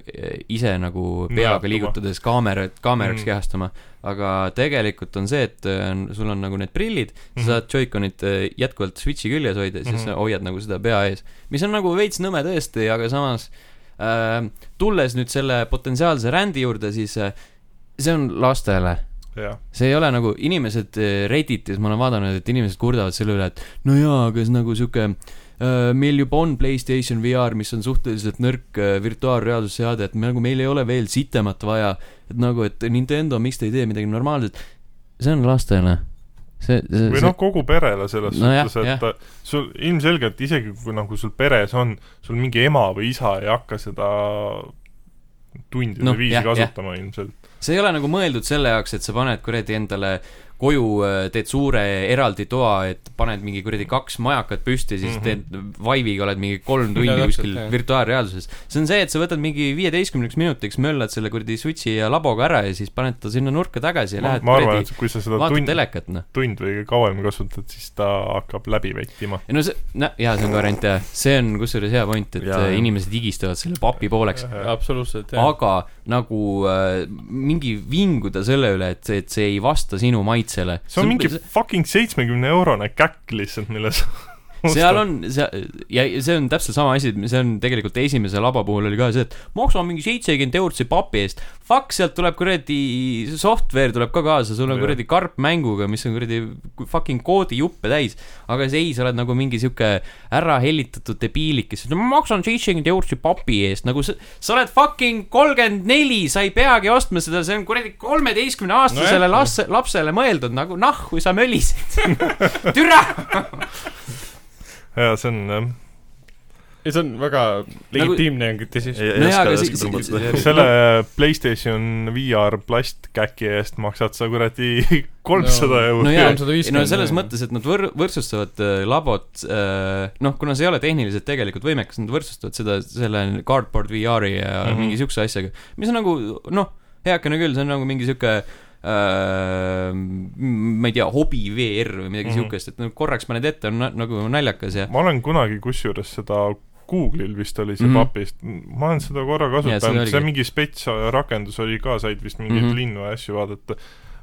A: ise nagu peaga
D: Mäletama.
A: liigutades kaamerat , kaameraks
D: Mm.
A: mm. kehastuma . aga tegelikult on see , et äh, on- sul on nagu need prillid , sa
D: Mhm.
A: saad Joy-Conit äh, jätkuvalt Switchi küljes hoida , siis
D: Mhm.
A: sa hoiad nagu seda pea ees . mis on nagu veits nõme tõesti , aga samas äh, tulles nüüd selle potentsiaalse rändi juurde , siis äh, see on lastele .
D: jah ,
A: see ei ole nagu inimesed äh, Redditis , ma olen vaadanud , et inimesed kurdavad selle üle , et no jaa , aga see nagu sihuke äh, meil juba on Playstation VR , mis on suhteliselt nõrk äh, virtuaalreaalsusseade , et me nagu , meil ei ole veel sitemat vaja , et nagu , et Nintendo , miks te ei tee midagi normaalset , see on lastele . see , see ,
D: või
A: see
D: noh , kogu perele selles
A: No jah,
D: suhtes , et
A: jah.
D: ta- sul ilmselgelt isegi kui nagu sul peres on , sul mingi ema või isa ei hakka seda tundide
A: Noh,
D: no, viisi
A: jah,
D: jah, kasutama jah. ilmselt .
A: see ei ole nagu mõeldud selle jaoks , et sa paned kuradi endale koju , teed suure eraldi toa , et paned mingi kuradi kaks majakat püsti , siis mm
D: Mhm.
A: -hmm. teed vaiviga oled mingi kolm tundi
C: Ja,
A: no,
C: täpselt,
A: kuskil
C: jah.
A: virtuaalreaalsuses . see on see , et sa võtad mingi viieteistkümneks minutiks , möllad selle kuradi switch'i ja laboga ära ja siis paned ta sinna nurka tagasi ja
D: ma,
A: lähed
D: ma arvan ,
A: kuradi ,
D: et kui sa seda
A: vaatad
D: tund ,
A: telekat , noh .
D: tund või kauem kasutad , siis ta hakkab läbi vettima .
A: ei no see , no jaa , see on variant jah , see on kusjuures hea point , et
B: Jaa,
A: ja,
B: jah.
A: inimesed higistavad selle papi pooleks .
C: absoluutselt , jah .
A: aga nagu äh, mingi vinguda selle üle , et see , et see ei vasta sinu maitsele .
D: see on mingi fucking seitsmekümne eurone käkk lihtsalt , mille sa
A: seal on , see , ja ja see on täpselt sama asi , see on tegelikult esimese laba puhul oli ka see , et maksa mingi seitsekümmend eurot see papi eest . Fuck , sealt tuleb kuradi , software tuleb ka kaasa , sul on
D: Jah.
A: kuradi karp mänguga , mis on kuradi fucking koodijuppe täis . aga see ei , sa oled nagu mingi sihuke ära hellitatud debiilik , kes ütleb , ma maksan seitsekümmend eurot see papi eest , nagu sa , sa oled fucking kolmkümmend neli , sa ei peagi ostma seda , see on kuradi kolmeteistkümne aastasele no lapse , lapsele mõeldud nagu nahhu sa mölised . türa
D: jaa , see on jah .
C: ei , see on väga legitiimne nagu... tõsisus .
A: No jaa, aga si- si-
B: tõmbata .
A: si-
D: selle PlayStation VR plastkäki eest maksad sa kuradi kolmsada
C: No,
D: eurot
A: no
D: no, .
A: jaa , ei
C: 350,
A: no selles
C: jah.
A: mõttes , et nad võr- , võrdsustavad äh, labot äh, , noh , kuna see ei ole tehniliselt tegelikult võimekas , nad võrdsustavad seda selle cardboard VR-i ja mm
D: Mhm.
A: -hmm. mingi siukse asjaga , mis on nagu noh , heakene küll , see on nagu mingi siuke äh, m- ma ei tea , hobi VR või midagi mm
D: Mhm.
A: -hmm. siukest , et no korraks paned ette , on na- nagu naljakas ja
D: ma olen kunagi kusjuures seda Google'il vist oli see mm
A: Mhm.
D: -hmm. papist , ma olen seda korra
A: Jaa, seda
D: kasutanud ,
A: oligi.
D: see mingi spets rakendus oli ka , said vist mingeid mm
A: Mhm.
D: -hmm. linnu ja asju vaadata .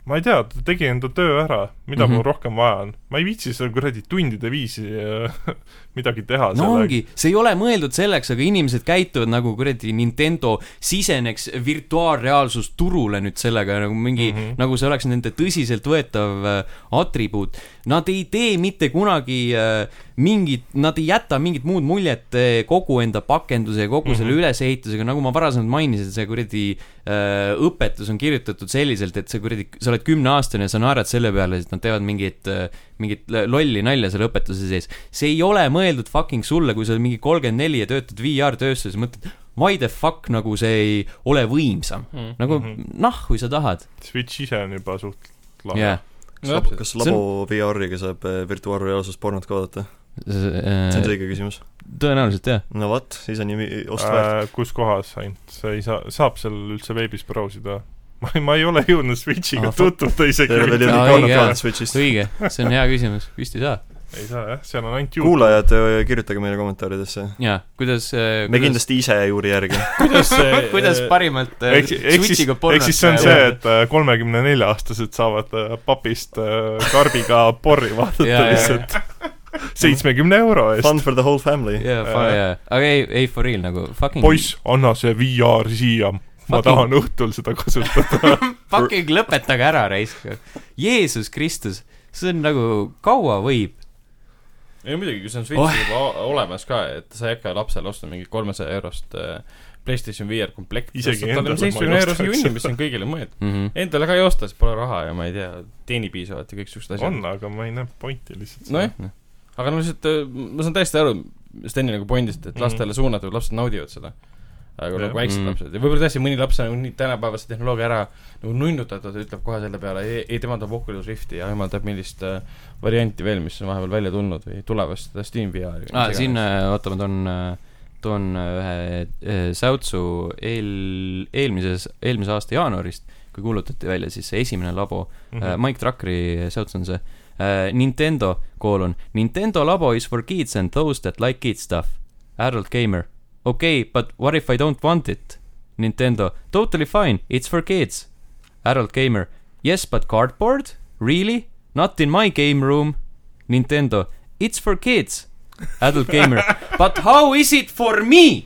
D: ma ei tea , ta tegi enda töö ära , mida mm -hmm.
A: Mhm.
D: mul rohkem vaja on . ma ei viitsi seal kuradi tundide viisi äh, midagi teha
A: no ongi , see ei ole mõeldud selleks , aga inimesed käituvad nagu kuradi Nintendo siseneks virtuaalreaalsusturule nüüd sellega nagu mingi mm ,
D: Mhm.
A: -hmm. nagu see oleks nende tõsiseltvõetav äh, atribuut . Nad ei tee mitte kunagi äh, mingit , nad ei jäta mingit muud muljet äh, kogu enda pakenduse ja kogu
B: Mhm.
A: mm -hmm. selle ülesehitusega , nagu ma varasemalt mainisin , see kuradi äh, õpetus on kirjutatud selliselt , et see kuradi , sa oled kümneaastane ja sa naerad selle peale , et nad teevad mingit äh, mingit l- lolli nalja selle õpetuse sees . see ei ole mõeldud fucking sulle , kui sa oled mingi kolmkümmend neli ja töötad VR-tööstuses , mõtled , why the fuck nagu see ei ole võimsam .
C: Mm.
A: nagu mm
D: Mhm.
A: -hmm. nah , kui sa tahad .
D: Switch ise on juba suht lahe
A: jah .
B: kas
A: See
B: labo VR-iga saab äh, virtuaalreaalsus pornot ka vaadata ? see on see õige küsimus .
A: äh, tõenäoliselt jah .
B: no vot , siis on ju mi- ost väärt .
D: äh, . kus kohas ainult , sa ei saa , saab seal üldse veebis brausida ? ma ei , ma ei ole jõudnud Switchiga
B: Ah,
D: ah,
B: fuck.
D: tutvuda isegi .
B: Teil veel
A: Aa,
B: ei ole
A: õige,
B: kaunat
A: jaa.
B: kaanat Switchist .
A: õige , see on hea küsimus , vist ei saa .
D: ei saa jah , seal on ainult ju- .
B: kuulajad , kirjutage meile kommentaaridesse .
A: jaa , kuidas ,
B: me
A: kuidas ,
B: kindlasti ise ei uuri järgi .
C: kuidas see
A: kuidas parimalt äh,
D: ehk ehk siis ,
A: Switchiga
D: ehk siis see on see , et kolmekümne nelja aastased saavad äh, papist äh, karbiga porri vaadata
A: Jaa, jaa,
D: lihtsalt . seitsmekümne euro eest .
B: Fun for the whole family .
A: jaa , jaa , aga ei , ei for real nagu fucking .
D: Äh, poiss , anna see VR siia , ma
A: Fucking-
D: tahan õhtul seda kasutada .
A: fucking lõpetage ära , raisk . Jeesus Kristus , see on nagu , kaua võib ?
C: ei muidugi , kui see on Switch'il juba o- olemas ka , et sa ei hakka lapsele ostma mingit kolmesaja eurost äh, PlayStation VR komplekti .
D: Isegi endale ma ei
C: seitsmekümne eurose
D: ostaks
C: junni ,
D: seda.
C: mis on kõigile mõeldud .
A: Mm -hmm.
C: Endale ka ei osta , sest pole raha ja ma ei tea , teeni piisavalt ja kõik siuksed asjad .
D: on , aga ma ei näe pointi lihtsalt .
C: nojah , aga no lihtsalt äh, ma saan täiesti aru Steni nagu pointist , et
D: Mhm.
C: lastele suunatud lapsed naudivad seda . aga
D: Jah.
C: nagu väiksed
A: Mhm.
C: lapsed ja võib-olla tõesti mõni laps on nagu nii tänapäevase tehnoloogia ära nagu nunnutatud , ütleb kohe selle peale , ei , ei tema tahab Oculus Rifti ja jumal teab , millist äh, varianti veel , mis on vahepeal välja tulnud või tulevast äh, Steam VR-i .
A: Ah, siin , oota , ma toon , toon äh, ühe eh, säutsu eel , eelmises , eelmise aasta jaanuarist , kui kuulutati välja siis see esimene labo
D: Mhm.
A: mm , -hmm. Mike Truckeri säuts on see eh, Nintendo , koolon , Nintendo labo is for kids and those that like kids stuff . Adult gamer , okei okay, , but what if I don't want it ? Nintendo , totally fine , it's for kids . Adult gamer , yes , but cardboard ? Really ? Not in my game room . Nintendo , it's for kids . Adult gamer , but how is it for me ?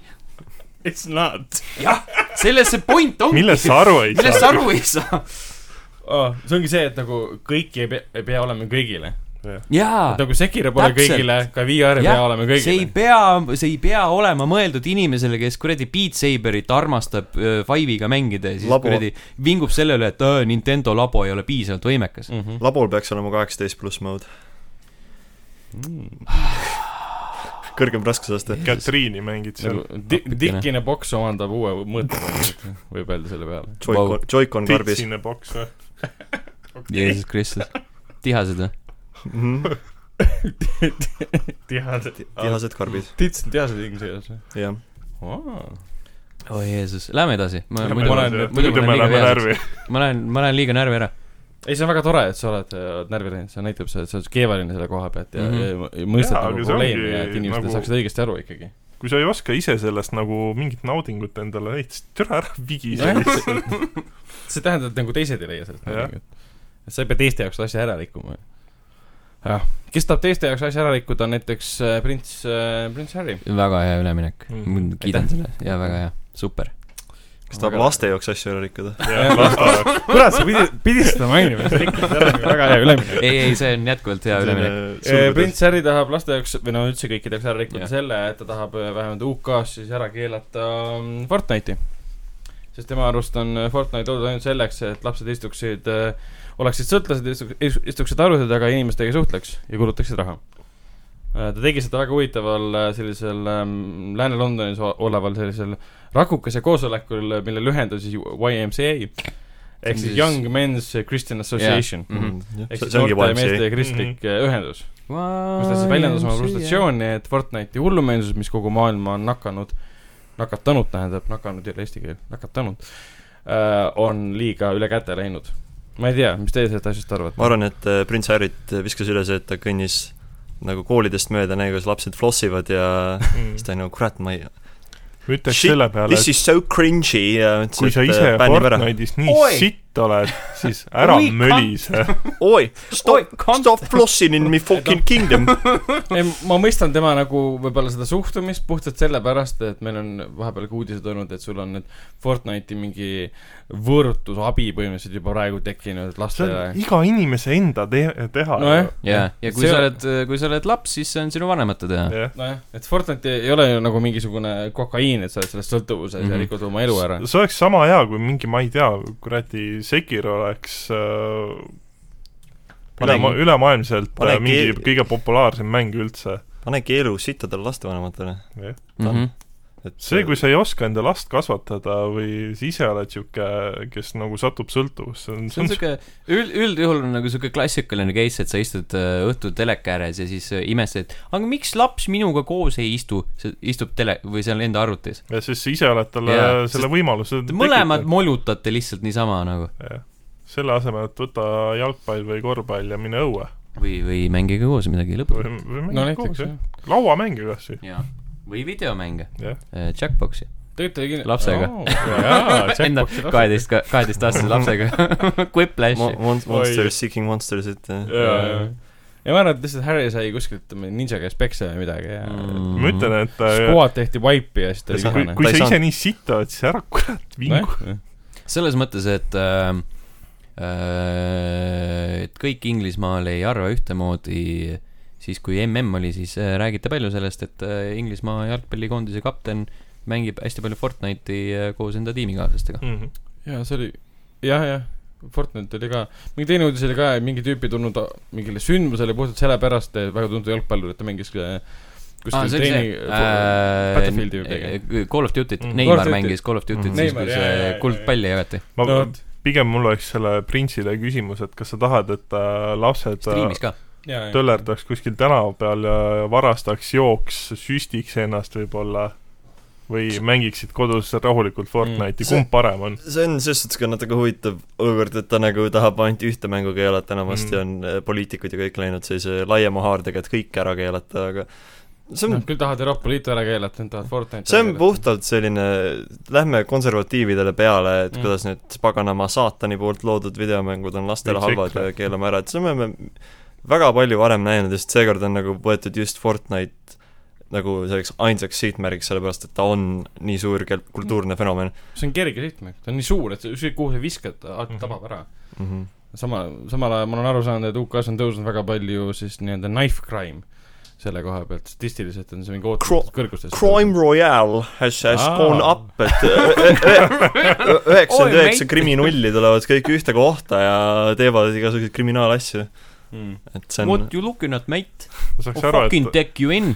C: It's not
A: jah , selles see point ongi .
D: millest sa aru ei
A: millest sa
D: saa ?
A: aru ei saa ? äh,
C: oh, . see ongi see , et nagu kõiki ei pea , ei pea olema kõigile .
A: jaa
C: et . nagu Sekiro pole
A: Täpselt.
C: Täpselt. kõigile , ka VR ei
A: Jah,
C: pea olema
A: see ei
C: kõigile .
A: pea , see ei pea olema mõeldud inimesele , kes kuradi Beat Saberit armastab öö, Five'iga mängida ja siis
B: Labo.
A: labo. kuradi vingub selle üle , et öö, Nintendo labo ei ole piisavalt võimekas .
C: Mhm.
B: labol peaks olema kaheksateist pluss mode ,
A: Hmm.
B: kõrgem raskusaste .
D: Katriini mängid seal
C: nagu . di- , dikkine boks omandab uue mõõtme , võib öelda selle peale .
B: Joy-Con , Joy-Con karbis .
D: titsine boks või ?
A: Jeesus Kristus , tihased või ?
B: Mhm.
C: tihased ,
B: tihased karbid ,
C: tits on tihased inimese jaoks või ?
B: jah .
A: oi Jeesus , lähme edasi . ma
C: Lähme
A: muidu
C: edasi,
A: olen
C: jah. ,
A: muidu ma
D: me
A: olen
D: läheme
A: liiga närvi .
D: närvi .
A: ma lähen , ma lähen liiga närvi ära .
C: ei , see on väga tore , et sa oled äh, närvi läinud , see näitab , sa oled , sa oled keevaline selle koha pealt ja,
A: Mhm.
C: mm -hmm. ja mõistad
D: Jaa,
C: nagu
D: aga see
C: probleemi
D: ongi
C: ja et inimesed
D: nagu-
C: nagu... saaksid õigesti aru ikkagi .
D: kui sa ei oska ise sellest nagu mingit naudingut endale leida , siis türa ära vigi see lihtsalt .
C: see tähendab , et nagu teised ei leia sellest
D: Jah.
C: midagi . et sa ei pea teiste jaoks asja ära rikkuma . jah , kes tahab teiste jaoks asja ära rikkuda , on näiteks äh, prints äh, , prints Harry .
A: väga hea üleminek
D: Mm.
A: mm, , kiidan selle , jaa , väga hea , super .
B: kes tahab laste jaoks asju ära rikkuda ?
C: kurat , sa pidid , pidid seda mainima , see rikkus ära , väga hea üleminek .
A: ei , ei , see on jätkuvalt hea üleminek .
C: Eh, prints Harry tahab laste jaoks või no üldse kõikide jaoks ära rikkuda
A: Jah.
C: selle , et ta tahab eh, vähemalt UK-s siis ära keelata mm, Fortnite'i . sest tema arust on eh, Fortnite loodud ainult selleks , et lapsed istuksid , oleksid sõltlased , istuksid arvuti taga ja inimestega ei suhtleks ja kulutaksid raha . ta tegi seda väga huvitaval eh, sellisel mm, Lääne-Londonis o- oleval sellisel rakukese koosolekul , mille lühend on siis YMCA ehk siis
A: siis-
C: Young Men's Christian Association .
A: Mhm.
C: ehk
B: see
C: siis
B: see ongi
C: noorte meeste
B: YMCA ,
C: ja kristlik
B: Mhm.
C: eh, ühendus . kus ta siis väljendas oma frustratsiooni , et Fortnite'i hullumeelsus , mis kogu maailma on nakanud , nakatanud tähendab , nakanud ei ole eesti keel , nakatanud , on liiga üle käte läinud . ma ei tea , mis teie sellest asjast
B: ma
C: arvate ?
B: arvan , et eh, prints Harryt viskas üle see , et ta kõnnis nagu koolidest mööda , nägi , kuidas lapsed flossivad ja siis ta oli nagu , kurat , ma ei
D: Mm. ütleks
B: Shit,
D: selle peale ,
B: This
D: et
B: is so cringe'i ja
D: kui
B: ütles ,
D: sa ise
B: et äh, bännib ära .
D: Fortnite'is nii
A: äh, Oi!
D: sitt oled , siis ära
A: Oi,
D: mölise .
B: oi ,
A: Oi,
B: stop ,
A: kont-
B: stop flossing in me fucking kingdom .
C: ei , ma mõistan tema nagu võib-olla seda suhtumist puhtalt sellepärast , et meil on vahepeal ka uudised olnud , et sul on nüüd Fortnite'i mingi võõrutusabi põhimõtteliselt juba praegu tekkinud
D: see
C: lastele
D: on . iga inimese enda te- , teha
C: nojah .
A: jaa , ja kui
C: See
A: sa
C: on-
A: oled , kui sa oled laps , siis see on sinu vanemate teha .
D: jah .
C: nojah , et Fortnite ei ole ju nagu mingisugune kokaiin , et sa oled selles sõltuvuses mm -hmm.
A: Mhm.
C: ja rikud oma elu ära .
D: see oleks sama hea , kui mingi , ma ei tea , kuradi Sekiro oleks äh,
B: Pane-
D: ülema- , ülemaailmselt
B: pane
D: äh, mingi
B: keel-
D: kõige populaarsem mäng üldse .
B: pane keelu sittadele lastevanematele .
A: Mhm.
B: et äh,
D: see , kui sa ei oska enda last kasvatada või sa ise oled niisugune , kes nagu satub sõltuvusse , on ,
A: see on siuke üld , üldjuhul on nagu siuke klassikaline case , et sa istud äh, õhtul teleka ääres ja siis äh, imestad , aga miks laps minuga koos ei istu , istub tele- või seal enda arvutis .
D: ja siis sa ise oled talle
A: Jaa,
D: yeah, selle
A: sest
D: võimaluse
A: Te mõlemad . molutate lihtsalt niisama nagu
D: selle asemel , et võta jalgpall või korvpall ja mine õue
A: või , või mängige koos midagi lõbusat .
D: või , või
C: no
D: mängi
C: näiteks
D: koos ,
C: jah
D: jah .. lauamänge kas või ?
A: jaa . või videomänge äh,
D: Jah. .
A: Jackboxi .
C: tegelikult oli kindlasti .
A: Lapsega. enda kaheteist , kaheteistaastase lapsega .
B: Mo-
A: Quiplashi .
B: mon-
C: Oi.
B: Monsters Seeking Monsters , et eh,
C: jaa , jaa . ja ma arvan , et lihtsalt Harry sai kuskilt ma ei tea, ninja käest peksa või midagi ja mm.
D: ma ütlen , et äh,
C: Squad tehti wipe'i ja siis ta oli
B: Ja
D: kui,
C: vihane .
D: kui
B: Ta ei
D: sa ise
B: saanud-
D: nii sitt oled , siis ära kurat vingu .
A: selles mõttes , et äh, äh, et kõik Inglismaal ei arva ühtemoodi , siis kui mm oli , siis äh, räägiti palju sellest , et äh, Inglismaa jalgpallikoondise kapten mängib hästi palju Fortnite'i äh, koos enda tiimikaaslastega .
D: Mhm.
C: jaa , see oli , jah , jah , Fortnite oli ka , mingi teine uudis oli ka , mingi tüüp ei tulnud a- mingile sündmusele puhtalt sellepärast , väga tuntud jalgpallur , et ta mängis äh,
A: Ah,
C: kuskil
A: see äh, oli
C: treeni
A: see
C: Battlefieldi või midagi .
A: äh, , Call of Duty't
D: Mm.
A: mm. ,
C: Call of
A: Neimar
C: Duty.
A: mängis Call of Duty't
B: Mhm.
A: mm. siis ,
C: Neymar,
A: kui
C: jaa, jaa,
A: see
C: jaa,
A: kuldpalli jagati .
D: ma
C: No
D: no,
C: vot.
D: pigem mul oleks selle printsile küsimus , et kas sa tahad , et äh, lapsed äh,
A: striimis ka .
D: töllerdaks kuskil tänava peal ja varastaks jooks , süstiks ennast võib-olla või mängiksid kodus rahulikult Fortnite'i ,
B: See-
D: kumb parem on ?
B: see on selles suhtes ka natuke huvitav olukord , et ta nagu tahab ainult ühte mängu keelata enamasti
D: Mm.
B: mm. , on eh, poliitikud ja kõik läinud sellise laiema haardega , et kõik ära keelata , aga see on
C: Nad , küll tahavad Euroopa Liitu ära keelata , nad tahavad Fortnite'i
B: see on . puhtalt selline , lähme konservatiividele peale , et
C: Mm.
B: mm. kuidas need paganama saatani poolt loodud videomängud on lastele
D: Miks
B: halvad
D: EKRE?
B: ja keelame ära , et seda me oleme väga palju varem näinud ja just seekord on nagu võetud just Fortnite nagu selleks ainsaks sihtmärgiks , sellepärast et ta on nii suur kel- kultuurne fenomen
C: see on kerge sihtmärk , ta on nii suur , et sa- ükskõik kuhu sa viskad , ta alati
D: Mhm.
C: tabab ära .
B: mm . -hmm.
C: sama , samal ajal ma olen aru saanud , et UK-s on tõusnud väga palju siis nii-öelda knife crime selle koha pealt , statistiliselt on see mingi ootamatult kõrgustes .
B: Crime Royale has , has
C: Aa.
B: Aa. gone up , et üheksakümmend
A: Oi, mate.
B: üheksa kriminulli tulevad kõik ühte kohta ja teevad igasuguseid kriminaalasju ,
A: Hmm.
C: mm. .
B: et see on
A: What you looking at , mate ?
D: ma
A: I
D: saaks aru ,
A: fucking
D: et ,
A: take you in .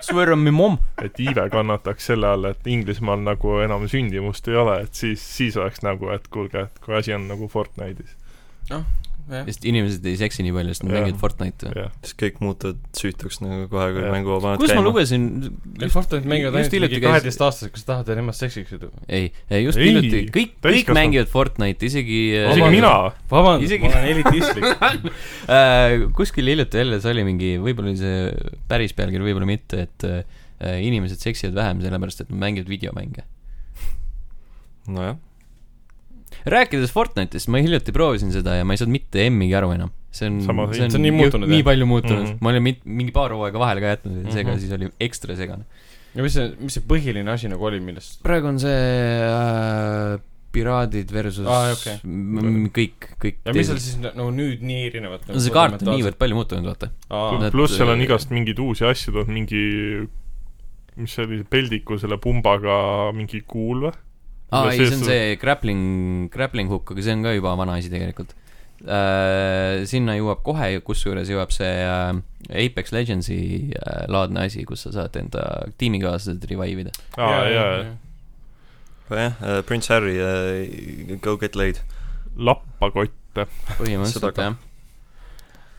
A: Swear on my mom .
D: et iive kannataks selle all , et Inglismaal nagu enam sündimust ei ole , et siis , siis oleks nagu , et kuulge , et kui asi on nagu Fortnite'is .
C: jah ,
A: sest inimesed ei seksi nii palju , sest nad
D: Jah.
A: mängivad Fortnite'i .
D: jah ,
B: siis kõik muutuvad süütuks nagu kohe , kui
D: Jah.
B: mänguvaba
A: kus ma lugesin ,
C: Fortnite mängivad
A: just
C: ainult
A: hiljuti
C: mingi
A: käis-
C: kaheteistaastased , kas sa tahad , et nemad seksiksid ?
A: ei , just
D: Ei,
A: hiljuti , kõik , kõik
D: täiskasvanud.
A: mängivad Fortnite'i , isegi äh,
D: isegi mina ,
C: vabandust ,
A: Isegi-
C: ma olen elitistlik .
A: Äh, kuskil hiljuti jälle see oli mingi , võib-olla oli see päris pealkiri , võib-olla mitte , et äh, inimesed seksivad vähem sellepärast , et nad mängivad videomänge .
B: nojah ,
A: rääkides Fortnite'ist , ma hiljuti proovisin seda ja ma ei saanud mitte emmigi aru enam . see on ,
D: Sama siin.
C: See on nii muutunud,
A: nii
C: jah?
A: palju muutunud mm ,
D: Mhm.
A: -hmm. ma olin mit- mingi paar hooaega vahele ka jätnud ja seega mm
C: Mhm.
A: -hmm. siis oli ekstra segane .
C: ja mis see , mis see põhiline asi nagu oli , millest
A: praegu on see äh, Piraadid versus
C: Aa, okei.
A: m- kõik , kõik
C: ja mis seal siis nagu na- nagu nüüd nii erinevat
A: no see kaart on niivõrd palju muutunud , vaata .
C: niivõrd
A: nad-
D: pluss seal on igast mingeid uusi asju tulnud , mingi mis see oli , peldiku selle pumbaga mingi kuul või ?
A: aa ,
D: Ja
A: ei , see
D: see-
A: on see grappling , grappling hook , aga see on ka juba vana asi tegelikult äh, . sinna jõuab kohe , kusjuures jõuab see äh, Apex Legendsi äh, laadne asi , kus sa saad enda tiimikaaslased revive ida .
D: aa , jaa , jaa .
B: Oh jah , Prince Harry äh, , Go get laid .
D: lappakotte .
B: Seda
A: põhimõtteliselt
B: ka.
A: jah .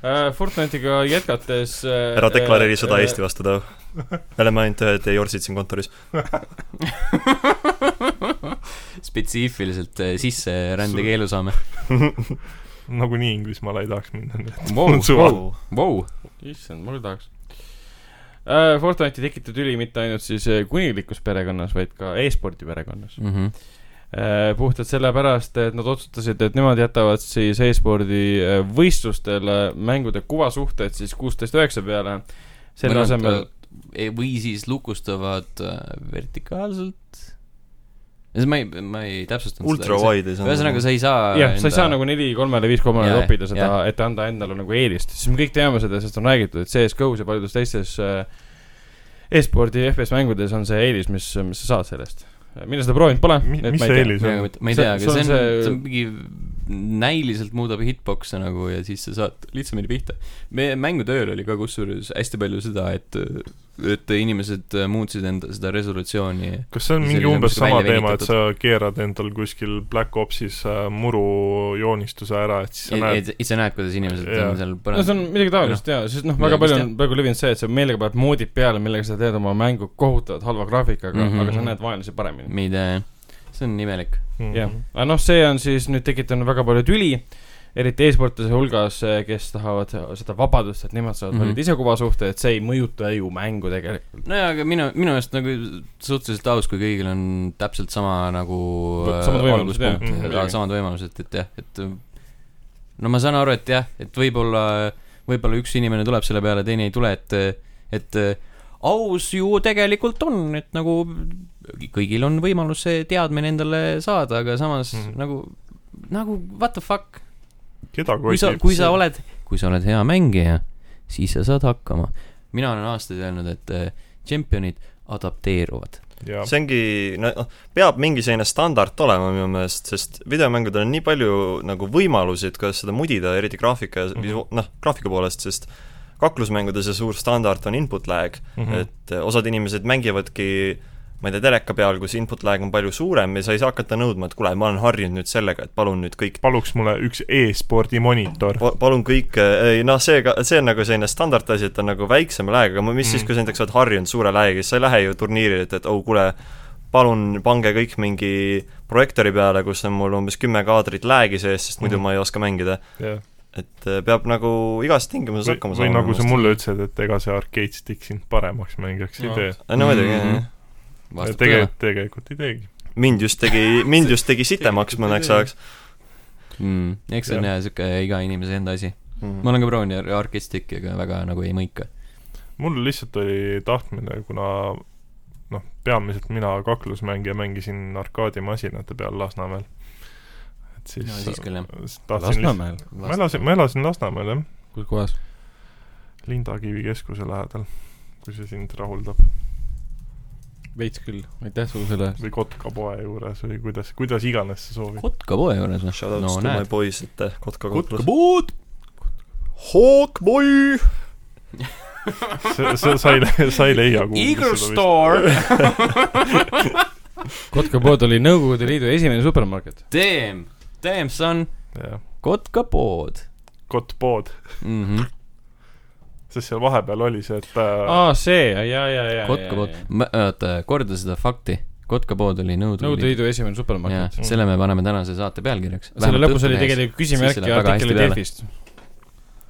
C: Äh, Fortnite'iga jätkates äh,
A: Äh,
B: ära deklareeri sõda Eesti vastu , Taav . me oleme ainult ühed jorsid siin kontoris .
A: spetsiifiliselt äh, sisserändekeelu saame .
D: nagunii Inglismaale ei tahaks minna , nii et
A: Vau,
D: on suva .
A: Vau ,
C: issand , ma küll tahaks . Fortnite'i tekitab tüli mitte ainult siis äh, kunilikus perekonnas , vaid ka e-spordi perekonnas . Äh, puhtalt sellepärast , et nad otsustasid , et nemad jätavad siis e-spordi äh, võistlustele mängude kuvasuhted siis kuusteist üheksa peale . selle asemel ,
A: või siis lukustavad äh, vertikaalselt . ma ei , ma ei täpsustanud
B: Ultra . wide nagu- ei saa .
A: ühesõnaga , sa ei saa .
C: jah , sa ei saa nagu neli kolmele , viis kolmele
A: äh, Jaa,
C: toppida seda
A: jah. ,
C: et anda endale nagu eelist , siis me kõik teame seda , sest on räägitud , et CS-GO-s ja paljudes teistes äh, e-spordi FPS mängudes on see eelis , mis , mis sa saad sellest . mina seda proovinud pole .
D: Mi- mis see eelis
A: ma
D: on ?
A: ei- ma ei
C: See-
A: tea , aga
C: sul
A: see
C: on
A: on ,
C: see-
A: see on mingi , näiliselt muudab hitbox'e nagu ja siis sa saad lihtsamini pihta . meie mängutööl oli ka kusjuures hästi palju seda , et , et inimesed äh, muutsid enda seda resolutsiooni .
D: kas see on
A: See
D: mingi
A: oli
D: umbes
A: nagu
D: sama
A: välja
D: teema , et
A: venitatud.
D: sa keerad endal kuskil Black Opsis äh, muru joonistuse ära , et siis sa näed ,
A: et sa näed , kuidas inimesed
D: Jaa.
A: on seal
C: no see on
A: põrandal .
C: midagi taolist jaa , sest noh , väga
A: Midagi
C: palju
A: vist
C: on praegu levinud see , et sa meelega paned moodid peale , millega sa teed oma mängu kohutavalt halva graafikaga mm ,
A: Mhm.
C: -hmm. aga sa näed vaenlasi paremini .
A: ma ei tea , jah . Noh, see on imelik .
D: Mm.
C: jah , aga noh , see on siis nüüd tekitanud väga palju tüli , eriti e-sportlase hulgas , kes tahavad seda vabadust , et nemad saavad mm
A: Mhm.
C: -hmm. valida ise kuva suhte , et see ei mõjuta ju mängu tegelikult .
A: nojah , aga minu , minu meelest nagu suhteliselt aus , kui kõigil on täpselt sama nagu
C: Vot samad
A: äh,
C: võimalused, jah. Mm,
A: alguspunkt
D: Mhm.
A: äh, ja samad võimalused , et jah , et no ma saan aru , et jah , et võib-olla võib-olla üks inimene tuleb selle peale , teine ei tule , et , et äh, aus ju tegelikult on , et nagu kõigil on võimalus see teadmine endale saada , aga samas mm
D: Mhm.
A: -hmm. nagu , nagu what the fuck ,
D: keda
A: kui sa ,
D: kotib
A: kui
D: see?
A: sa oled , kui sa oled hea mängija , siis sa saad hakkama . mina olen aastaid öelnud , et äh, tšempionid adapteeruvad .
D: jaa ,
B: see ongi , noh , peab mingi selline standard olema minu meelest , sest videomängudel on nii palju nagu võimalusi , et kuidas seda mudida , eriti graafika ja
D: Mhm.
B: visu- , noh , graafika poolest , sest kaklusmängude see suur standard on input lag mm ,
D: Mhm.
B: -hmm. et osad inimesed mängivadki ma ei tea , teleka peal , kus input lag on palju suurem ja sa ei saa hakata nõudma , et kuule , ma olen harjunud nüüd sellega , et palun nüüd kõik
D: paluks mulle üks e-spordi monitor .
B: pa- palun kõik , ei noh , see ka , see on nagu selline standardasi , et on nagu väiksem lag , aga ma- mis mm. siis ,
A: Mhm.
D: Mm.
B: kui sa näiteks oled harjunud suure lag'iga , siis sa ei lähe ju turniirile , et , et oh kuule , palun pange kõik mingi projektoori peale , kus on mul umbes kümme kaadrit lag'i sees , sest
A: Mhm.
B: muidu
D: Mm.
B: mm. ma ei oska mängida .
D: jah ,
B: et äh, peab nagu igas tingimuses
D: või,
B: hakkama
D: või
B: saama .
D: nagu sa mulle ütlesid , et ega see arcade stick sind paremaks mängijaks ei
C: Jaa.
D: tee .
B: no muidugi mm ,
A: Mhm.
B: -hmm.
D: tegelikult , tegelikult ei teegi .
B: mind just tegi , mind just tegi sitemaks mõneks ajaks
A: mm, . eks see on
D: Jah.
A: jah , sihuke iga inimese enda asi . ma
B: mm. .
A: olen ka proovinud arkistikke , aga väga nagu ei mõika .
D: mul lihtsalt oli tahtmine , kuna noh , peamiselt mina kaklusmängija mängisin arkaadimasinate peal Lasnamäel . et siis,
A: No siis küll, jah.
D: tahtsin lihtsalt ,
C: Lasnamäel ,
D: ma elasin , ma elasin Lasnamäel jah ,
C: kus kohas ?
D: Lindakivi keskuse lähedal , kui see sind rahuldab .
C: veits küll , aitäh sulle selle eest .
D: või Kotka poe juures või kuidas , kuidas iganes sa soovid .
A: Kotka poe juures , noh .
B: Shout out
A: no
B: no, to my
A: näed .
B: boys , et eh, Kotka
A: Kotka
B: kotlus .
A: pood .
B: Hawkboy !
D: sa , sa , sa ei , sa ei leia
A: Eagle . Store .
C: Kotka pood oli Nõukogude Liidu esimene supermarket .
A: Damn , damn son ,
D: jah ,
A: Kotka pood
D: Kottpood ,
A: mm . -hmm.
D: sest seal vahepeal oli see , et äh,
C: aa , see , ja , ja , ja , ja .
A: Kotka pood , oota , korda seda fakti . Kotka pood oli Nõukogude
C: Nõukogude
A: Liidu .
C: Liidu esimene supermarket .
A: jaa , selle me paneme tänase saate pealkirjaks .
C: selle lõpus oli . tegelikult
A: Siis
C: küsimärk
A: läheb
C: ja
A: väga
C: artikkel oli
A: hästi
C: Delfist .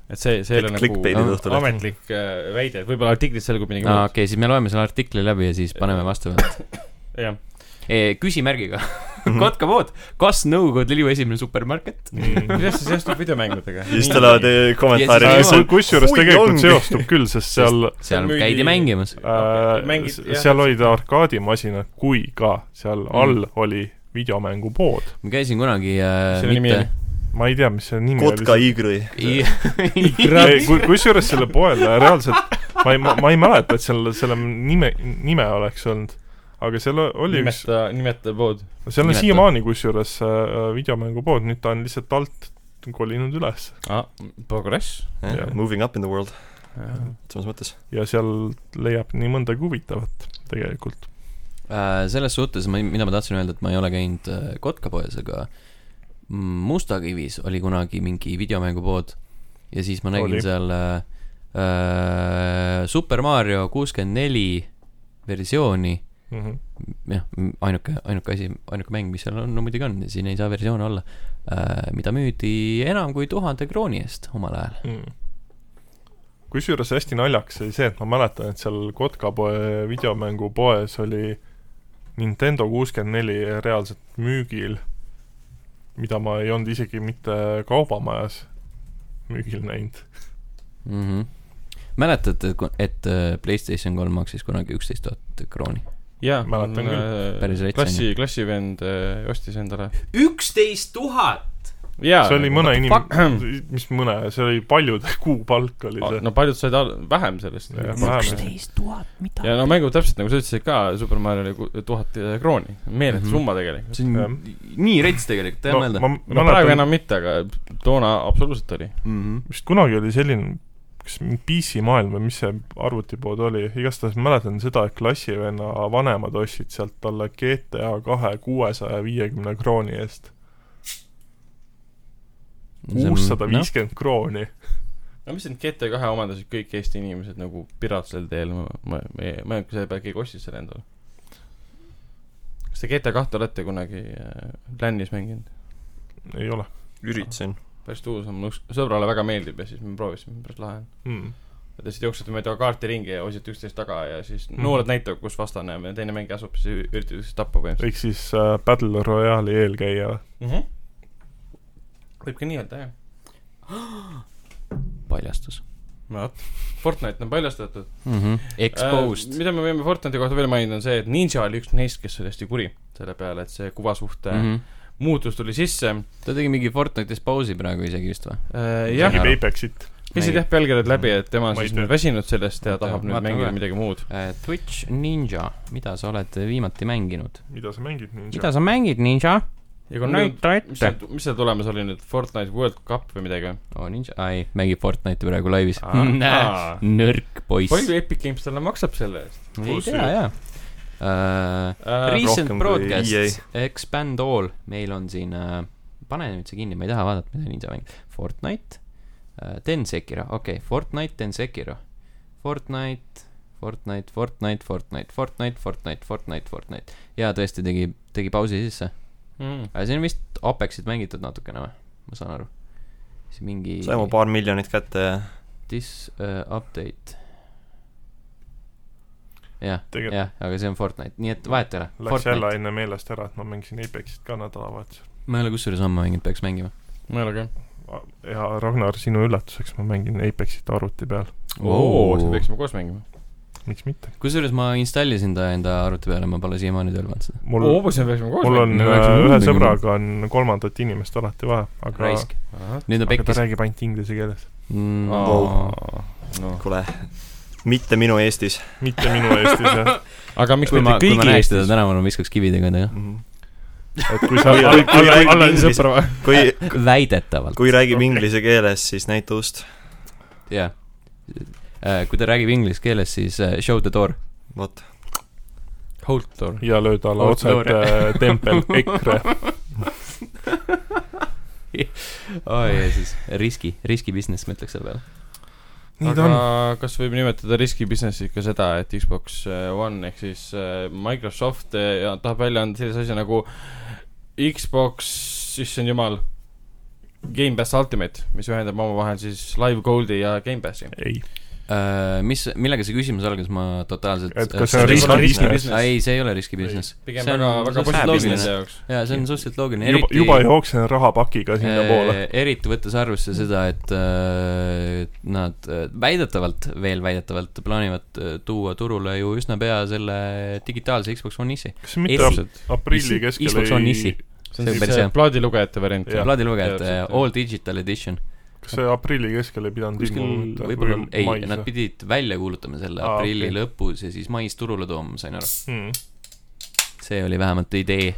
C: et see , see ei ole
B: Klik- clickbait'id
C: nagu
B: õhtul.
C: ametlik äh, väide , et võib-olla artiklis selgub midagi
A: aa ,
C: muud .
A: okei , siis me loeme selle artikli läbi ja siis paneme vastavalt .
C: jah ,
A: küsimärgiga .
C: Mhm.
A: Kotka pood , kas Nõukogude Liidu esimene supermarket ?
D: mm,
C: kuidas see seostub videomängudega ?
B: siis tulevad eh, kommentaarid
A: Ja
D: äh,
A: siis
D: ku- . kusjuures
B: Hui,
D: tegelikult
B: ongi.
D: seostub küll , sest seal
A: seal
C: müüdi-
A: käidi mängimas .
D: äh,
C: Mängid-
D: s-
C: jah.
D: seal olid arkaadimasinad kui ka seal mm. all oli videomängupood .
A: ma käisin kunagi äh,
C: selle nimi oli
A: mitte ,?
D: ma ei tea , mis see nimi
B: Kotka
D: oli .
B: Igri .
D: kusjuures selle poele reaalselt ma ei , ma ei mäleta , et seal selle nime , nime oleks olnud , aga seal oli üks ,
C: nimeta , nimeta pood .
D: seal on
A: nimeta.
D: siiamaani kusjuures äh, videomängupood , nüüd ta on lihtsalt alt kolinud üles
C: aa , Ah, progress . Äh,
D: Jah.
B: Moving up in the world ,
C: ma
B: samas mõttes .
D: ja seal leiab nii mõndagi huvitavat tegelikult .
A: Äh, selles suhtes ma , mida ma tahtsin öelda , et ma ei ole käinud äh, Kotka poes , aga mm, Mustakivis oli kunagi mingi videomängupood ja siis ma nägin
D: Oli.
A: oli. seal äh, äh, Super Mario kuuskümmend neli versiooni ,
D: Mm -hmm.
A: jah , ainuke , ainuke asi , ainuke mäng , mis seal on , no muidugi on , siin ei saa versioone olla äh, , mida müüdi enam kui tuhande krooni eest omal ajal .
D: mm. . kusjuures hästi naljakas oli see , et ma mäletan , et seal Kotkapoe videomängupoes oli Nintendo kuuskümmend neli reaalselt müügil , mida ma ei olnud isegi mitte kaubamajas müügil näinud .
A: mm . -hmm. mäletate , et äh, Playstation kolm maksis kunagi üksteist tuhat krooni ?
C: jaa ,
D: Mäletan küll.
A: Päris rets on
C: klassi , klassivend äh, ostis endale .
A: üksteist tuhat ?
C: jaa .
D: see oli mõne
C: fuck? Ah,
D: inimese , mis mõne , see oli paljude kuupalk oli see .
C: no paljud said al- vähem sellest .
D: Jah, vähem.
A: üksteist tuhat , mida ?
C: ja no mängud täpselt nagu sa ütlesid ka , Super Mario oli ku- tuhat eh, krooni , meeletu mm
A: Mhm.
C: -hmm. summa tegelikult .
A: see on
D: Jah.
A: nii rets tegelikult , hea mõelda .
C: no praegu enam mitte , aga toona absoluutselt oli .
A: Mhm.
D: vist kunagi oli selline , kas mingi PC-maailm või mis see arvutipood oli , igastahes ma mäletan seda , et klassivenna vanemad ostsid sealt talle GTA kahe kuuesaja viiekümne krooni eest . kuussada . viiskümmend
A: noh.
D: krooni .
C: no mis need GT kahe omandasid kõik Eesti inimesed nagu piratsel teel , ma , ma , ma ei mäleta , kas selle peale keegi ostis selle endale . kas te GT kahte olete kunagi äh, LAN-is mänginud ?
D: ei ole
B: üritasin .
C: päris tuus on , mul üks sõbrale väga meeldib ja siis me proovisime , päris lahe on .
D: mm. .
C: ja te siis jooksete mööda kaarti ringi ja hoidsite üksteist taga ja siis
D: Mhm.
C: mm. noored näitavad , kus vastane on ja teine mängija asub , siis ü- üritate üksteist tappa põhimõtteliselt
D: ehk siis äh, Battle Royale'i eelkäija .
C: mm . -hmm. võib ka nii öelda , jah .
A: noh, paljastus .
C: no vot , Fortnite on paljastatud .
A: mm . -hmm. Exposed .
C: Äh, mida me võime Fortnite'i kohta veel mainida , on see , et Ninja oli üks neist , kes oli hästi kuri selle peale , et see kuvasuhte mm
A: Mm
C: -hmm.
A: -hmm.
C: muutus tuli sisse .
A: ta tegi mingi Fortnite'is pausi praegu isegi vist või ?
C: jah ,
D: mängib Apexit .
C: käisid jah pealkirjad läbi , et tema on
D: Ma ei
C: siis
D: tea.
C: nüüd väsinud sellest ja
A: Oota,
C: tahab nüüd
A: vaatame
C: mängida
A: kohe.
C: midagi muud .
A: Äh, Twitch Ninja , mida sa oled viimati mänginud ?
D: mida sa mängid
A: mida
D: ninja ?
A: sa mängid , Ninja ?
C: ja kui on nüüd ,
A: näita
C: mis
A: ette
C: seal ., mis seal tulemas oli nüüd , Fortnite World Cup või midagi või ?
A: oo , Ninja , ei , mängib Fortnite'i praegu laivis
C: Aa. .
A: nõrk poiss .
C: palju Epic Games talle maksab selle eest ?
A: ei
D: Kuus
A: tea , jaa .
C: Äh,
A: Recent
B: rohkem kui
A: broadcast
B: EA. ,
A: expand all , meil on siin äh, , pane nüüd see kinni , ma ei taha vaadata , mida Ninja mängib . Fortnite äh, , Densekiro , okei okay, , Fortnite , Densekiro . Fortnite , Fortnite , Fortnite , Fortnite , Fortnite , Fortnite , Fortnite , Fortnite . jaa , tõesti tegi , tegi pausi sisse .
C: mm. .
A: aga siin on vist Apexit mängitud natukene või ? ma saan aru . siis mingi
B: saime paar miljonit kätte ja
A: this uh, update . jah ,
D: Tegel-
A: jah , aga see on Fortnite , nii et vahet ei ole .
D: Läks jälle enne meelest ära , et ma mängisin Apexit ka nädalavahetusel .
A: ma ei ole kusjuures homme mänginud , peaks mängima .
C: ma ei ole ka .
D: ja Ragnar , sinu üllatuseks ma mängin Apexit arvuti peal .
C: oo , siis peaksime koos mängima .
D: miks mitte ?
A: kusjuures ma installisin ta enda arvuti peale , ma pole siiamaani tõlvanud seda .
D: mul ,
C: oo , siis peaksime koos
D: mul on
A: me
D: äh,
A: peaksime
D: ühe
A: mängima.
D: sõbraga on kolmandat inimest alati vaja , aga
A: raisk .
C: mängima .
A: nüüd on
D: aga ta
A: pekkis .
D: räägib ainult inglise keeles .
A: Mm,
C: noh ,
B: kuule , mitte minu Eestis
D: mitte minu Eestis jah .
C: aga miks
A: kui ma ,
C: mitte
A: kui ma
C: kõigi
A: näeks teda
C: Eestis ?
A: tänaval , ma viskaks kividega taga .
B: mm . -hmm.
D: et kui sa
B: Kui-
D: alla , alla ,
B: kui-
D: alla
B: kui-
D: inglise
C: sõpra või ?
B: kui ,
A: väidetavalt ,
B: kui räägib inglise keeles , siis näita ust .
A: jah . Äh, kui ta räägib inglise keeles , siis äh, show the door .
B: vot ,
C: Hold door .
D: ja löö talle otse
A: Outdoor.
D: ette tempel EKRE .
A: oi , ja siis riski , riski business , ma ütleks selle peale .
D: nii ta
C: aga
D: on .
C: kas võib nimetada riskibusinessi ikka seda , et Xbox äh, One ehk siis äh, Microsoft äh, ja tahab välja anda sellise asja nagu Xbox , issand jumal , Gamepass Ultimate , mis ühendab omavahel siis Live Goldi ja Gamepassi .
D: ei ,
A: Äh, mis , millega see küsimus algas , ma totaalselt . Äh,
D: et kas see on
B: risk-
D: riski
B: riski-
D: business ?
A: Aa, ei , see ei ole riski business .
C: pigem
A: See on-
C: väga ,
A: see
C: väga
A: on
C: positiivne
A: business.
C: nende jaoks .
A: jaa , see on suhteliselt loogiline ,
D: juba ,
A: eriti Äh,
D: juba jooksen rahapakiga sinnapoole .
A: Eh, eriti võttes arvesse seda , et äh, nad äh, väidetavalt , veel väidetavalt plaanivad äh, tuua turule ju üsna pea selle digitaalse Xbox One Issi .
D: kas mitte
A: Esi-
D: ap-
C: täpselt .
D: aprilli
A: Isi-
D: keskel
A: Xbox One Issi.
D: ei ,
C: see
A: see
C: on
A: on
C: siis
A: päris
C: see
A: hea.
C: plaadilugejate variant .
D: Jah.
A: plaadilugejate
C: Täpselt, jah.
A: eh, All Digital Edition ,
D: kas see aprilli keskel ei pidanud
A: kuskil
D: ilmuma ?
A: võib-olla , ei , nad pidid välja kuulutama selle
D: Aa,
A: aprilli
D: okei.
A: lõpus ja siis mais turule tooma , ma sain aru .
D: hmm. .
A: see oli vähemalt idee .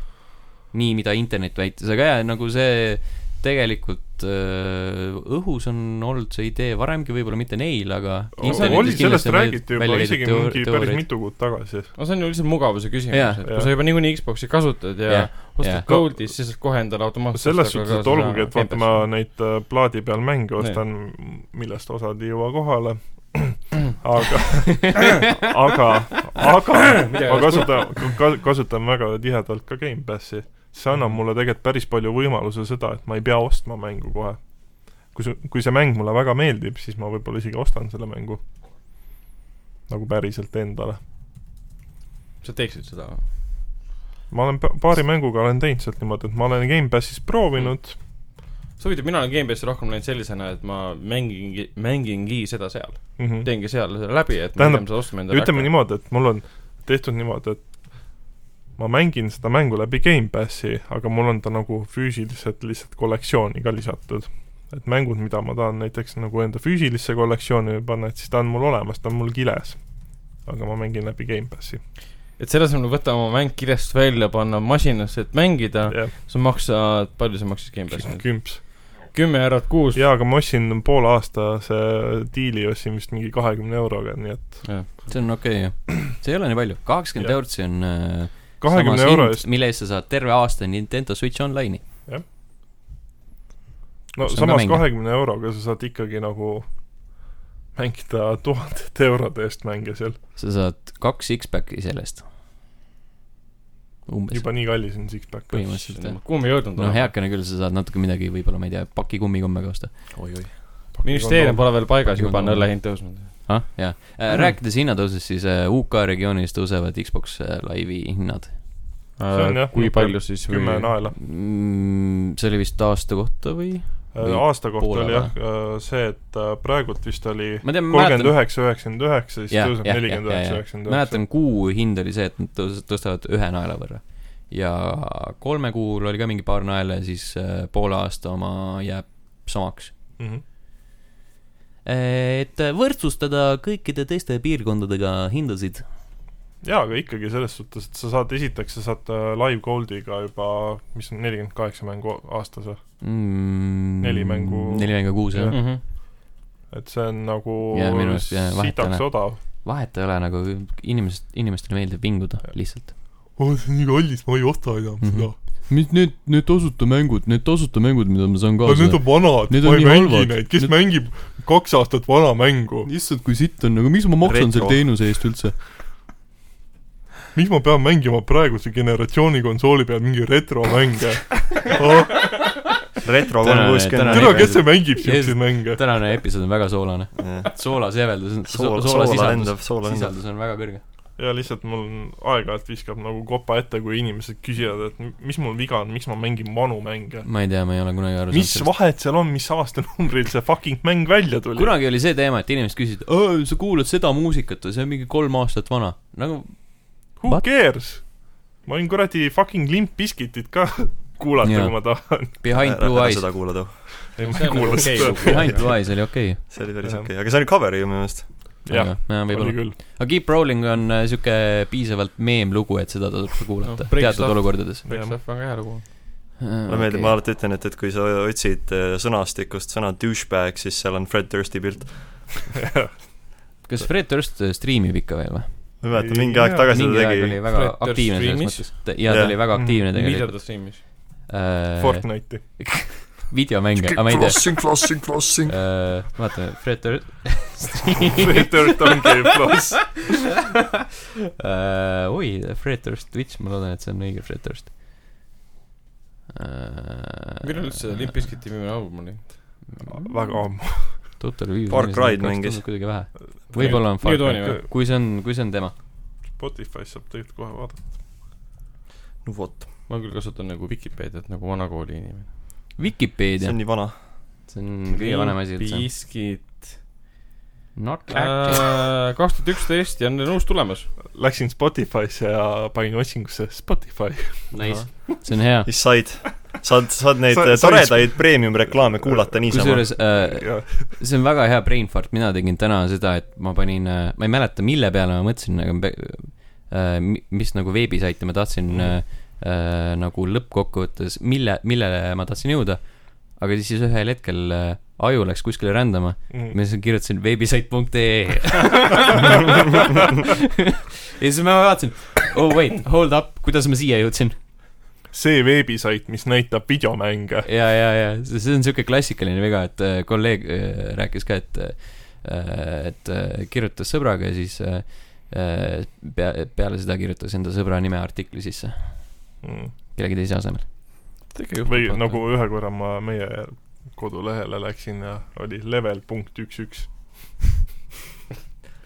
A: nii , mida internet väitis , aga jaa , nagu see tegelikult öö, õhus on olnud see idee varemgi , võib-olla mitte neil , aga internetis
D: oli , sellest
A: kindlasti on välja-
D: räägiti juba
A: välja käidud
D: isegi
A: teo-
D: mingi päris
A: teooriaid.
D: mitu kuud tagasi .
C: no see on ju lihtsalt mugavuse küsimus ,
A: Jah.
C: et
D: Jah.
C: kui sa juba niikuinii Xboxi kasutad ja
A: Jah, jah.
C: ostad Goldi , siis sa saad kohe endale automaatselt
D: selles suhtes , et olgugi , et vaata , ma neid äh, plaadi peal mänge ostan , millest osad ei jõua kohale , aga , aga , aga
C: Midagi
D: ma
C: oleks
D: kasutan , kasutan väga tihedalt ka Gamepassi . see annab mulle tegelikult päris palju võimaluse seda , et ma ei pea ostma mängu kohe . kui see , kui see mäng mulle väga meeldib , siis ma võib-olla isegi ostan selle mängu . nagu päriselt endale .
C: sa teeksid seda või ?
D: ma olen pa- paari mänguga olen teinud sealt niimoodi , et ma olen Gamepassis proovinud ,
C: see huvitav , mina olen Gamepassi rohkem läinud sellisena , et ma mängingi , mängingi seda seal ,
D: mm . -hmm.
C: teengi seal selle läbi , et
D: Tähendab,
C: ma pean seda ostma endale
D: ütleme . niimoodi , et mul on tehtud niimoodi , et ma mängin seda mängu läbi Gamepassi , aga mul on ta nagu füüsiliselt lihtsalt kollektsiooni ka lisatud . et mängud , mida ma tahan näiteks nagu enda füüsilisse kollektsiooni panna , et siis ta on mul olemas , ta on mul kiles . aga ma mängin läbi Gamepassi .
C: et selle asemel võtta oma mäng kirjast välja , panna masinasse , et mängida ,
D: jah ,
C: sa maksad , palju see maksis Gamepass nüüd ?
D: kümps .
C: kümme eurot kuus .
D: jaa , aga ma ostsin poole aastase diili ostsin vist mingi kahekümne euroga , nii et
A: see on okei okay, , jah . see ei ole nii palju , kakskümmend
D: Jah.
A: eurot , see on öö,
D: kahekümne
A: samas
D: euro
A: hind,
D: eest
A: mille eest sa saad terve aasta Nintendo Switch Online'i .
D: no
A: kus on ka
D: samas
A: mänge.
D: kahekümne euroga sa saad ikkagi nagu mängida tuhandete eurode eest mänge seal .
A: sa saad kaks X-Packi sellest . umbes .
D: juba nii kallis on Sixpack .
A: põhimõtteliselt jah .
C: kuhu me jõudnud
A: no ? heakene küll , sa saad natuke midagi , võib-olla , ma ei tea , paki kummikommega osta .
B: oi-oi .
C: ministeerium pole veel paigas , juba on
A: Pakikondom.
C: õlle hind tõusnud .
A: ah , jaa . rääkides hinnatõusust , siis äh, UK regioonis tõusevad Xbox äh, Live'i hinnad
D: on jah,
C: kui
D: niisugune
C: palju siis ?
D: kümme naela .
A: mm, . see oli vist aasta kohta või ? Või
D: Äh, aasta kohta
A: poole
D: oli jah see , et äh, praegult vist oli
A: ma tean , ma
D: kolmkümmend
A: mäletan ,
D: üheksa , üheksakümmend üheksa , siis
A: Jah,
D: tõuseb
A: jah,
D: nelikümmend
A: jah, jah, jah.
D: üheksa , üheksakümmend üheksa .
A: mäletan kuu hind oli see , et nad tõus- tõstavad ühe naela võrra . ja kolme kuul oli ka mingi paar naela ja siis äh, poole aasta oma jääb samaks .
D: Mhm.
A: et võrdsustada kõikide teiste piirkondadega hindasid .
D: jaa , aga ikkagi selles suhtes , et sa saad , esiteks sa saad äh, live gold'iga juba , mis on nelikümmend kaheksa mängu aastas või ?
A: mm, .
D: Neli mängu-
A: neli mängu kuus jah
D: Jah.
C: Mhm.
A: ja. .
D: et see on nagu
A: Jaa, minu arust, jaa, vahet ei
D: sitaks
A: ole.
D: odav .
A: vahet ei ole nagu inimesed , inimestele meeldib vinguda lihtsalt .
D: oo , see on nii kallis , ma ei osta enam
A: Mhm. seda. mis need , need tasuta mängud , need tasuta mängud , mida ma saan
D: aga need on vanad ,
A: Need
D: ma
A: on
D: ei
A: nii
D: mängi
A: halvad.
D: neid , kes
A: Need-
D: need... mängib kaks aastat vana mängu ,
A: issand , kui sitt on , aga miks ma
B: maksan selle Retro.
A: teenuse eest üldse ?
D: miks ma pean mängima praeguse generatsiooni konsooli peal mingi retromänge oh, ?
B: retro kolm
A: Tänane- tänane-
D: tere , kes see
B: kuuskümmend .
D: mängib siukseid mänge ?
A: tänane episood on väga soolane . soolaseeveldus ,
B: soola ,
A: soola
B: soola
A: sisaldus ,
B: lendab , soola lendab .
A: sisaldus on väga kõrge .
D: ja lihtsalt mul on aeg-ajalt viskab nagu kopa ette , kui inimesed küsivad , et m- mis mul viga on , miks ma mängin vanu mänge .
A: ma ei tea , ma ei ole kunagi aru
D: mis
A: saanud .
D: vahet seal on , mis aastanumbril see fucking mäng välja tuli ?
A: kunagi oli see teema , et inimesed küsisid , sa kuulad seda muusikat või see on mingi kolm aastat vana . nagu
D: Who
A: What?
D: What? cares ? ma võin kuradi fucking Limp Bizkitit ka kuulata ,
A: Jaa.
D: kui ma tahan .
A: Behind Blue
B: ära
A: Eyes ,
B: seda kuula too .
D: ei , ma
C: See on
D: ei
C: nagu
D: kuula
C: okei
D: seda .
C: lugu.
A: Behind Blue Eyes oli okei
B: see oli päris
D: Jah.
B: okei okay. , aga see oli cover ju minu meelest .
D: jah ,
A: okay. . jaa ,
D: oli
A: võib-olla .
D: küll .
A: aga Keep Rolling on äh, siuke piisavalt meemlugu , et seda tasub ka kuulata
C: No,
A: no,
C: Break
A: teatud
C: Stuff.
A: olukordades . Äh,
D: Jah.
C: Breakstuff on ka hea lugu .
B: mulle meeldib , ma alati ütlen , et , et kui sa otsid äh, sõnastikust sõna douchebag , siis seal on Fred Dursti pilt .
A: kas Fred Durst äh, striimib ikka veel või ?
B: ma mäletan , mingi aeg
D: Jaa,
B: tagasi
A: mingi
B: ta
A: aeg
B: tegi
A: oli väga
C: Fred Durst
A: aktiivne selles
C: streamis? Mm.
A: mõttes . jaa , ta
B: Jah.
A: oli väga aktiivne
C: mida
A: tegelikult .
C: ta streamis ?
D: Fortnite'i .
A: videomänge , aga ma ei tea .
B: crossing , crossing , crossing .
A: Äh, vaata , Fred Durst
D: Fred Dirt ongi pluss .
A: uh, . oi , Fred Durst Twitch , ma loodan , et see on õige Fred Durst uh,
C: millal üldse Limp ? Bizkiti viimane album oli ?
D: väga ammu .
A: Total Revive .
B: Far Cry mängis.
A: kuidagi vähe . võib-olla on Far
C: New Dawni
A: Cry , kui see on , kui see on tema .
D: Spotify's saab tegelikult kohe vaadata .
B: no vot ,
C: ma küll kasutan nagu Vikipeediat nagu vanakooli inimene .
B: see
A: Vikipeedia
B: on , nii vana .
A: see on kõige vanem asi üldse .
C: Bizkit .
A: Not active .
C: Äh, kaks tuhat üksteist ja on uus tulemas .
D: Läksin Spotify'sse ja panin otsingusse Spotify .
A: Nice . see on hea .
B: siis said , saad , saad neid
D: Sa-
B: äh,
D: sai-
B: toredaid premium-reklaame kuulata niisama .
A: kusjuures äh,
D: ja
A: see on väga hea brain fart , mina tegin täna seda , et ma panin , ma ei mäleta , mille peale ma mõtlesin , aga pe- äh, mi- mis nagu veebisaiti ma tahtsin mm -hmm. äh, nagu lõppkokkuvõttes , mille , millele ma tahtsin jõuda . aga siis- siis ühel hetkel äh, aju läks kuskile rändama , ma
D: mm. .
A: lihtsalt kirjutasin veebisait.ee . ja siis ma vaatasin , oh wait , hold up , kuidas ma siia jõudsin .
D: see veebisait , mis näitab videomänge .
A: ja , ja , ja see see on siuke klassikaline viga , et äh, kolleeg äh, rääkis ka , et äh, et äh, kirjutas sõbraga ja siis äh, äh, pea , peale seda kirjutas enda sõbra nime artikli sisse
D: Mm.
A: kellegi teise asemel .
D: või nagu ühe korra ma meie kodulehele läksin ja oli level punkt üks üks .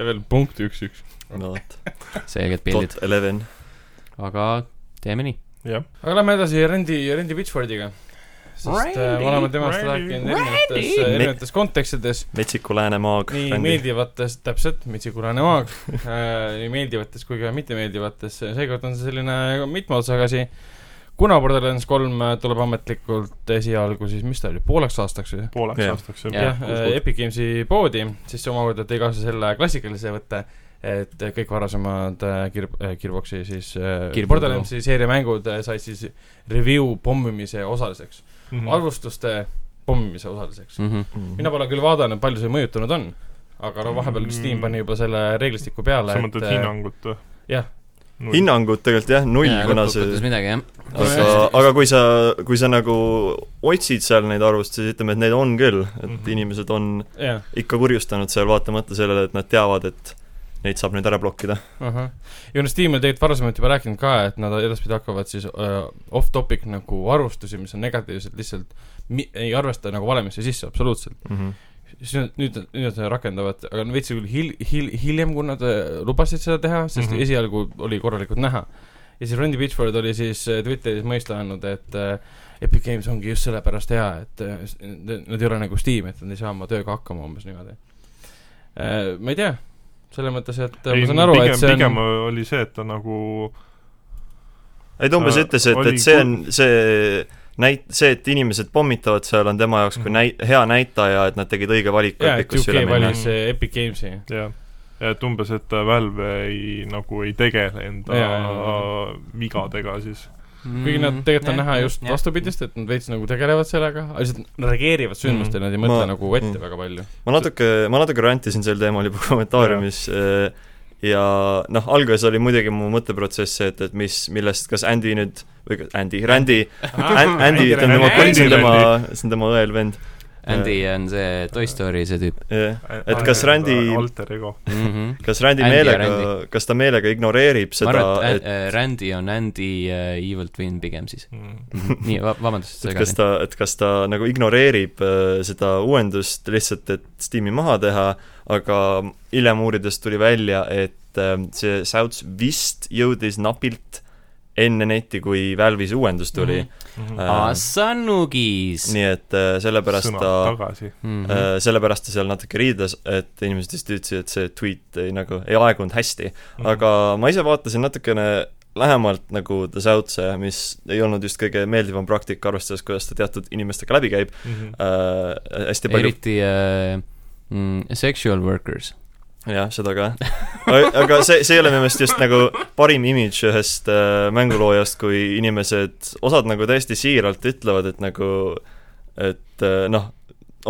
C: veel punkt üks , üks .
B: no vot ,
A: selged pildid
B: dot , eleven .
A: aga teeme nii .
D: jah ,
C: aga lähme edasi Randy , Randy Pitchfordiga . sest Randy,
A: Randy,
C: me oleme temast
D: Randy,
C: rääkinud erinevates ,
B: Randy!
C: erinevates kontekstides .
B: metsiku läänemaag .
C: nii Randy. meeldivates , täpselt , mitsikulane maag äh, , nii meeldivates kui ka mittemeeldivates , seekord on see selline mitme otsaga asi . kuna Borderlands kolm äh, tuleb ametlikult esialgu siis , mis ta oli , pooleks aastaks või ?
D: pooleks
B: Jah.
D: yeah. aastaks
A: Jah.
D: juba .
C: jah , Epic Games'i poodi , siis omakorda tõi kaasa selle klassikalise võtte , et kõik varasemad äh, Gear- , Gearboxi siis äh,
A: Gearbox.
C: Borderlandsi seeriamängud äh, said siis review pommimise osaliseks ,
D: Mhm. Mm.
C: arvustuste pommimise osaliseks .
A: Mm.
B: Mm.
C: mina pole küll vaadanud , palju see mõjutanud on , aga no vahepeal vist Steam pani juba selle reeglistiku peale ,
D: sa mõtled
C: et äh,
D: hinnangut äh, või ?
C: jah. .
B: hinnangut tegelikult jah , null , kuna see
A: lõppkokkuvõttes midagi jah .
B: aga , aga kui sa , kui sa nagu otsid seal neid arvustusi , ütleme , et neid on küll , et mm
D: Mhm.
B: -hmm. inimesed on
C: jah ,
B: ikka kurjustanud seal , vaatamata sellele , et nad teavad , et neid saab nüüd ära blokkida .
C: ahah . ja no Steam on tegelikult varasemalt juba rääkinud ka , et nad edaspidi hakkavad siis uh, off-topic nagu arvustusi , mis on negatiivsed , lihtsalt mi- , ei arvesta nagu valemisse sisse absoluutselt . siis nad nüüd , nüüd nad seda rakendavad , aga no veits küll hil- , hil- , hiljem , kui nad äh, lubasid seda teha , sest mm
D: Mhm.
C: -hmm. esialgu oli korralikult näha , ja siis Randy Pitchford oli siis äh, Twitteris mõista andnud , et äh, Epic Games ongi just sellepärast hea , et äh, s- n- nad ei ole nagu Steam , et nad ei saa oma tööga hakkama umbes niimoodi äh, . ma ei tea , selles mõttes , et äh, ma saan aru ,
D: pigem ,
C: et see
D: pigem
C: on
D: oli see , et ta nagu
B: ei ta umbes
D: Äh,
B: ütles , et ,
D: oli
B: et see
D: kul-
B: on see näit- , see , et inimesed pommitavad seal , on tema jaoks kui näi- , hea näitaja , et nad tegid õige valiku
C: jaa , et
B: Epicusse
C: UK
B: üle minna .
C: valis äh, Epic Games'i
D: jah , et umbes , et Valve ei , nagu ei tegele enda
C: Jaa, jaa, jaa.
D: vigadega siis .
C: kuigi nad
A: Mhm.
C: tegelikult
A: Mm.
C: on näha just . vastupidist , et nad veits nagu tegelevad sellega , lihtsalt nad reageerivad sündmustele , nad ei mõtle
B: Ma-
C: nagu ette
B: mm.
C: väga palju .
B: ma natuke , ma natuke rantisin sel teemal juba kommentaariumis äh, ja noh , alguses oli muidugi mu mõtteprotsess see , et , et mis , millest , kas Andy nüüd , või kas Andy , Randy , Andy , ta on tema
D: Randy,
B: kolm , see on tema
D: Randy. ,
B: see on tema õel vend ,
A: Andy on see Toy Story see tüüp
B: jah . Et kas Randy-
D: alter ego .
A: mm . -hmm.
B: Eh, kas Randy
A: Andy ja
B: meelega
A: Randy. ,
B: kas ta meelega ignoreerib
A: ma
B: seda ,
A: arvan , et
B: et
A: äh, Randy on Andy äh, Evil Twin pigem siis .
D: Mm,
A: nii , vabandust ,
B: et kas
A: segan .
B: ta , et kas ta nagu ignoreerib äh, seda uuendust lihtsalt , et Steam'i maha teha , aga hiljem uurides tuli välja , et äh, see South vist jõudis napilt enne neti , kui Valve'is uuendus tuli
D: Mhm.
B: mm .
A: aa , Sanugis
B: -hmm. . nii et äh, sellepärast
D: sõna
B: ta
D: tagasi .
A: Mhm.
B: äh, sellepärast ta seal natuke riides , et inimesed vist ütlesid , et see tweet ei nagu , ei aegunud hästi .
D: Mhm.
B: aga ma ise vaatasin natukene lähemalt nagu The South'e , mis ei olnud just kõige meeldivam praktika , arvestades , kuidas ta teatud inimestega läbi käib .
D: Mhm.
B: äh, hästi palju ,
A: eriti äh, mm, sexual workers .
B: jah , seda ka . aga see , see ei ole minu meelest just nagu parim imidž ühest äh, mänguloojast , kui inimesed , osad nagu täiesti siiralt ütlevad , et nagu , et äh, noh ,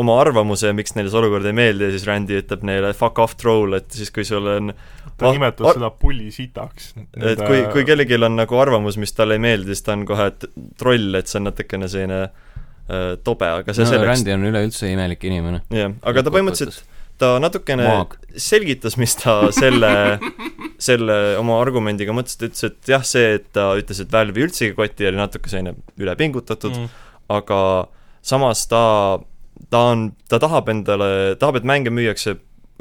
B: oma arvamuse , miks neile see olukord ei meeldi ja siis Randy ütleb neile fuck off troll , et siis , kui sul on ,
D: ta
B: Ah,
D: nimetas
B: ah.
D: seda pullisitaks .
B: et kui , kui kellelgi on nagu arvamus , mis talle ei meeldi , siis ta on kohe t- troll , et see on natukene selline äh, tobe , aga see
A: no
B: no, selleks ,
A: Randy on üleüldse imelik inimene .
B: jah , aga ta põhimõtteliselt ta natukene
A: Maag.
B: selgitas , mis ta selle , selle oma argumendiga mõtles , ta ütles , et jah , see , et ta ütles , et Valve'i üldsegi kotti oli natuke selline ülepingutatud mm. , aga samas ta , ta on , ta tahab endale , tahab , et mänge müüakse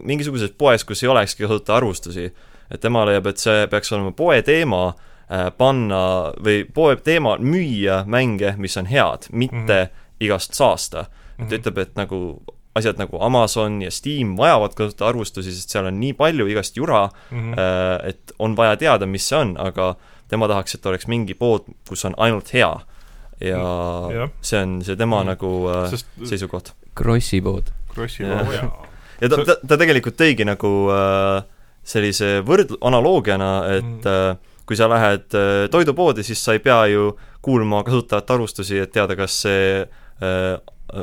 B: mingisuguses poes , kus ei olekski kasuta arvustusi . et tema leiab , et see peaks olema poe teema , panna või poe teema , müüa mänge , mis on head , mitte mm -hmm. igast saasta .
D: Mhm.
B: et ta ütleb , et nagu asjad nagu Amazon ja Steam vajavad kasutajaarvustusi , sest seal on nii palju igast jura
D: Mhm.
B: mm , -hmm. et on vaja teada , mis see on , aga tema tahaks , et oleks mingi pood , kus on ainult hea . ja
D: jah.
B: see on see tema
D: Mm.
B: nagu äh,
D: sest
B: seisukoht .
A: Krossi pood .
D: Krossi
B: Jah.
D: poja .
B: ja ta , ta , ta tegelikult tõigi nagu äh, sellise võrd- , analoogiana , et äh, kui sa lähed äh, toidupoodi , siis sa ei pea ju kuulma kasutajate arvustusi , et teada , kas see äh,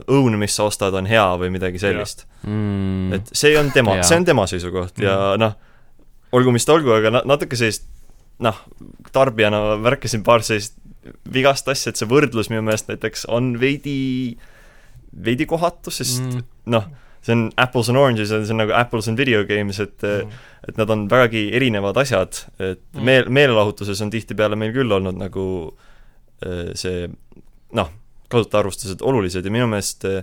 B: õun , mis sa ostad , on hea või midagi sellist .
A: mm. .
B: et see on tema
A: Jaa. ,
B: see on tema seisukoht ja noh , olgu mis ta olgu , aga na- , natuke sellist noh , tarbijana ma märkasin paar sellist vigast asja , et see võrdlus minu meelest näiteks on veidi , veidi kohatu , sest mm. noh , see on apples and oranges , see on nagu apples and video games , et mm.
D: Mhm.
B: et nad on vägagi erinevad asjad , et mm. meel , meelelahutuses on tihtipeale meil küll olnud nagu äh, see noh , kasutajaarvustused olulised ja minu meelest äh,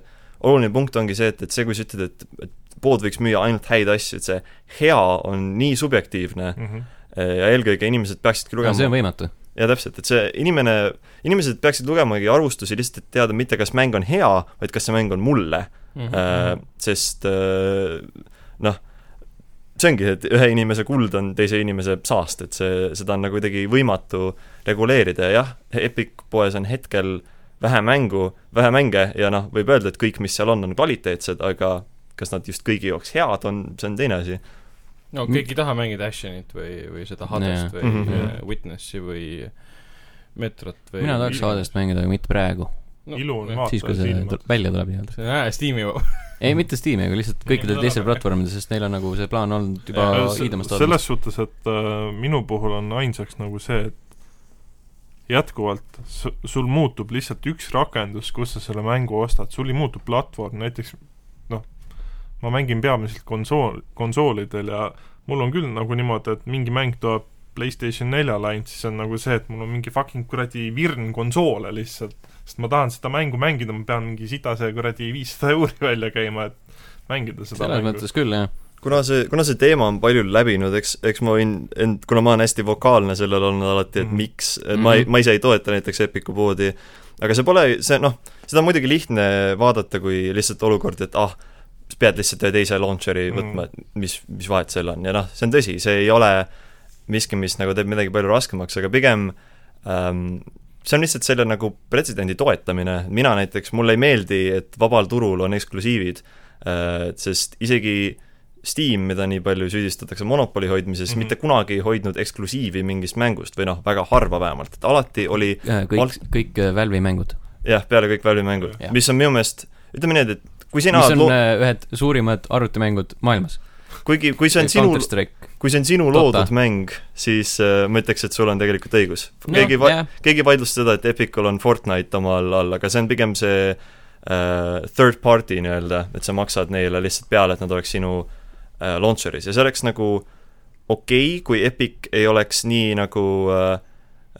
B: oluline punkt ongi see , et , et see , kui sa ütled , et , et pood võiks müüa ainult häid asju , et see hea on nii subjektiivne mm.
D: Mhm.
B: ja eelkõige inimesed peaksidki
A: aga see on
B: lugema ,
A: võimatu .
B: jaa täpselt , et see inimene , inimesed peaksid lugemagi arvustusi lihtsalt , et teada mitte , kas mäng on hea , vaid kas see mäng on mulle
C: Mhm.
B: mm . -hmm. Sest äh, noh , see ongi , et ühe inimese kuld on teise inimese saast , et see , seda on nagu kuidagi võimatu reguleerida ja jah , Epic poes on hetkel vähe mängu , vähe mänge ja noh , võib öelda , et kõik , mis seal on , on kvaliteetsed , aga kas nad just kõigi jaoks head on , see on teine asi .
C: no kõik ei taha mängida Ashenit või , või seda
A: Jaa.
C: Hadest või mm
B: Mhm.
C: -hmm. Witnessi või Metrot või
A: mina tahaks Hadest mängida , aga mitte praegu .
C: No,
D: ilu on
A: siis , kui
D: vaataja
A: see
D: silmad .
A: tu- välja tuleb nii-öelda .
C: see on jah , Steam'i
A: ei , mitte Steam'i , aga lihtsalt kõikidel teistel platvormidel , sest neil on nagu see plaan olnud juba
D: Aga Äh, se-
A: hiidamast
D: selles suhtes , et äh, minu puhul on ainsaks nagu see , et jätkuvalt su- sul muutub lihtsalt üks rakendus , kus sa selle mängu ostad , sul ei muutu platvorm , näiteks noh , ma mängin peamiselt konsool , konsoolidel ja mul on küll nagu niimoodi , et mingi mäng tuleb PlayStation neljale ainult , siis on nagu see , et mul on mingi fucking kuradi virn konsoole lihtsalt , sest ma tahan seda mängu mängida , ma pean mingi sitase kuradi viissada euri välja käima , et mängida seda
A: selles
D: mängu .
A: mõttes küll , jah .
B: kuna see , kuna see teema on palju läbinud , eks , eks ma võin end , kuna ma olen hästi vokaalne sellel olnud alati , et
D: Mhm.
B: miks , et ma ei ,
A: Mhm.
B: ma ise ei toeta näiteks Epiku poodi , aga see pole , see noh , seda on muidugi lihtne vaadata , kui lihtsalt olukord , et ah , sa pead lihtsalt ühe teise launcher'i
D: Mhm.
B: võtma , et mis , mis vahet seal on ja noh , see on tõsi , see ei ole miski , mis nagu teeb midagi palju raskemaks , aga pigem ähm, see on lihtsalt selle nagu pretsedendi toetamine , mina näiteks , mulle ei meeldi , et vabal turul on eksklusiivid äh, , sest isegi Steam , mida nii palju süüdistatakse monopoli hoidmises mm ,
D: Mhm.
B: -hmm. mitte kunagi ei hoidnud eksklusiivi mingist mängust või noh , väga harva vähemalt , et alati oli
A: kõik , kõik äh, Valve'i mängud ,
B: jah , peale kõik Valve'i mängud
A: Jah. ,
B: mis on minu meelest , ütleme nii , et , et kui sina
A: mis on
B: loo- ,
A: äh, ühed suurimad arvutimängud maailmas .
B: kuigi , kui see on sinu ,
A: Counter-Strike .
B: kui see on sinu
A: Dota.
B: loodud mäng , siis äh, ma ütleks , et sul on tegelikult õigus . keegi va- , keegi ei vaidlusta seda , et Epicul on Fortnite oma all , all , aga see on pigem see äh, third party nii-öelda , et sa maksad neile lihtsalt peale , et nad oleks sinu äh, launcher'is ja see oleks nagu okei okay, , kui Epic ei oleks nii nagu äh,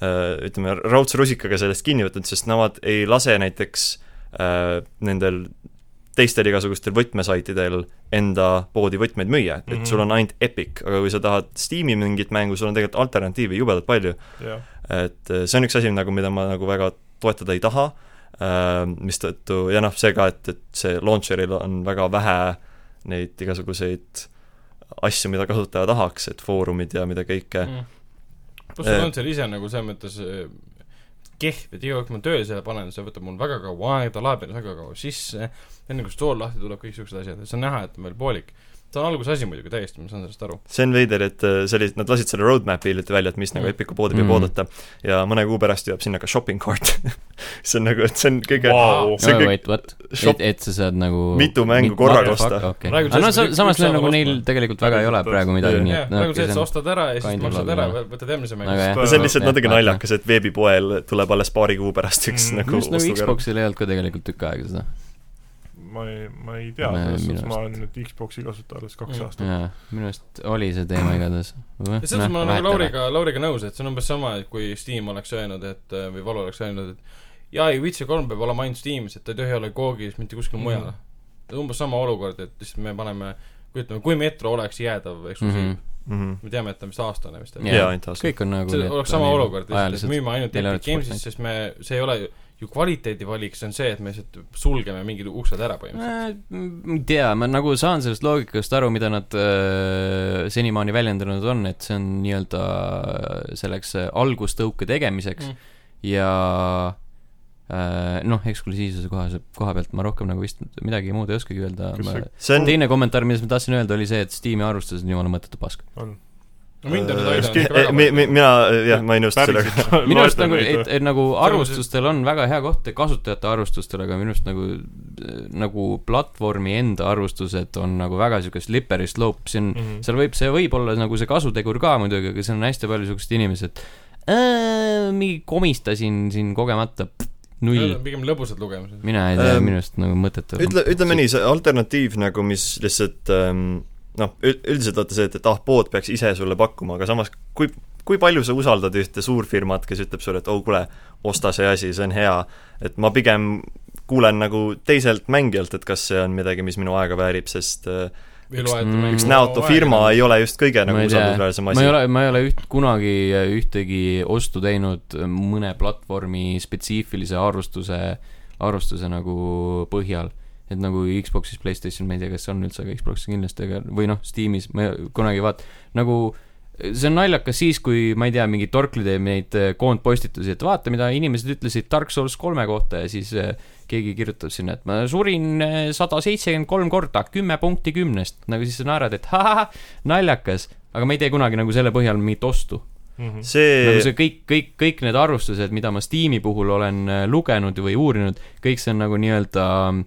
B: äh, ütleme , raudse rusikaga sellest kinni võtnud , sest nemad ei lase näiteks äh, nendel teistel igasugustel võtmesaitidel enda poodi võtmeid müüa , et mm
D: Mhm.
B: -hmm. sul on ainult Epic , aga kui sa tahad Steam'i mingit mängu , sul on tegelikult alternatiive jubedalt palju .
D: jah ,
B: et eh, see on üks asi nagu , mida ma nagu väga toetada ei taha , mistõttu ja noh , see ka , et , et see launcher'il on väga vähe neid igasuguseid asju , mida kasutaja tahaks , et foorumid ja mida kõike
C: mm. . pluss sul on seal ise nagu selles mõttes äh, kehv , et iga kord , kui ma töö selle panen , see võtab mul väga kaua aega , ta laeb ennast väga kaua sisse , enne kui stool lahti tuleb , kõik siuksed asjad , see on näha , et on veel poolik . see on alguse asi muidugi täiesti , ma saan sellest aru .
B: see on veider , et eh, see oli , nad lasid selle roadmap'i hiljuti välja , et mis nagu
C: Mm.
B: Epiku poodi peab
A: Mm.
B: oodata ja mõne kuu pärast jõuab sinna ka shopping cart . see on nagu , et see on kõige
D: Vau.
B: see on kõik
A: Wait , what ?
B: shop-
A: et , et sa saad nagu
B: Mitu mängu
A: mit-
B: korraga
A: What the
B: osta.
A: fuck, okei.
C: Praegu
A: aga no
C: selles
A: sa-
C: mõttes
A: samas
C: üks
A: neil
C: saab
A: nagu
C: ostma.
A: neil tegelikult väga ei ole
D: Tõesti.
A: praegu midagi , nii
C: jah ,
A: et
C: praegu see , et sa
A: okei,
C: ostad ära ja siis
A: kind of
C: maksad
A: love,
C: ära
A: jah. ,
C: võtad järgmise mängu
A: Väga hea. .
B: see on lihtsalt
A: Jah, jah,
B: natuke
A: jah.
B: naljakas , et veebipoel tuleb alles paari kuu pärast üks
D: Mm.
B: mm.
A: minu
B: nagu
A: arust nagu Xboxil ei olnud ka tegelikult tükk aega seda .
D: ma ei , ma ei tea ,
A: Ma-
D: selles
A: minu
D: suhtes ma olen nüüd Xbox'i kasutaja alles kaks
C: Mm.
D: aastat .
A: jaa , minu arust oli see teema igatahes . Noh,
C: ja selles mõttes ma olen nagu . Lauriga , Lauriga nõus , et see on umbes sama , et kui Steam oleks öelnud , et äh, või Valo oleks öelnud , et jaa , ei , Witcher kolm peab olema ainult Steamis , et ta ei tohi olla koogis mitte kuskil
D: Mhm.
C: mujal mm. . umbes sama olukord , et lihtsalt me paneme , kujutame , kui Metro oleks jäädav eksklusiiv mm , -hmm.
B: mm.
C: me teame , et ta vist aastane vist
A: Jah.
C: oli .
B: jaa , ainult aastas .
A: kõik on Mhm. nagu .
C: see oleks sama olukord , et
A: ajaliselt .
C: müüme ainult
A: neil
C: Epic
A: oleks
C: Games'is , sest me , see ei ole ju- ju kvaliteedi valik , see on see , et me lihtsalt sulgeme mingid uksed ära põhimõtteliselt .
A: ma Eh, ei tea , ma nagu saan sellest loogikast aru , mida nad äh, senimaani väljendanud on , et see on nii-öelda selleks eh, algustõuke tegemiseks
C: Mm.
A: mm. ja äh, noh , eksklusiivsuse koha , koha pealt ma rohkem nagu vist midagi muud ei oskagi öelda .
D: Kas see-
B: see on
A: teine kommentaar , mida ma tahtsin öelda , oli see , et Steam'i arvustus on jumala mõttetu pask .
D: on .
C: no mind on
B: Äh,
C: nüüd aidanud
D: Steam-
C: ikka väga
B: mi-
C: palju .
B: mi- mina , jah , ma ei nõustu sellega .
A: minu arust nagu , et , et nagu arvustustel on väga hea koht kasutajate arvustustel , aga minu arust nagu , nagu platvormi enda arvustused on nagu väga siukest slippery slope , siin
D: Mhm.
A: seal võib , see võib olla nagu see kasutegur ka muidugi , aga siin on hästi palju siukseid inimesi , et "Äh, mingi komistasin siin kogemata , null
C: Need , on pigem lõbusad lugemised .
A: mina ei tea ,
B: Ähm,
A: minu arust nagu mõttetu .
B: ütle , ütleme nii , see alternatiiv nagu , mis lihtsalt ähm, noh , üldiselt vaata see , et , et ah , pood peaks ise sulle pakkuma , aga samas kui , kui palju sa usaldad ühte suurfirmat , kes ütleb sulle , et oh kuule , osta see asi , see on hea , et ma pigem kuulen nagu teiselt mängijalt , et kas see on midagi , mis minu aega väärib , sest äh, üks
A: Mm.
B: näotu firma ei ole just kõige
A: Ma
B: nagu
A: ei tea.
B: usaldusväärsem
A: ma ei
B: asi .
A: ole , ma ei ole üht , kunagi äh, ühtegi ostu teinud mõne platvormi spetsiifilise arvustuse , arvustuse nagu põhjal . et nagu Xbox'is , Playstationil , ma ei tea , kas on üldse , aga Xbox'is kindlasti , aga või noh , Steamis ma ei- kunagi ei vaata , nagu see on naljakas siis , kui ma ei tea , mingi Torkli teeb neid eh, koondpostitusi , et vaata , mida inimesed ütlesid Dark Souls kolme kohta ja siis eh, keegi kirjutab sinna , et ma surin äh, sada seitsekümmend kolm korda , kümme punkti kümnest , nagu siis sa naerad , et ha-ha-ha , naljakas , aga ma ei tee kunagi nagu selle põhjal mingit ostu .
D: mhm,
A: nagu
B: see
A: see kõik , kõik , kõik need arvustused , mida ma Steam'i puhul olen äh, lugenud või uurinud , kõik see on nagu nii-öelda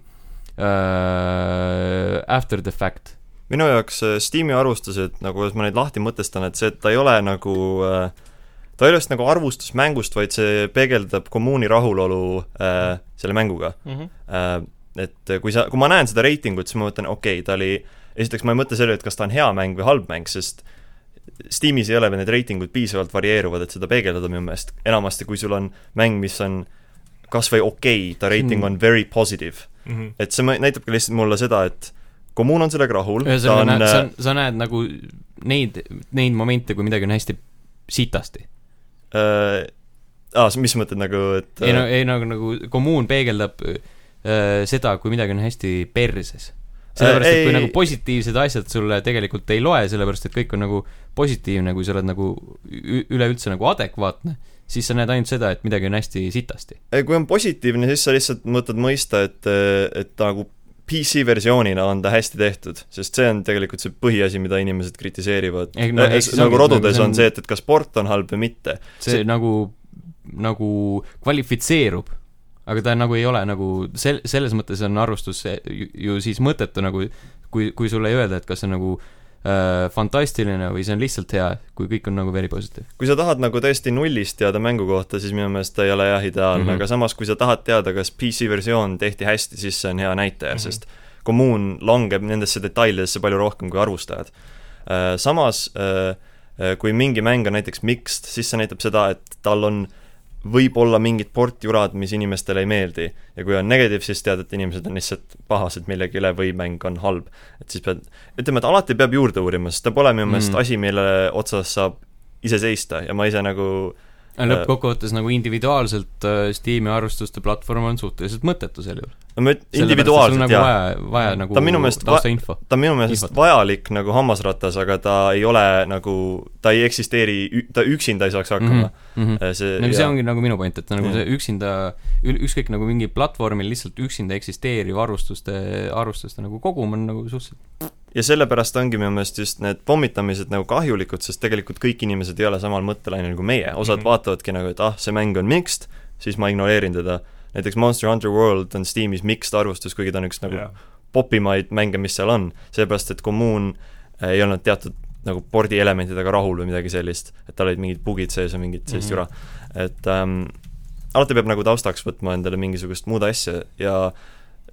A: äh, after the fact .
B: minu jaoks äh, Steam'i arvustused , nagu kuidas ma neid lahti mõtestan , et see , et ta ei ole nagu äh, ta ei ole just nagu arvustus mängust , vaid see peegeldab kommuuni rahulolu äh, selle mänguga
C: Mhm.
B: äh, . et kui sa , kui ma näen seda reitingut , siis ma mõtlen , okei okay, , ta oli , esiteks ma ei mõtle selle , et kas ta on hea mäng või halb mäng , sest Steamis ei ole veel need reitingud piisavalt varieeruvad , et seda peegeldada minu meelest , enamasti kui sul on mäng , mis on
D: mhm.
B: kas või okei okay, , ta reiting on very positive , et see mõ- näitab ka lihtsalt mulle seda , et kommuun on sellega rahul , ta
A: ühesõnaga ,
B: on , äh,
A: sa , sa näed nagu neid , neid momente , kui midagi on hästi sitasti .
B: äh, aa , mis sa mõtled nagu , et
A: ei no , ei nagu , nagu kommuun peegeldab äh, seda , kui midagi on hästi perses . sellepärast , et
B: Äh, Ei.
A: kui nagu positiivsed asjad sulle tegelikult ei loe , sellepärast et kõik on nagu positiivne , kui sa oled nagu ü- üleüldse nagu adekvaatne , siis sa näed ainult seda , et midagi on hästi sitasti .
B: Ei, kui on positiivne , siis sa lihtsalt mõtled mõista , et , et ta nagu PC-versioonina on ta hästi tehtud , sest see on tegelikult see põhiasi , mida inimesed kritiseerivad .
A: Ei, no,
B: Eh,
A: eks see ongi,
B: nagu
A: et
B: rodudes
A: see on-
B: on see , et , et kas port on halb või mitte .
A: see
B: See-
A: nagu , nagu kvalifitseerub . aga ta nagu ei ole nagu sel- , selles mõttes on arvustus see ju, ju siis mõttetu nagu , kui , kui sulle ei öelda , et kas see on nagu äh, fantastiline või see on lihtsalt hea , kui kõik on nagu very positive .
B: kui sa tahad nagu täiesti nullist teada mängu kohta , siis minu meelest ta ei ole jah ideaalne
A: Mhm.
B: mm , -hmm. aga samas , kui sa tahad teada , kas PC-versioon tehti hästi , siis see on hea näitaja mm ,
D: Mhm.
B: -hmm. sest kommuun langeb nendesse detailidesse palju rohkem kui arvustajad . Samas , kui mingi mäng on näiteks mixed , siis see näitab seda , et tal on võib-olla mingid portjurad , mis inimestele ei meeldi . ja kui on negative , siis tead , et inimesed on lihtsalt pahased millegi üle või mäng on halb . et siis pead , ütleme , et alati peab juurde uurima , sest ta pole minu meelest
A: Mm.
B: mm. asi , mille otsas saab ise seista ja ma ise nagu
A: lõppkokkuvõttes nagu individuaalselt äh, Steam'i arvustuste platvorm on suhteliselt mõttetu sel juhul .
B: no ma üt- , individuaalselt
A: nagu
B: jaa ,
A: vaja , vaja nagu
B: Ta minu meelest va-
A: taustainfo .
B: ta on minu meelest
A: infot.
B: vajalik nagu hammasratas , aga ta ei ole nagu , ta ei eksisteeri , ta üksinda ei saaks hakkama mm .
A: -hmm.
B: -hmm. see,
A: no see
B: jaa.
A: ongi nagu minu point , et nagu
B: Jah.
A: see üksinda , ükskõik nagu mingi platvormil lihtsalt üksinda eksisteeriv arvustuste , arvustuste nagu kogum on nagu suhteliselt
B: ja sellepärast ongi minu meelest just need pommitamised nagu kahjulikud , sest tegelikult kõik inimesed ei ole samal mõttelainel kui meie , osad mm
D: Mhm.
B: -hmm. vaatavadki nagu , et ah , see mäng on mixed , siis ma ignoreerin teda . näiteks Monster Hunter World on Steamis mixed arvustus , kuigi ta on üks nagu yeah. popimaid mänge , mis seal on , seepärast et kommuun ei olnud teatud nagu pordielementidega rahul või midagi sellist , et tal olid mingid bugid sees ja mingid sellist
A: Mhm.
B: mm -hmm. jura , et ähm, alati peab nagu taustaks võtma endale mingisugust muud asja ja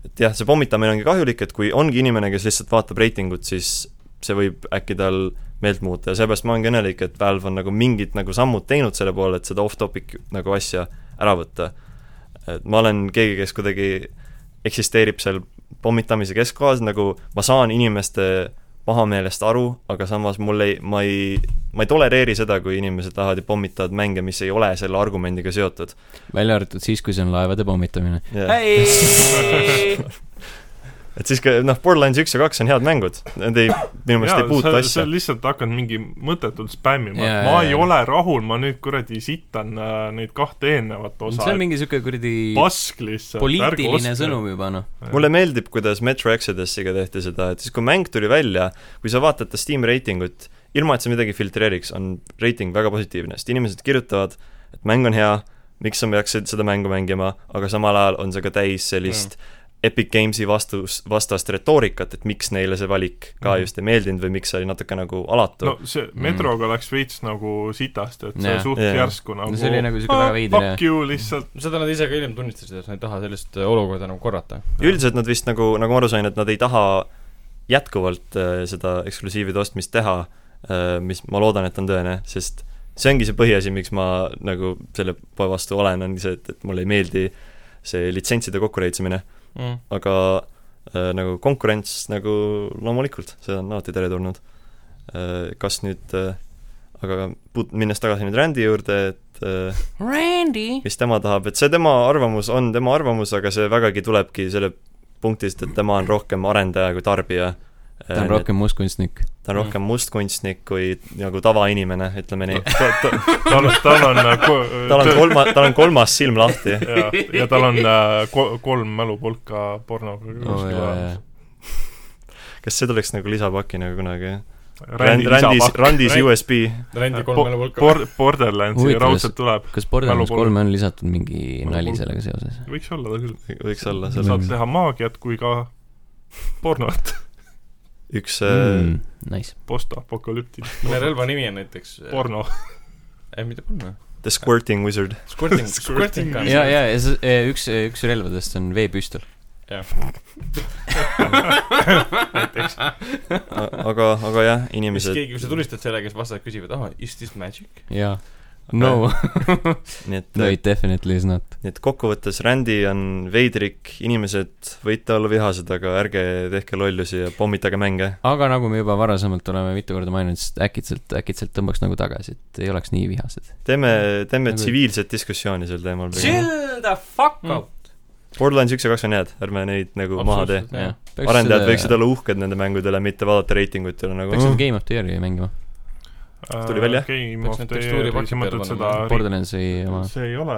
B: et jah , see pommitamine ongi kahjulik , et kui ongi inimene , kes lihtsalt vaatab reitingut , siis see võib äkki tal meelt muuta ja seepärast ma olengi õnnelik , et Valve on nagu mingid nagu sammud teinud selle poole , et seda off-topic nagu asja ära võtta . et ma olen keegi , kes kuidagi eksisteerib seal pommitamise keskkohas , nagu ma saan inimeste pahameelest aru , aga samas mul ei , ma ei , ma ei tolereeri seda , kui inimesed tahavad ja pommitavad mänge , mis ei ole selle argumendiga seotud .
A: välja arvatud siis , kui see on laevade pommitamine .
B: et siis , noh , Borderlands üks ja kaks on head mängud , need ei , minu meelest ei puutu
D: sa
B: asja .
D: lihtsalt hakkad mingi mõttetult spämmima
A: Jaa, ,
D: ma
A: jaa,
D: ei
A: jaa.
D: ole rahul , ma nüüd kuradi sitan äh, neid kahte eelnevat osa
A: see , on mingi siuke kuradi
D: pask lihtsalt .
A: poliitiline sõnum juba noh .
B: mulle meeldib , kuidas Metro Exodusiga tehti seda , et siis kui mäng tuli välja , kui sa vaatad ta Steam reitingut , ilma et sa midagi filtreeriks , on reiting väga positiivne , sest inimesed kirjutavad , et mäng on hea , miks sa peaksid seda mängu mängima , aga samal ajal on see ka täis sellist mm. Epic Gamesi vastus , vastast retoorikat , et miks neile see valik ka
D: Mhm.
B: mm. just ei meeldinud või miks see oli natuke nagu alatu
D: no . see metroga mm. läks veits nagu sitast , et see
A: Jah.
D: suht
B: Jah.
D: järsku nagu
A: see oli nagu siuke väga
D: "Ah,
A: veider, jah."
D: Fuck you lihtsalt
C: seda nad ise ka hiljem tunnistasid , et nad ei taha sellist olukorda nagu korrata .
B: ja üldiselt nad vist nagu , nagu ma aru sain , et nad ei taha jätkuvalt äh, seda eksklusiivide ostmist teha , mis ma loodan , et on tõene , sest see ongi see põhiasi , miks ma nagu selle poe vastu olen , ongi see , et , et mulle ei meeldi see litsentside kokkureitsimine ,
C: Mm.
B: aga äh, nagu konkurents nagu loomulikult , see on alati teretulnud . Kas nüüd äh, aga puut- , minnes tagasi nüüd Randi juurde , et äh,
A: Randy .
B: mis tema tahab , et see tema arvamus on tema arvamus , aga see vägagi tulebki selle punktist , et tema on rohkem arendaja kui tarbija .
A: ta
B: Äh,
A: on rohkem mustkunstnik .
B: ta on
D: Mm.
B: rohkem mustkunstnik kui nagu tavainimene , ütleme nii .
D: ta, . Ta, tal on , tal on nagu,
B: tal on kolma , tal on kolmas silm lahti .
D: ja, ja tal on äh, ko- kolm mälupulka pornoga
A: Oh,
D: kuskil ajal.
B: kas see tuleks nagu lisapakina kunagi ?
D: Randi
B: Randis ,
D: lisapakk.
B: Randis
C: Rand-
B: USB .
C: Randi
D: Po-
C: kolmele hulka .
D: Bor- , Borderlandsi
A: Huvitav,
D: raudselt tuleb ,
A: kas Borderlands
D: Mälupulk.
A: kolme on lisatud mingi nali
D: Mälupulk.
A: sellega seoses ?
D: võiks olla ta küll ,
B: võiks olla
A: Selle-
D: saad
B: seal
D: teha maagiat kui ka pornot ,
B: üks mm.
A: Mm, nice .
C: mille
D: postapokalüptiline
C: relva nimi on näiteks ?
D: porno .
C: ei , mitte porno .
B: The Squirting Wizard .
C: Squirting ,
D: Squirting.
C: Squirting
B: Äh,
C: gun .
A: ja , ja , ja see eh, üks , üks relvadest on veepüstol .
B: aga , aga jah ,
C: mis
B: inimesed
C: keegi , kui sa tulistad selle , kes vastab , küsib , et ahah , is "Ah, this magic ?
A: jaa . no ,
B: nii et
A: no it definitely is not .
B: nii et kokkuvõttes Randy on veidrik , inimesed , võite olla vihased , aga ärge tehke lollusi ja pommitage mänge .
A: aga nagu me juba varasemalt oleme mitu korda maininud , siis äkitselt , äkitselt tõmbaks nagu tagasi , et ei oleks nii vihased .
B: teeme , teeme
A: Nagu-
B: tsiviilset diskussiooni sel teemal .
A: Mm. the fuck
C: up.
B: Borderlands üks ja kaks on head , ärme neid nagu maha tee .
C: Absoluutselt. Jah.
B: arendajad võiksid olla uhked nende mängude üle , mitte vaadata reitingut ja olla
A: peaks seda
B: nagu
A: Game of the Year'i mängima .
B: Tuli välja?
D: Äh, Game
C: Peaks
D: of
C: need
D: the Year ,
C: tekstuuripakid
D: mõtled
C: peale
D: seda
C: panema.
A: Borderlandsi oma .
D: see ei ole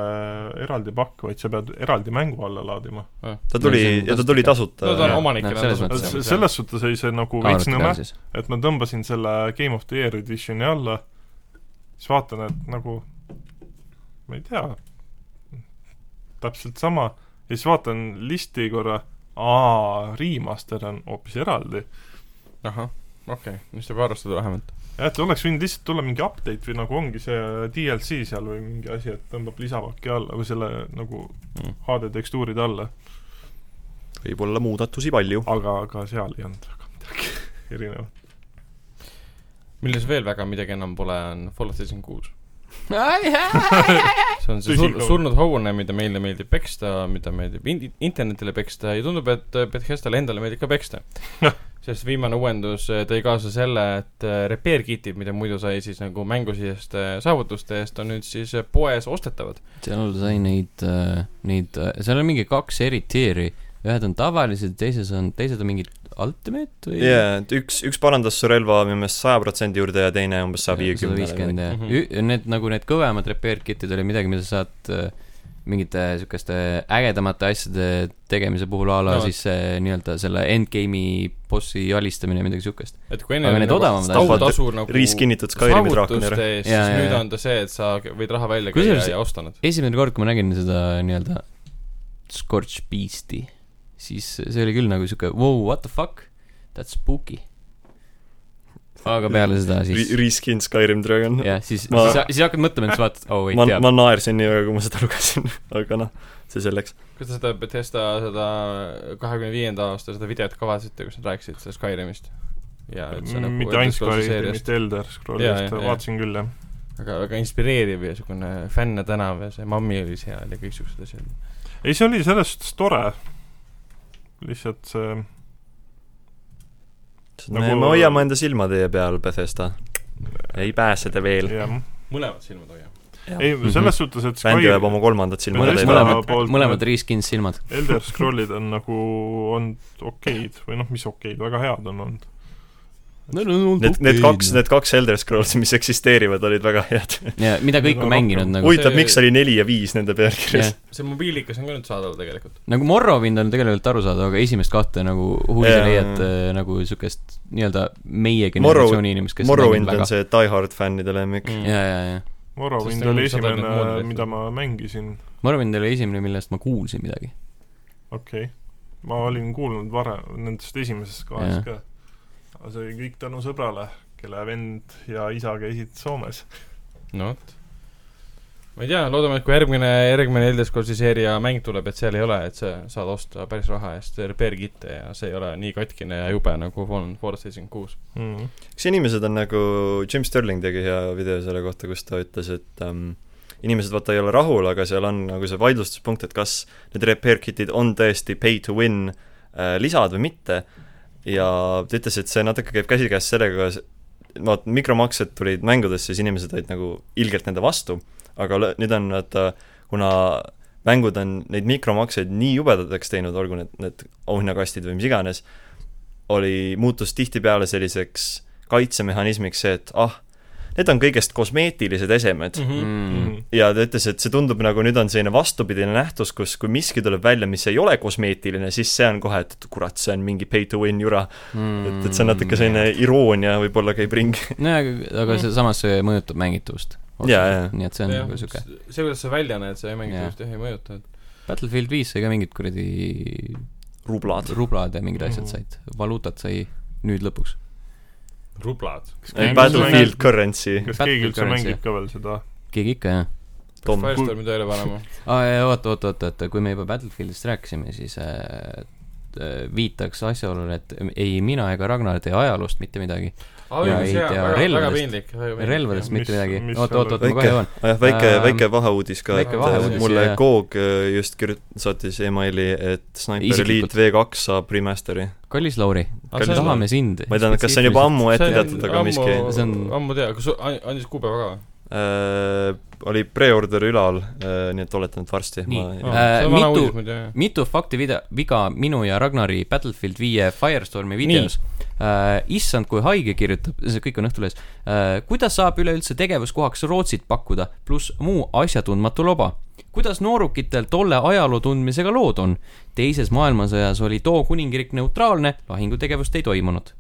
D: eraldi pakk , vaid sa pead eraldi mängu alla laadima .
B: ta tuli ja ta tuli
C: no ta on
B: tasuta .
C: omanikele
A: Noh, selles mõttes,
C: tasuta.
D: selles suhtes oli see nagu veits nõme , et ma tõmbasin selle Game of the Year editioni alla , siis vaatan , et nagu ma ei tea , täpselt sama , ja siis vaatan listi korra , aa , remaster on hoopis eraldi .
C: ahah , okei okay. , nüüd saab arvestada vähemalt .
D: jah , et oleks võinud lihtsalt tulla mingi update või nagu ongi see DLC seal või mingi asi , et tõmbab lisapaki alla või selle nagu
A: Mm.
D: HD tekstuuride alla ,
B: võib-olla muudatusi palju .
D: aga ka seal ei olnud väga midagi erinevat .
C: milles veel väga midagi enam pole , on Fallout seitsekümmend kuus . see on see
D: Tõsi
C: sur,
D: ka.
C: surnud hobune , mida meile meeldib peksta , mida meeldib in- , internetile peksta ja tundub , et Bethesdale endale meeldib ka peksta .
D: Noh.
C: sest viimane uuendus eh, tõi kaasa selle , et eh, repair kit'id , mida muidu sai siis nagu mängusiseste saavutuste eest , on nüüd siis eh, poes ostetavad .
A: seal sai neid , neid , seal on mingi kaks eri tier'i , ühed on tavalised , teises on , teised on mingid ultimate või ?
B: jaa , et üks , üks parandas su relva minu meelest saja protsendi juurde ja teine umbes saja
A: sada viiskümmend
B: viiekümnele .
A: jah
C: Mhm.
A: Ü- need nagu need kõvemad repair kit'id olid midagi , mida sa saad äh, mingite siukeste ägedamate asjade tegemise puhul a la
C: No
A: no,
C: vot.
A: siis see nii-öelda selle endgame'i bossi alistamine , midagi siukest .
C: et kui enne
A: aga need odavamad asjad ,
B: Vaata,
C: autasu nagu
B: riskinnitud Skyrimi
C: saavutuste
B: draakon .
C: eest ,
A: Jaa,
C: siis
A: jaa,
C: nüüd
A: jaa.
C: on ta see , et sa võid raha välja käia
A: Kusjuures-
C: ja osta nad .
A: esimene kord , kui ma nägin seda nii-öelda Scorch Beast'i , siis see oli küll nagu siuke wow, what the fuck , that's spooky . aga peale seda siis ,
B: Reskin Skyrim Dragon .
A: jah , siis ,
B: ma-
A: siis , siis hakkad mõtlema , siis vaatad , oh wait ,
B: ma ,
A: jaa
B: ma . naersin nii väga , kui ma seda lugesin , aga noh , see selleks .
C: kas te seda Bethesda seda kahekümne viienda aasta seda videot ka vaatasite , kus nad rääkisid sellest Skyrimist ? ja et see nagu
D: Mm, mitte
C: Elder
D: ainult
C: Scrollsi
D: Skyrim'i ,
C: seeriast ,
D: mitte Elder
C: Jaa, jaa,
D: Scrollist ,
C: jaa.
D: vaatasin küll , jah .
C: aga väga inspireeriv ja niisugune fänne tänav ja see mammi oli seal ja kõik siuksed asjad .
D: ei , see oli selles suhtes tore , lihtsalt see
B: me
D: Nagu-
B: me hoiame enda silma teie peal , Bethesda . ei pääse te veel .
D: jah ,
C: mõlemad silmad hoia .
D: ei
A: Mhm.
D: selles suhtes , et
B: bänd
D: Skyrim
B: jääb , oma kolmandat silma
D: Mõlemad-
B: teie peale .
A: mõlemad
D: poolt- ,
A: mõlemad riskins silmad .
D: Elder Scrollid on nagu olnud okeid või noh , mis okeid , väga head on olnud .
B: Need , need kaks , need kaks Elder Scrolls , mis eksisteerivad , olid väga head .
A: ja mida kõik on mänginud nagu ,
B: huvitav , miks oli neli ja viis nende
A: jah
B: pealkirjas ?,
C: see mobiilikas on ka nüüd saadaval tegelikult .
A: nagu Morrowind on tegelikult arusaadav , aga esimest kahte nagu huvi sa
B: Jaa.
A: leiad äh, nagu siukest nii-öelda meie
B: Morrow-
A: generatsiooni inimest , kes on
B: Morrowind
A: mänginud
B: on
A: väga-
B: see Die Hard fännide lemmik .
C: Mm.
A: jaa , jaa , jaa .
D: Morrowind
C: Sest on
D: oli
C: sada tükki
D: esimene
C: moodi , tehtud.
D: mida ma mängisin ,
A: Morrowind oli esimene , millest ma kuulsin midagi .
D: okei okay. . ma olin kuulnud varem nendest esimesest
A: Jah.
D: kahest ka . aga see oli kõik tänu sõbrale , kelle vend ja isa käisid Soomes .
C: no vot . ma ei tea , loodame , et kui järgmine , järgmine Elder Scrollsi seeria mäng tuleb , et seal ei ole , et sa saad osta päris raha eest repair kit'e ja see ei ole nii katkine ja jube nagu on Fallout seitsekümmend kuus .
D: Mm.
B: kas inimesed on nagu , Jim Sterling tegi hea video selle kohta , kus ta ütles , et ähm, inimesed vaata ei ole rahul , aga seal on nagu see vaidlustuspunkt , et kas need repair kit'id on tõesti pay to win äh, lisad või mitte , ja ta ütles , et see natuke käib käsikäes sellega , vaat mikromaksed tulid mängudesse , siis inimesed olid nagu ilgelt nende vastu , aga lõ- nüüd on vaata , kuna mängud on neid mikromakseid nii jubedateks teinud , olgu need , need auhinnakastid või mis iganes , oli , muutus tihtipeale selliseks kaitsemehhanismiks see , et ah , need on kõigest kosmeetilised esemed mm. .
C: Mhm.
D: Mm.
B: ja ta ütles , et see tundub nagu nüüd on selline vastupidine nähtus , kus kui miski tuleb välja , mis ei ole kosmeetiline , siis see on kohe , et kurat , see on mingi pay to win jura . et , et see on natuke selline iroonia võib-olla käib ringi .
A: Mm. nojah , aga , aga see samas see mõjutab mängitavust .
B: Jaa, jaa.
A: nii et see on nagu siuke ,
C: see , kuidas sa välja näed , see mäng
A: Jah.
C: just jah ei mõjuta , et
A: Battlefield viis sai ka mingid kuradi
B: rublad .
A: rublad ja mingid asjad
D: Mhm.
A: said , valuutat sai nüüd lõpuks .
C: rublad .
A: Ei,
B: Battlefield currency .
D: kas
A: Battle
D: keegi üldse
A: Currency.
D: mängib ka veel seda ?
A: keegi ikka , jah .
B: Tom.
C: Firestormi tööle panema .
A: aa , ja oota , oota , oota , oota , kui me juba Battlefieldist rääkisime , siis äh, äh, viitaks asjaolule , et ähm, ei mina ega Ragnar tee ajaloost mitte midagi . Ja ei tea
C: väga
A: relvadest.
C: piinlik .
A: relvadest mitte
D: Mis-
A: midagi
D: mis .
A: oot , oot , oot , ma kohe
B: väike
A: jõuan .,
B: Ah, jah , väike
A: Ähm, ,
B: väike vaheuudis ka , et
A: väike vaheuudis,
B: mulle
A: jah.
B: Koog äh, just kirjut- , saatis emaili , et Sniper
A: Isiklikult.
B: Elite V2 saab remaster'i .
A: kallis Lauri ,
B: Kallis
A: tahame sind .
B: ma ei teadnud , kas see on juba ammu ette teatud , aga miski
A: ammu- See on-
C: ammu tea , kas sul- an- andis kuupäeva ka või ?
B: äh, oli preorder ülal äh, , nii et oletan , et varsti
A: Nii.
B: ma
A: Äh,
C: see on vana
A: mitu-
C: uudis muidu jah .
A: mitu fakti vida- , viga minu ja Ragnari Battlefield viie Firestormi videos . Uh, issand , kui haige kirjutab , see kõik on Õhtulehes uh, . kuidas saab üleüldse tegevuskohaks Rootsit pakkuda , pluss muu asjatundmatu loba ? kuidas noorukitel tolle ajaloo tundmisega lood on ? teises maailmasõjas oli too kuningriik neutraalne , lahingutegevust ei toimunud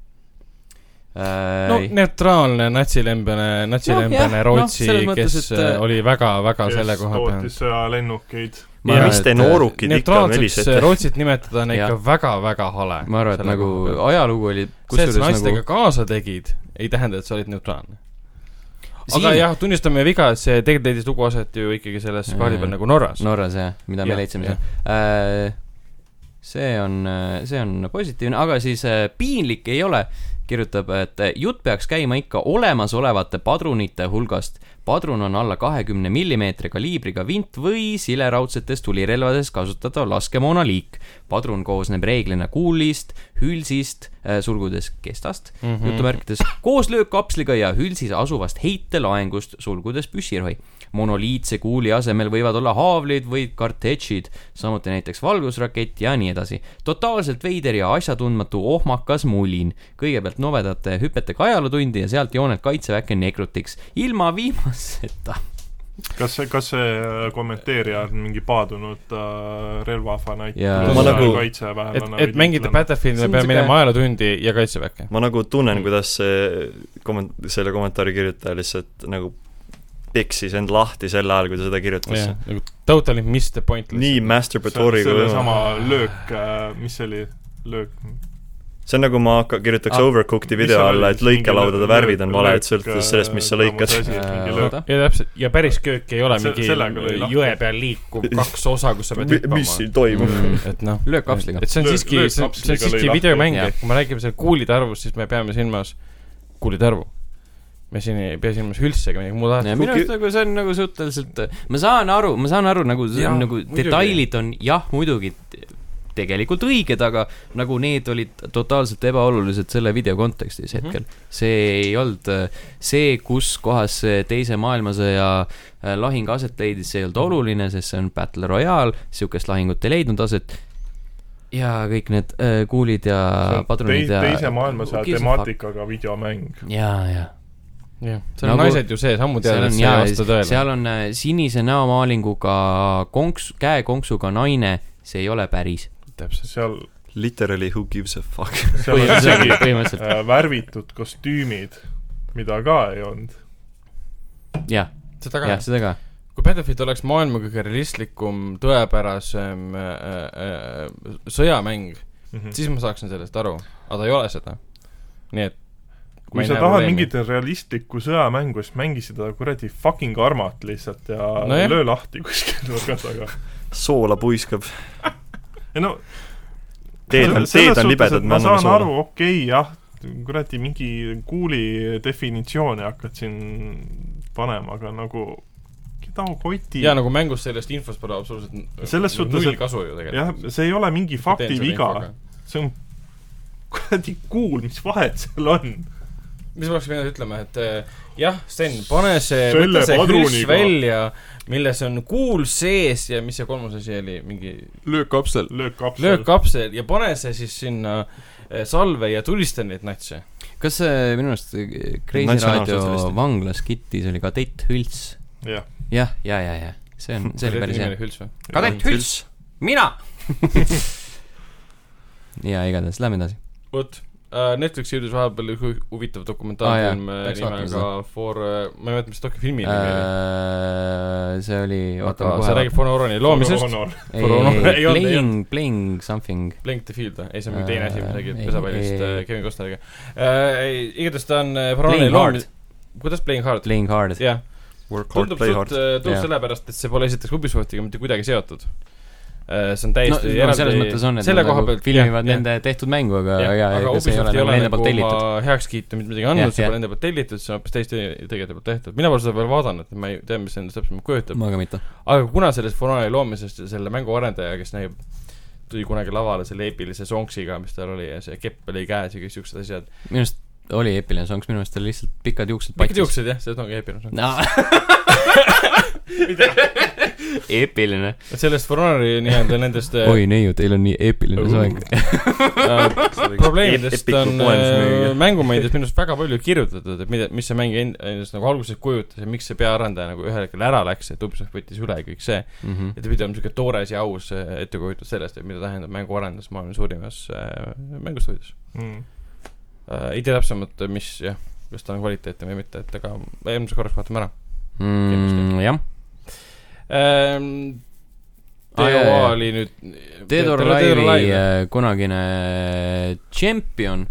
A: uh,
C: no . neutraalne natsilembene ,
A: Noh,
C: natsilembene
A: jah,
C: no, Rootsi
A: noh, selles
C: no, ,
A: mõttes,
C: kes
A: et, äh,
C: äh, oli väga-väga
D: kes
C: selle koha peal .
D: tootis sõjalennukeid .
A: Ma
B: ja
A: arvan,
B: mis te
A: et,
B: noorukid ikka
C: neutraalseks äh,
B: mölisete ?
C: Rootsit nimetada on ikka
A: Jah.
C: väga-väga hale .
A: ma arvan , et nagu ajalugu oli
C: see , et
A: kusjuures
C: sa naistega
A: nagu
C: nagu... kaasa tegid , ei tähenda , et sa olid neutraalne . aga
A: Siin-
C: jah , tunnistame viga , et see tegelikult leidis lugu aset ju ikkagi selles
A: Mm.
C: kaardi peal nagu Norras no. .
A: Norras jah , mida me
C: Jah,
A: leidsime seal . see on , see on positiivne , aga siis äh, piinlik ei ole , kirjutab , et äh, jutt peaks käima ikka olemasolevate padrunite hulgast . padrun on alla kahekümne millimeetri kaliibriga vint või sileraudsetes tulirelvades kasutatav laskemoona liik . padrun koosneb reeglina kuulist , hülsist , sulgudes kestast mm , -hmm. jutumärkides , koos löökkapsliga ja hülsis asuvast heitelaengust , sulgudes püssirohi monoliitse kuuli asemel võivad olla haavlid või kartetšid , samuti näiteks valgusrakett ja nii edasi . totaalselt veider ja asjatundmatu ohmakas mulin . kõigepealt nobedate hüpetega ajalootundi ja sealt joonelt kaitseväkke nekrutiks , ilma viimaseta .
D: kas see , kas see äh, kommenteerija on mingi paadunud äh, relvafanaatik
A: Jaa.
B: Ma nagu-
C: et
D: kaitseväelane ,
C: et mängida Battlefieldi ,
A: See on
C: me peame
A: siuke-
C: minema ajalootundi ja kaitseväkke .
B: ma nagu tunnen , kuidas see komment- , selle kommentaari kirjutaja lihtsalt nagu peksis end lahti sel ajal , kui ta seda kirjutas
C: jah , nagu totally missed the point .
B: nii masturbatory kui võimalik .
D: sellesama löök , mis see oli , löök ,
B: see on nagu ma hakka- , kirjutaks
A: Ah,
B: ah, Overcooked'i
D: mis
B: video
D: seal
B: alla ,
D: oli
B: et
D: siis mingi
B: lõikelaudade
D: löök-
B: värvid on valed ,
D: löök,
B: sõltudes sellest , mis sa
D: äh,
B: lõikad .
D: tamus asi. Mingi löök.
A: oota ,
C: ja täpselt , ja päris köök ei ole
D: Se-
C: mingi
D: sellega noh? lõi lahti.
C: jõe peal liikuv kaks osa , kus sa pead
B: mis
C: hüppama .
B: siin toimub ?
C: et noh ,
A: löök kapsliga
C: et . see on
D: Löök-
C: siiski ,
D: löök
C: see on see on
D: kapsliga lõi
C: siiski
D: lahti.
C: videomäng ,
A: Jah.
C: et kui me räägime selle kuulide arvust , siis me peame silmas kuulide arvu . me siin ei pea silmas hülsse ega midagi muud
A: Ja
C: laadset .
A: minu arust nagu see on nagu suhteliselt , ma saan aru , ma saan aru , nagu ,
C: Jaa,
A: nagu
C: muidugi.
A: detailid on jah , muidugi t- tegelikult õiged , aga nagu need olid totaalselt ebaolulised selle video kontekstis
D: Mhm.
A: hetkel . see ei olnud äh, see , kus kohas see Teise maailmasõja äh, lahing aset leidis , see ei
D: Mhm.
A: olnud oluline , sest see on Battle Royale , sihukest lahingut ei leidnud aset . ja kõik need äh, kuulid ja
D: tei-
A: padrunid ja .
D: teise maailmasõja . temaatikaga videomäng .
A: ja , ja
C: jah , seal on
A: Nagu-
C: naised ju sees , ammu
A: seal
C: tead , et
A: on
C: see ei
A: jaa ,
C: vasta tõele .
A: seal on äh, sinise näomaalinguga konks , käekonksuga naine , see ei ole päris .
C: täpselt .
D: seal ,
B: Literally who gives a fuck .
D: seal on isegi
A: põhimõtteliselt
D: äh, värvitud kostüümid , mida ka ei olnud .
A: jah ,
C: seda ka
A: jah ,. seda ka .
C: kui Battlefield oleks maailma kõige realistlikum , tõepärasem äh, äh, sõjamäng ,
D: Mhm.
C: siis ma saaksin sellest aru , aga ta ei ole seda . nii et .
D: kui sa tahad mingit realistlikku sõjamängu , siis mängi seda kuradi fucking armat lihtsalt ja
C: Nojah.
D: löö lahti kuskil nurga taga .
B: soola puiskab .
D: ei no
B: teed on ,
D: selles
B: teed on
D: suhtes,
B: libedad ,
D: et
B: me
D: ma
B: anname
D: saan aru
B: soola .,
D: okei okay, , jah , kuradi mingi kuuli definitsioone hakkad siin panema , aga nagu keda koti
C: ja nagu mängus sellest infost pole absoluutselt n-
D: Selles
C: n-
D: suhtes,
C: null
D: et-
C: kasu ju tegelikult .
D: jah , see ei ole mingi faktiviga , see on kuradi kuul , mis vahet seal on ?
C: mis ma oleks pidanud ütlema , et äh, jah , Sten , pane see ,
D: Selle
C: võta see hüls
D: padruniga.
C: välja , milles on kuul sees ja mis see kolmas asi oli , mingi
D: löökkapsel . löökkapsel .
C: löökkapsel ja pane see siis sinna äh, salve ja tulista neid natse .
A: kas äh, minu arust äh, Kreisi
B: Natsionaalsocialistid.
A: raadio vanglas kittis oli kadett Hülts ?
D: jah ,
A: jah , ja , ja , ja , see on , see oli päris hea .
C: hea .
A: kadett Hülts , mina . ja igatahes , lähme edasi .
C: vot , Netflixi jõudis vahepeal üks hu- huvitav
A: Aa,
C: dokumentaalfilm
A: jaa,
C: äh,
A: peaks vaatama Äh,
C: nimega For , ma ei mäleta , mis doktor filmi nimi oli .
A: see oli , oota
C: aga , see räägib For Honor'i loomisest ,.
A: ei ,
C: Corona- ei olnud, ei
A: Playing , Playing something .
C: Blink the Field või ? ei , see on mingi teine asi , mis
A: Äh,
C: räägib
A: ei,
C: pesapallist
A: ei, ei.
C: äh, Kevin Costneriga . igatahes ta on äh, For Honor'i
A: Playing hard
C: loomis- ,, kuidas Playing Hard ?
A: Playing hard .
C: jah ,
B: Work hard ,
C: tundub
B: play
C: suht , äh,
B: hard .
C: tundub
A: Jah.
C: sellepärast , et see pole esiteks Ubisoftiga mitte kuidagi seotud . see on
A: no,
C: täiesti
A: no selles mõttes on , et
C: selle
A: nad
C: koha
A: nagu
C: pealt
A: filmivad nende tehtud mängu , aga , aga
C: aga
A: ega see ei
C: Ubisoft
A: ole nagu nende poolt tellitud .
C: oma heakskiitu mitte midagi
A: Jah,
C: andnud , see
A: jah.
C: pole nende poolt tellitud , see on hoopis täiesti tegijate poolt tehtud . mina pole seda veel vaadanud , ma ei tea , mis endast täpsemalt kujutab .
A: ma ka mitte .
C: aga kuna sellest formaali loomisest ja selle mängu arendaja , kes näib , tuli kunagi lavale selle eepilise sonksiga , mis tal oli ja see kepp oli käes ja kõik siuksed asjad .
A: minu arust oli eepiline songs , minu arust oli lihtsalt pikad juuksed
C: pikad . juuksed jah , see ongi eepiline song .
A: eepiline .
C: sellest formaali nii-öelda nendest äh,
A: oi neiu , teil on nii eepiline soeng .
C: äh, probleemidest
B: Epic
C: on
B: kogemusmüüja.
C: äh, mängumeedias minu arust väga palju kirjutatud , et mida , mis see mäng end- endast nagu alguses kujutas ja miks see peaarendaja nagu ühel hetkel ära läks , et Ubisoft võttis üle kõik see .
A: Mhm.
C: ja ta pidi olema siuke toores ja aus äh, ettekujutus sellest , et mida tähendab mänguarendus maailma suurimas äh, mängustuudios
D: mm. .
C: äh, . ei tea täpsemalt , mis jah , kas ta on kvaliteetne või mitte , et aga eelmise korraks vaatame ära Kindlasti.
A: Mm, jah .
C: ähm, .
A: Aa, Ah, jaa,
C: Teo
A: jaa.
C: oli nüüd .
A: Dead or Alive'i äh, kunagine äh, tšempion ,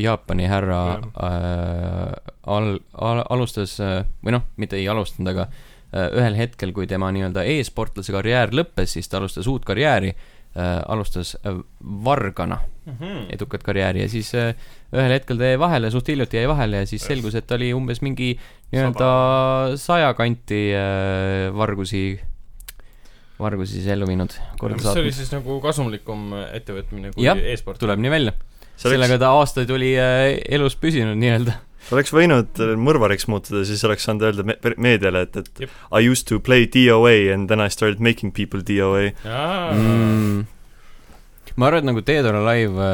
A: Jaapani härra äh, al- , al- , alustas äh, või noh , mitte ei alustanud , aga äh, ühel hetkel , kui tema nii-öelda e-sportlase karjäär lõppes , siis ta alustas uut karjääri , alustas äh, vargana edukat karjääri ja siis äh, ühel hetkel ta jäi vahele , suht hiljuti jäi vahele ja siis selgus , et ta oli umbes mingi nii-öelda saja kanti äh, vargusi , vargusi siis ellu viinud , korda
C: mis oli
A: saatnud .
C: siis nagu kasumlikum ettevõtmine kui
A: Jah,
C: e-sport ?
A: tuleb nii välja .
B: See oleks-
A: sellega ta aastaid oli äh, elus püsinud nii-öelda .
B: oleks võinud mõrvariks muutuda , siis oleks saanud öelda me- , meediale , et , et
C: Jep.
B: I used to play DOA and then I started making people DOA .
A: mm. . ma arvan , et nagu Dead or Alive ,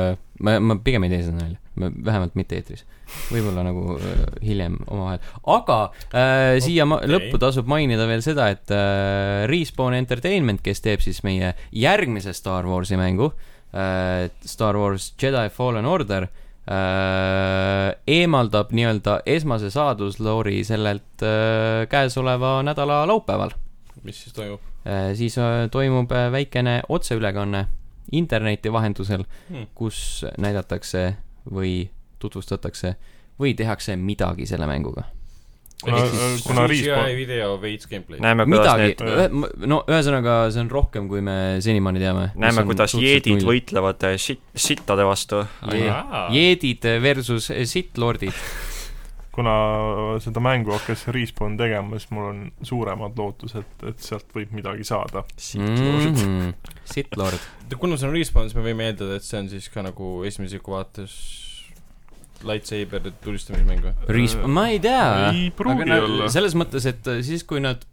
A: ma , ma pigem ei tee seda nalja , vähemalt mitte eetris . võib-olla nagu äh, hiljem omavahel , aga äh, siia ma-
C: Okei.
A: lõppu tasub mainida veel seda , et äh, Respawn Entertainment , kes teeb siis meie järgmise Star Warsi mängu äh, , Star Wars Jedi Fallen Order äh, , eemaldab nii-öelda esmase saadusloori sellelt äh, käesoleva nädala laupäeval .
C: mis siis toimub ?
A: Äh, siis äh, toimub äh, väikene otseülekanne interneti vahendusel
C: Hmm.
A: hmm. , kus näidatakse või tutvustatakse või tehakse midegi selle mänguga .
D: Kuna- kuna Respawn-
C: video veits gameplay .
B: näeme , kuidas
A: midagi
B: need ,,
A: no ühesõnaga , see on rohkem , kui me senimaani teame .
B: näeme , kuidas jeedid . võitlevad eh, shit , sittade vastu .
A: jeedid versus sitlordid .
D: kuna seda mängu hakkas Respawn tegema , siis mul on suuremad lootused , et sealt võib midagi saada .
B: Mm.
A: Mhm. sitlord .
C: kuna see on respawn , siis me võime eeldada , et see on siis ka nagu esimese isiku vaates lightsaber tulistamismäng või ?
A: Resp- , ma ei tea .
D: Äh, ei pruugi
A: nad-
D: olla.
A: selles mõttes , et äh, siis , kui nad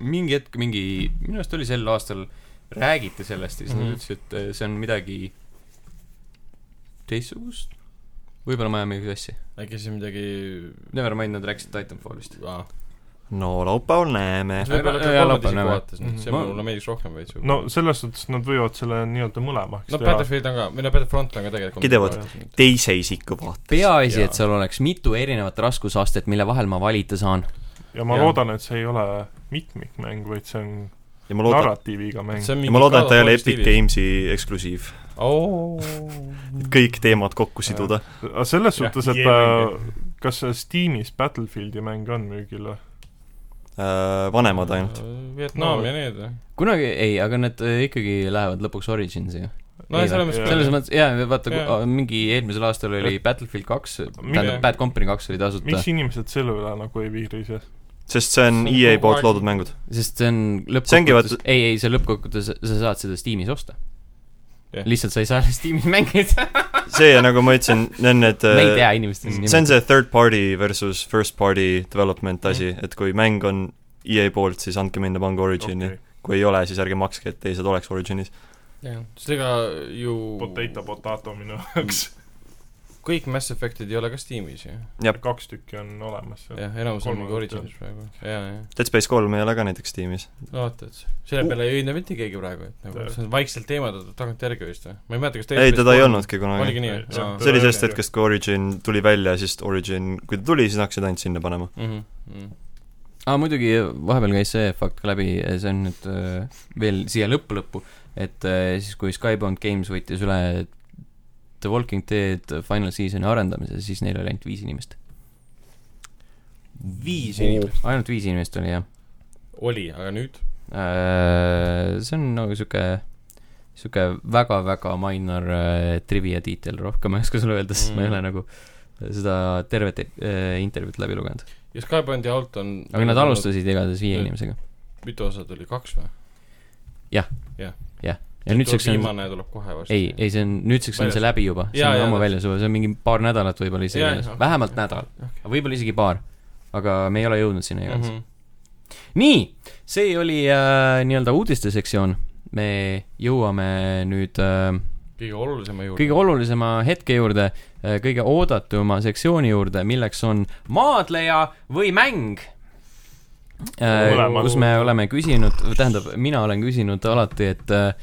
A: mingi hetk , mingi , minu arust oli sel aastal , räägiti sellest ja siis mm -hmm.
C: Mhm.
A: nad ütlesid , et eh, see on midagi teistsugust . võib-olla ma ajan mingeid asju .
C: äkki see midagi
A: Nevermind , nad rääkisid Titanfallist .
C: ah. .
B: no laupäeval näeme .
A: Ära-
C: võib-olla ka
A: ära
C: kolmanda
A: lõpeta,
C: isiku
A: näeme.
C: vaates ,
D: Mhm.
C: noh, see
A: Ma-
C: mulle meeldiks rohkem veits .
D: no selles suhtes nad võivad selle nii-öelda mõlemaks
C: no Battlefield on ka , või no Battlefront on ka tegelikult .
B: Kidevad. . teise isiku vaates .
A: peaasi ,
D: Jaa.
A: et seal oleks mitu erinevat raskusastet , mille vahel ma valida saan .
D: ja ma
C: Jah.
D: ja. loodan , et see ei ole mitmikmäng , vaid see on
B: ja ma loodan ,
D: narratiiviga mäng .
C: ja
B: ja ma loodan , et ta ei ole Epic . Gamesi eksklusiiv .
C: oo .
B: kõik teemad kokku siduda .
D: aga selles
C: Jah,
D: suhtes , et
C: G-mäng,
D: äh, kas Steamis Battlefieldi mäng on müügil või ?
B: Äh, vanemad ainult ..
C: Äh, Vietnam ja need või ?
A: kunagi ei , aga nad eh, ikkagi lähevad lõpuks Originsi ju .
C: no
A: Ei,
C: selles
A: vä-
D: Jaa.
C: mõttes .
A: selles mõttes , jaa , vaata äh,
C: Jaa. ,
A: mingi eelmisel aastal oli Battlefield kaks , tähendab
D: Mille-
A: Bad Company kaks oli tasuta
D: miks . inimesed selle üle nagu ei vihrise ?
B: sest see on EA poolt loodud mängud .
A: sest see on
B: See ongi
A: lõppkokkuvõttes , ei , ei see lõppkokkuvõttes , sa saad seda Steamis osta
C: Jah.
A: yeah. . lihtsalt sa ei saa Steamis mängida ,
B: see ja nagu ma ütlesin , need on need
A: me ei
B: äh,
A: tea inimeste
B: see on see third party versus first party development asi , et kui mäng on EA poolt , siis andke minna pange Origini okay. . kui ei ole , siis ärge makske , et teised oleks Originis .
C: sest ega ju
D: Potato potato minu jaoks .
C: kõik Mass Effectid ei ole ka Steamis ju .
B: Jah.
D: kaks tükki on olemas .
C: jah , enamus on
D: Kolmas
C: mingi Originis praegu . ja , ja ,
B: Dead Space kolm ei ole ka näiteks tiimis .
C: no vaata , et selle peale ei õnne mitte keegi praegu , et nagu
D: Jah.
C: see on vaikselt teemaldatud tagantjärgi vist või ? ma ei mäleta , kas
B: ei , teda ei . olnudki
C: oligi
B: kunagi .
C: nii
D: See on
B: see
C: või ?
B: oli sellest hetkest , kui Origin tuli välja , siis Origin , kui ta tuli , siis nad hakkasid ainult sinna panema .
C: Mhm,
A: aa , muidugi vahepeal käis see fakt ka läbi , see on nüüd äh, veel siia lõppu lõppu , et äh, siis , kui Skybound Games võttis üle The Walking Dead Final Seasoni arendamise , siis neil oli ainult viis inimest .
C: viis
A: ainult viis inimest oli , jah .
C: oli , aga nüüd ?
A: see on nagu sihuke , sihuke väga-väga minor äh, trivia tiitel , rohkem ei oska sulle öelda , sest mm. ma ei
C: Mm.
A: ole nagu seda tervet äh, intervjuud läbi lugenud .
C: ja Skype'i alt on
A: aga nad . alustasid igatahes viie
C: Nüüd-
A: inimesega .
C: mitu osa tuli , kaks või ?
A: ja nüüdseks on ,
C: viimane tuleb kohe varsti .
A: ei , ei see on , nüüdseks on see
C: Väljas.
A: läbi juba , see
C: Jaa,
A: on
C: jaa,
A: ammu
C: täpselt.
A: väljas juba , see on mingi paar nädalat võib-olla isegi
C: Jaa,
A: väljas
C: jaa. ,
A: vähemalt nädal ,
C: okay. .
A: võib-olla isegi paar . aga me ei ole jõudnud sinna
C: Mm
A: igatahes .
C: -hmm.
A: nii , see oli äh, nii-öelda uudiste sektsioon . me jõuame nüüd äh,
C: kõige olulisema juurde .
A: kõige olulisema hetke juurde äh, , kõige oodatuma sektsiooni juurde , milleks on maadleja või mäng äh, .
D: Mõlemad.
A: kus me oleme küsinud , tähendab , mina olen küsinud alati , et äh,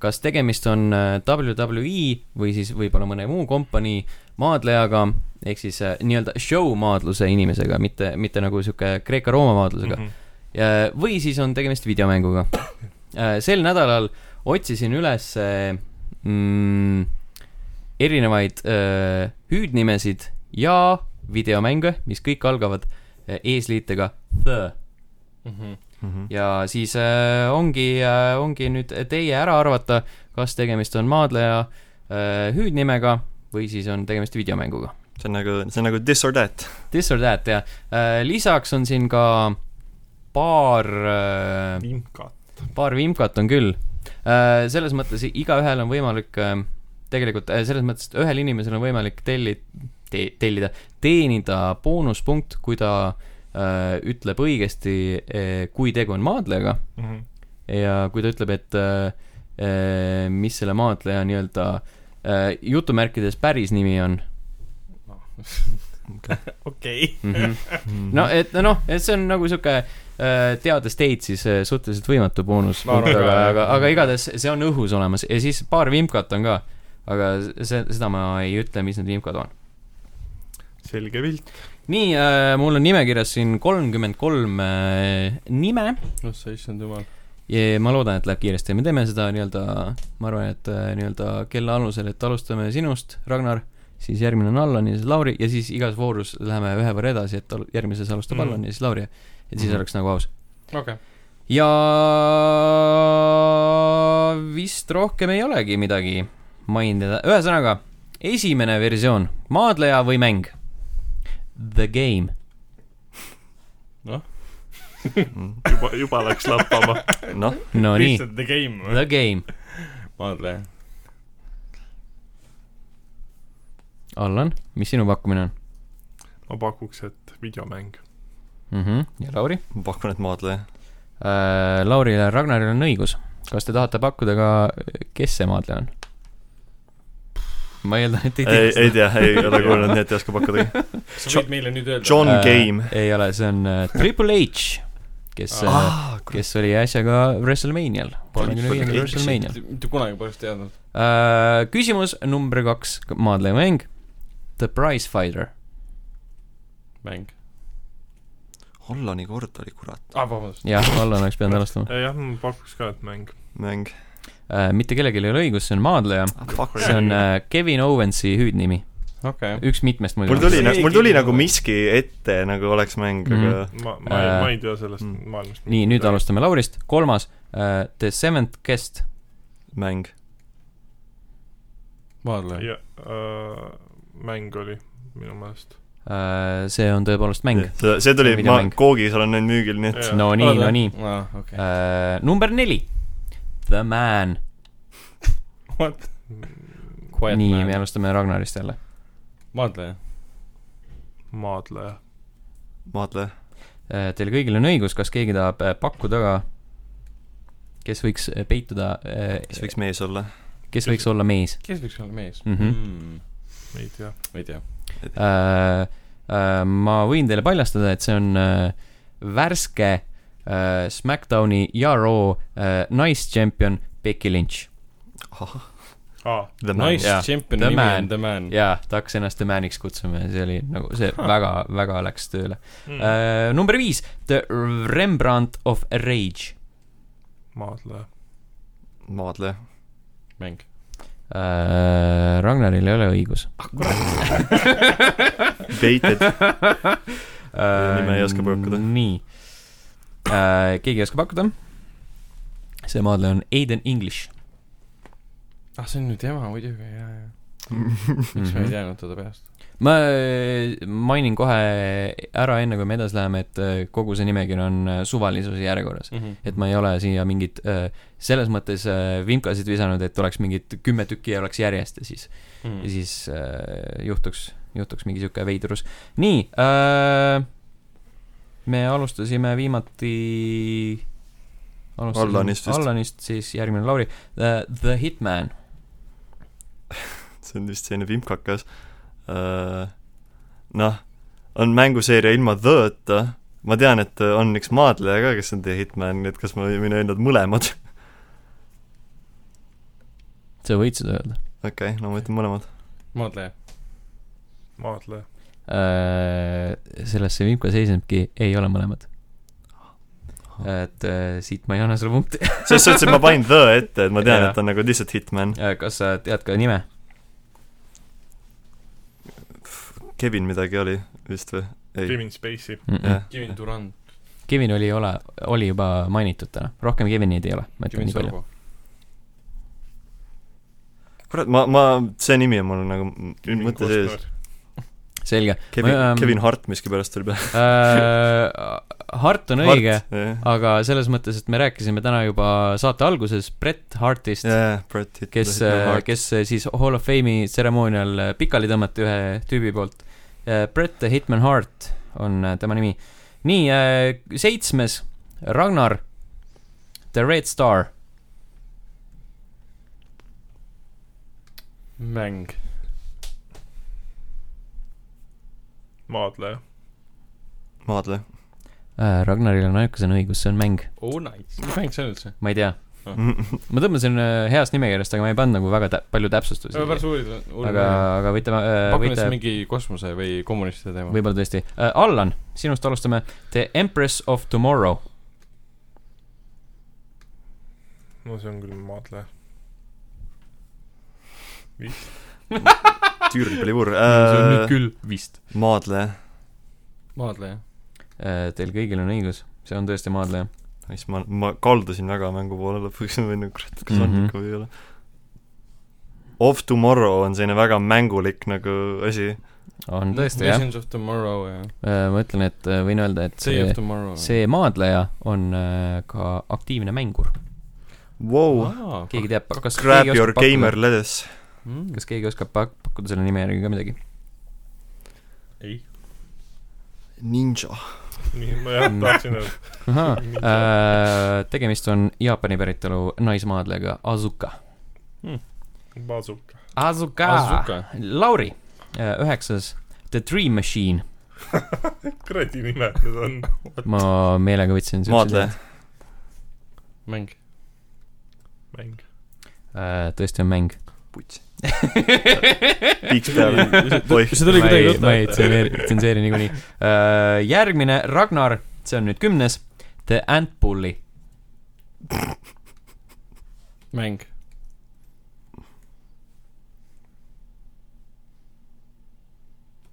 A: kas tegemist on äh, WWE või siis võib-olla mõne muu kompanii maadlejaga , ehk siis äh, nii-öelda show maadluse inimesega , mitte , mitte nagu sihuke Kreeka-Rooma
D: Mhm.
A: maadlusega . Ja- või siis on tegemist videomänguga . sel nädalal otsisin üles mm, erinevaid öö, hüüdnimesid ja videomänge , mis kõik algavad öö, eesliitega the
C: mm . -hmm.
B: Mhm.
A: ja siis äh, ongi äh, , ongi nüüd teie ära arvata , kas tegemist on maadleja äh, hüüdnimega või siis on tegemist videomänguga .
B: see on nagu , see on nagu this or that .
A: This or that ja äh, lisaks on siin ka paar äh, ,
D: imkad .
A: paar vimkat on küll äh, . selles mõttes igaühel on võimalik äh, , tegelikult äh, selles mõttes , et ühel inimesel on võimalik telli- te, , tellida , teenida boonuspunkt , kui ta äh, ütleb õigesti , kui tegu on maadlejaga
D: Mhm.
A: ja kui ta ütleb , et äh, äh, mis selle maadleja nii-öelda äh, jutumärkides päris nimi on
C: okei .
A: mm . -hmm
D: Mhm.
A: no
C: Mhm.
A: et noh , et see on nagu sihuke äh, teades teid , siis äh, suhteliselt võimatu boonus ,
C: Ma arvan
A: aga,
C: ka, jah.
A: aga , aga igatahes see on õhus olemas ja siis paar vimkat on ka . aga see , seda ma ei ütle , mis need vimkad on .
D: selge pilt .
A: nii äh, , mul on nimekirjas siin kolmkümmend kolm äh, nime
C: noh , sa issand jumal .
A: ja ma loodan , et läheb kiiresti , me teeme seda nii-öelda , ma arvan , et äh, nii-öelda kella alusel , et alustame sinust , Ragnar , siis järgmine on Allan ja siis Lauri ja siis igas voorus läheme ühe võrra edasi , et al- järgmises alustab
D: Mhm.
A: mm. Allan ja siis Lauri , et siis
B: Mhm.
A: oleks nagu aus .
C: okei okay. .
A: ja vist rohkem ei olegi midagi mainida , ühesõnaga , esimene versioon , maadleja või mäng ? The game .
D: juba , juba läks lappama .
B: Mhm. noh ,
A: no nii ,
C: lihtsalt the game või ?
A: The game .
C: maadleja .
A: Allan , mis sinu pakkumine on
D: ma pakuks , et videomäng .
A: mm ? -hmm. ja Lauri
B: ma pakun , et maadleja .
A: äh, ? Laurile ja Ragnaril on õigus . kas te tahate pakkuda ka , kes see maadleja on ? ma eeldan , et ei tea
B: ei ,
A: seda.
B: ei tea , ei ole kuulnud , nii et ei oska pakkuda .
C: kas sa võid meile nüüd öelda ?
B: John
A: Äh,
B: Game.
A: ei ole , see on äh, Triple H , kes
C: Ah.
A: äh, , kes oli äsja ka WrestleManial , kolmekümne viiendal
B: H.
A: WrestleManial .
C: mitte kunagi päris teadnud .
A: Äh, küsimus number kaks , maadleja mäng , The Prize Fighter .
C: mäng .
B: Hollani kord oli kurat .
C: ah , vabandust .
A: jah , Allan oleks pidanud alustama .
D: jah , ma pakuks ka , et mäng .
B: mäng . Ah,
A: mitte kellelgi ei ole õigus , see on maadleja , see on äh, Kevin Owensi hüüdnimi ,
C: okei okay. .
A: üks mitmest
B: mul
A: muidugi .
B: tuli ,
C: see
B: mul tuli
C: keegi-
B: nagu miski ette , nagu oleks mäng , aga
D: ma , ma ei ,
A: Äh,
D: ma ei tea sellest
B: mm.
D: maailmast .
A: nii , nüüd . alustame Laurist , kolmas äh, , The Seventh Guest ,
B: mäng .
C: maadleja .
D: ja äh, mäng oli minu meelest .
A: Äh, see on tõepoolest mäng .
B: see , see tuli , ma
A: Videomäng.
B: koogis olen nüüd müügil , nii et
D: Jaa.
A: no nii , no nii . Äh,
C: aa , Ah, okei .
A: number neli , The Man .
C: What ?
A: nii , me alustame Ragnarist jälle .
C: maadleja .
D: maadleja .
B: maadleja .
A: Äh, Teil kõigil on õigus , kas keegi tahab äh, pakkuda ka , kes võiks äh, peituda ,
B: kes võiks mees olla ?
A: kes võiks olla mees ?
C: kes võiks olla mees
A: Mhm.
C: mm. ?
D: ei tea .
C: ei tea .
A: Äh, äh, ma võin teile paljastada , et see on äh, värske äh, SmackDowni ja Raw äh, naischampion Becky Lynch .
D: aa ,
B: The man
C: Nice
B: nice. .
A: Jaa.
C: champion
A: The
C: nimi
A: man.
C: on The Man .
A: jaa , ta hakkas ennast The Maniks kutsuma ja see oli nagu , see väga-väga läks tööle
D: Mm.
A: äh, . number viis , The Rembrandt of Rage
D: maadleja .
B: maadleja .
C: mäng .
A: äh, . Ragnaril ei ole õigus .
B: Baited .
A: äh,
B: Nime ei oska pakkuda.
A: Äh, nii äh, , keegi ei oska pakkuda see maadleja on Aiden English .
C: ah , see on nüüd tema muidugi , jaa , jaa . miks
A: Mhm.
C: ma ei teadnud teda peast ?
A: ma äh, mainin kohe ära , enne kui me edasi läheme , et äh, kogu see nimekiri on äh, suvalisuse järjekorras . et ma ei ole siia mingit , selles mõttes äh, vimkasid visanud , et oleks mingid kümme tükki ja oleks järjest ja siis ,
B: Mm.
A: ja siis äh, juhtuks , juhtuks mingi sihuke veidrus . nii äh, , me alustasime viimati alustasime
B: Allanist vist.
A: Allanist , siis järgmine Lauri äh, , The Hitman .
B: see on vist selline vimkakas . noh , on mänguseeria ilma The-ta , ma tean , et on üks maadleja ka , kes on The Hitman , nii et kas ma võin öelda , et mõlemad ?
A: sa võid seda öelda
B: okei okay, , no ma ütlen mõlemad .
C: maadleja .
D: maadleja .
A: äh, . sellesse vimka seisnebki , ei ole mõlemad . et äh, siit ma ei anna sulle punkti .
B: selles suhtes , et ma panin The ette , et ma tean ,
A: Jaa.
B: et ta on nagu lihtsalt Hitman .
A: Äh, kas sa tead ka nime ?
B: Kevin midagi oli vist või ? ei ,
D: Kevin Spacey .
B: jah .
C: Kevin Durand .
A: Kevin oli , ole , oli juba mainitud täna , rohkem Kevineid ei ole , ma ütlen
C: Kevin
A: nii palju .
C: Sorbo .
B: kurat , ma , ma , see nimi on mul nagu m- mõtte sees .
A: selge .
B: Kevin
A: Ma, ähm, ,
B: Kevin Hart miskipärast tuli peale .
A: Äh, Hart on õige ,
B: jah ,
A: aga selles mõttes , et me rääkisime täna juba saate alguses Brett Hartist ,
B: jah , Brad Pitt .
A: kes , kes äh, siis Hall of Fame'i tseremoonial äh, pikali tõmmati ühe tüübi poolt . Brett the Hitman Hart on äh, tema nimi . nii , seitsmes , Ragnar , The Red Star .
C: mäng .
D: maadleja .
B: maadleja .
A: Äh, Ragnaril on ainukesena õigus , see on mäng ,
C: oh nice . mis mäng see on üldse ?
A: ma ei tea . ma tõmbasin äh, heast nimekirjast , aga ma ei pannud nagu väga tä- palju
C: ma pärast
A: täpsustusi .
C: uurin , uurin .
A: aga , aga võite ,
C: pakun , et see
A: võite
C: on , mingi kosmose või kommunistide teema .
A: võib-olla tõesti . Allan , sinust alustame . The Empress of Tomorrow .
D: no see on küll maadleja . vist .
B: tüürpilivur .
C: see
A: Äh,
C: on nüüd küll vist .
B: Äh, maadleja .
C: maadleja .
A: Mhm. Äh, Teil kõigil on õigus , see on tõesti maadleja .
B: siis ma , ma kaldusin väga mängu poole lõpuks , ma olin nagu , kurat , kas on
A: Mhm.
B: ikka või ei ole . Of Tomorrow on selline väga mängulik nagu asi .
A: on tõesti , jah .
C: Visions of tomorrow ja
A: ma ütlen , et äh, võin öelda , et
C: Day of
A: see ,
C: tomorrow .
A: see maadleja on äh, ka aktiivne mängur .
B: Wow.
C: aa ,
A: keegi teab , kas
B: Grab
A: keegi
B: your
A: oskab
B: gamer
A: pakkuda ,
B: ledes .
A: Oh,
C: Hmm.
A: kas keegi oskab pak- pakkuda selle nime järgi ka midagi ?
C: ei .
B: Ninja .
A: Ah,
D: nii , ma jah tahtsin öelda .
A: Ahaa, Mm. äh, tegemist on Jaapani päritolu naismaadlejaga Azuka .
D: Bazooka .
A: Azuka,
C: Azuka.
A: Lauri , üheksas , The Dream Machine .
D: kuradi nimed need on .
A: ma meelega võtsin
B: maadleja .
C: mäng .
D: mäng .
A: Äh, tõesti on mäng .
B: putsi . piiks peale . oih ,
C: see tuli
A: ma
C: kuidagi
A: ei ,
C: tuttav
A: ma ei tsenseeri , tsenseeri niikuinii äh, . järgmine , Ragnar , see on nüüd kümnes , The Ant Bully .
C: mäng .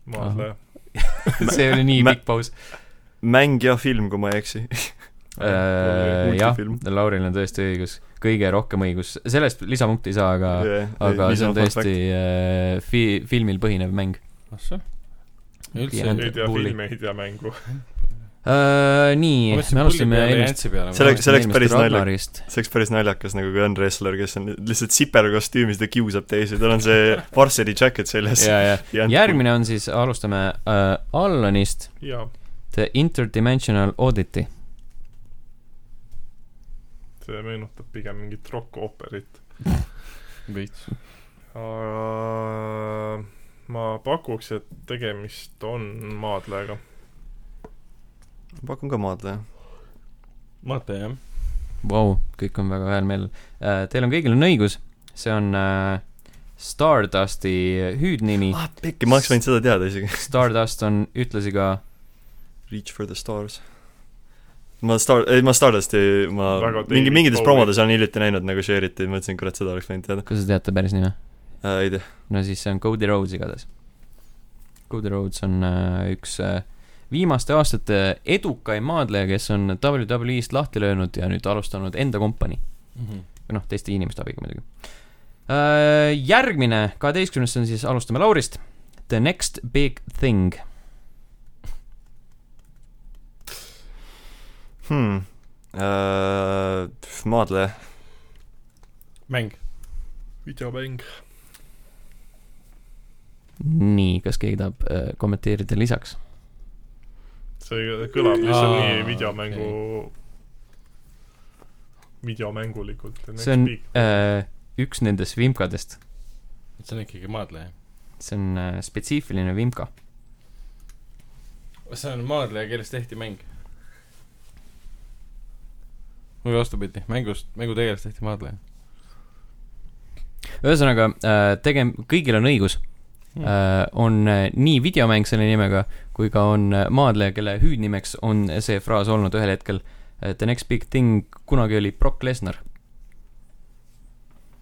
D: maadleja .
A: see oli nii
B: mä-
A: pikk paus .
B: mäng ja film , kui ma ei eksi .
A: Äh, jah ,
B: multifilm.
A: Lauril on tõesti õigus , kõige rohkem õigus , sellest lisapunkti ei saa , aga , aga see on tõesti äh, fi- , filmil põhinev mäng
C: ahsah . üldse
A: Jah.
D: ei tea
A: Bulli.
D: filme , ei tea mängu .
A: äh, . nii , me alustame eelmist .
B: See
C: eelmist
B: oleks- see oleks päris naljakas.
A: Ragnarist .
B: see oleks päris naljakas nagu , kui on wrestler , kes on lihtsalt siperkostüümis , ta kiusab teisi , tal on see varsity jacket seljas .
A: ja , ja järgmine on siis , alustame äh, Allanist ,
D: jaa ,
A: The Interdimensional Audit'i .
D: see meenutab pigem mingit rokkooperit .
C: veits .
D: aga ma pakuks , et tegemist on maadlejaga .
B: pakun ka maadleja .
C: vaata jah .
A: Vau , kõik on väga ühel meelel äh, . Teil on kõigil on õigus , see on äh, Stardusti äh, hüüdnimi ,
B: ah , pekki , ma oleks võinud seda teada isegi .
A: Stardust on ühtlasi ka
B: Reach for the stars . ma Star , ei ma Stardusti , ma
D: Väga
B: mingi ,
D: David
B: mingites
D: Bowie.
B: promodes olen hiljuti näinud nagu share iti , mõtlesin , kurat , seda oleks võinud teada
A: kas sa tead ta päris nime ?
B: äh, . ei tea ,
A: no siis see on Cody Rhodes igatahes . Cody Rhodes on äh, üks äh, viimaste aastate edukaim maadleja , kes on WWE-st lahti löönud ja nüüd alustanud enda kompanii .
C: Mhm.
A: või noh , teiste inimeste abiga muidugi . järgmine , kaheteistkümnes , see on siis , alustame Laurist . The next big thing .
B: hmm. . Äh, Maadleja ,
C: mäng .
D: videomäng .
A: nii , kas keegi tahab äh, kommenteerida lisaks ?
D: see kõlab lihtsalt
C: Aa,
D: nii videomängu videomängulikult .
A: see on äh, üks nendest vimkadest ,
C: see on ikkagi maadleja .
A: see on äh, spetsiifiline vimka .
C: see on maadleja , kellest tehti mäng . või vastupidi , mängust , mängutegelast tehti maadleja .
A: ühesõnaga äh, , tegem- , kõigil on õigus .
C: Mm.
A: Äh, on äh, nii videomäng selle nimega kui ka on äh, maadleja , kelle hüüdnimeks on see fraas olnud ühel hetkel äh, . The next big thing kunagi oli Brock Lesnar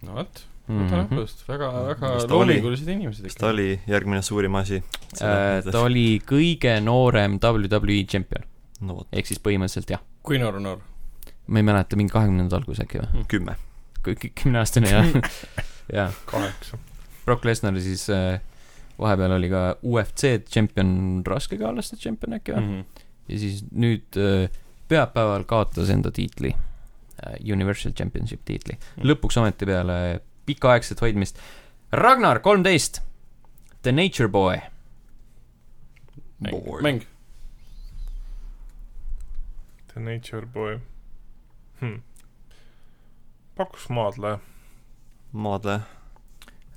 C: no vot ,
A: mm .
C: võta õppust , väga , väga
B: Kas ta oli?
C: loomingulised inimesed
B: kas ta
C: ikka .
B: oli järgmine suurim asi ?
A: Äh, ta oli kõige noorem WWE tšempion ,
B: no vot ,
A: ehk siis põhimõtteliselt jah ,
C: kui noor on noor ?
A: ma ei mäleta , mingi kahekümnendate alguses äkki või ,
B: kümme .
A: kümneaastane jah , jaa .
D: kaheksa .
A: Brock Lesnar siis äh, vahepeal oli ka UFC tšempion , raskekaallaste tšempion äkki või
C: Mhm.
A: mm , -hmm. ja siis nüüd äh, pühapäeval kaotas enda tiitli äh, , Universal Championship tiitli mm , -hmm. lõpuks ometi peale pikaaegset hoidmist . Ragnar kolmteist , The Nature Boy ,
C: mäng , mäng .
D: The Nature Boy hm. . pakkus maadleja .
B: maadleja .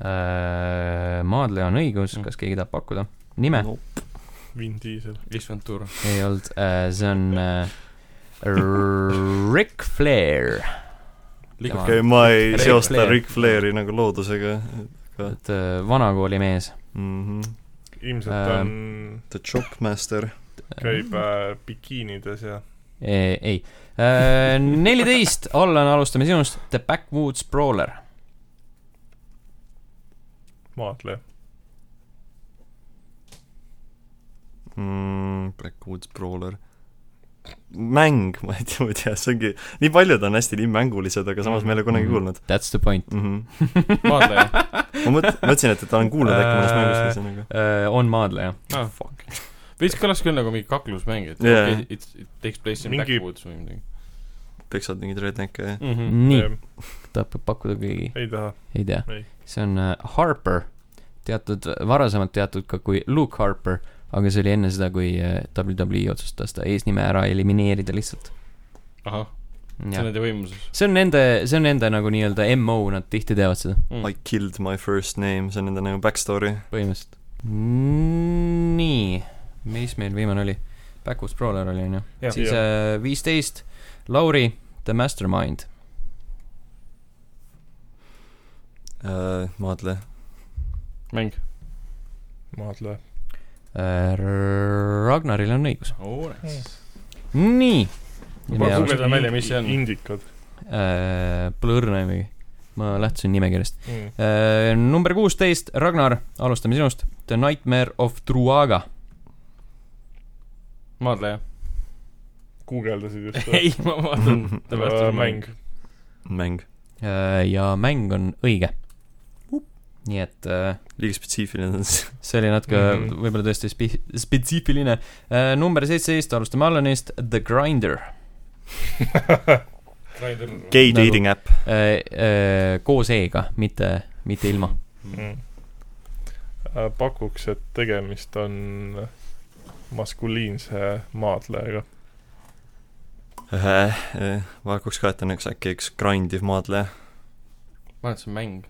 A: Äh, maadleja on õigus , kas keegi tahab pakkuda nime ?
D: Vin Diesel .
C: Ace Ventura .
A: ei olnud äh, , see on äh, Ric Flair . Tema-
B: okei , ma ei
A: Ric
B: seosta
A: Flair.
B: Ric Flairi nagu loodusega ka
A: et äh, vanakooli mees .
B: mm . -hmm.
D: ilmselt
A: Ähm.
D: on ,
B: The Chopmaster ,
D: käib äh, bikiinides ja
A: Eh, ei , neliteist , Allan , alustame sinust , The Backwoods Brawler .
D: maadleja .
B: mm, Blackwoods Brawler . mäng , ma ei tea , ma ei tea , see ongi , nii paljud on hästi nii mängulised , aga samas ma ei ole kunagi
A: Mhm.
B: kuulnud
A: That's the point
B: mm . -hmm.
C: maadleja .
B: ma mõt- , mõtlesin , et , et olen kuulnud äkki mõnest
A: Äh,
B: mängust ühesõnaga .
A: uh, . on maadleja .
C: ah , fuck . veits kõlas küll nagu mingi kaklusmäng , et
B: Jaa.
C: okei, it's- it takes place in
D: Mingi-
C: backwoods või midagi
B: peksad mingeid redneck'e ja
C: mm .
A: nii ,
D: ei
A: tahab pakkuda keegi ,
D: taha ,
A: ei tea
D: Ei. .
A: see on uh, Harper , teatud , varasemalt teatud ka kui Luke Harper , aga see oli enne seda , kui uh, WWE otsustas ta eesnime ära elimineerida lihtsalt .
C: ahah , see on nende võimuses .
A: see on nende , see on nende nagu nii-öelda MO , nad tihti teevad seda
C: Mm,
B: I killed my first name , see on nende nagu backstory .
A: põhimõtteliselt . nii , mis meil viimane oli ? Backwoods Brawler oli onju ,
C: Jah.
A: siis viisteist äh, , Lauri , The Mastermind ,
B: Äh, Maadle ,
C: mäng .
D: maadleja .
A: Äh, Ragnaril on õigus .
C: oo ,
A: nii .
C: Ma guugeldan välja, mis see on.
D: Indikad
A: Blur nimegi , ma lähtusin nimekirjast
D: mm. .
A: äh, . number kuusteist , Ragnar , alustame sinust , The Nightmare of Truaga .
C: maadleja .
D: guugeldasid just või ?
C: ei , ma vaatan .
D: mäng .
B: mäng .
A: Äh, ja mäng on õige . nii et äh,
B: liiga spetsiifiline on see .
A: see oli natuke mm
D: Mhm.
A: -hmm. võib-olla tõesti spi- , spetsiifiline uh, . number seitseteist , alustame Allanist , The Grinder
B: gay
A: Nagu-
B: dating äpp
A: uh, . uh, koos E-ga , mitte , mitte ilma .
D: mm. . pakuks , et tegemist on maskuliinse maadlejaga .
B: ma hakkaks Äh, ka , et on üks äkki üks grindiv maadleja .
C: ma arvan , et see on mäng .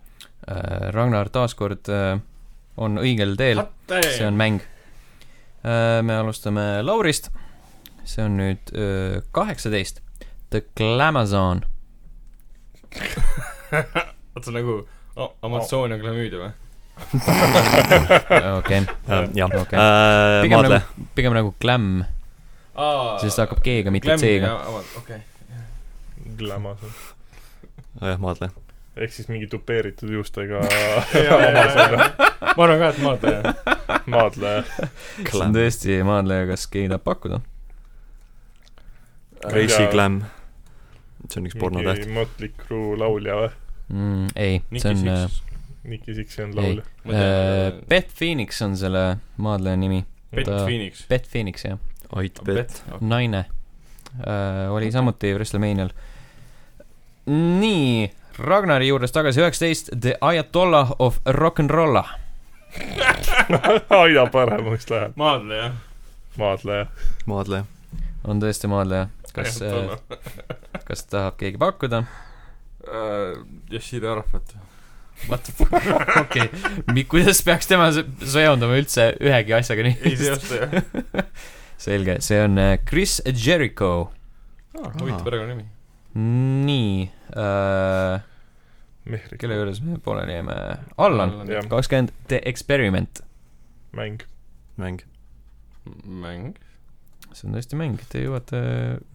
A: Uh, Ragnar taaskord uh, on õigel teel , see on mäng uh, . me alustame Laurist , see on nüüd äh, kaheksateist uh, , The Glamazon
C: vaata nagu oh, Amazonia glamüüdi või ?
A: uh, , okei okay. ,
B: Äh, jah , Äh,
A: Okei. pigem
B: maadleja .
A: nagu , pigem nagu glam , sest ta hakkab G-ga , mitte C-ga .
C: okei .
D: Glamas on .
A: nagu-
B: Äh, jah , maadleja .
D: ehk siis mingi dupeeritud juustega
C: ma arvan ka , et maadleja .
D: maadleja .
A: see on tõesti maadleja , kas keegi tahab pakkuda ?
B: Gracie Glam . see on üks pornotäht .
D: mingi Motley Crue laulja või ?
A: mm, . ei , see
D: Nicky
A: on ,
D: Six , Nicky Sixi on
A: ei
D: laulja .,
B: äh,
A: Beth Phoenix on selle maadleja nimi .
C: Pet
A: ta-
C: Phoenix .
A: Beth Phoenix , jah ,
B: Ait äh, Pet .
A: naine äh, , oli samuti WrestleManial . nii , Ragnari juures tagasi üheksateist , The Ayatollah of Rock n Rolla .
D: aina paremaks läheb ,
C: maadleja .
D: maadleja .
B: maadleja .
A: on tõesti maadleja , kas , kas tahab keegi pakkuda ?
C: Yashir Arafat .
A: What the fuck , okei , kuidas peaks tema se- seondama üldse ühegi asjaga
C: ei
A: nii ?
C: seosta jah .
A: selge , see on äh, Chris Jericho .
B: Ah,
C: huvitav perekonnanimi .
A: nii äh, ,
D: Mehrik ,
A: kelle juures me pooleli jäime ? Allan ,
D: Jah.
A: kakskümmend The Experiment .
D: mäng .
B: mäng .
C: mäng .
A: see on tõesti mäng , te jõuate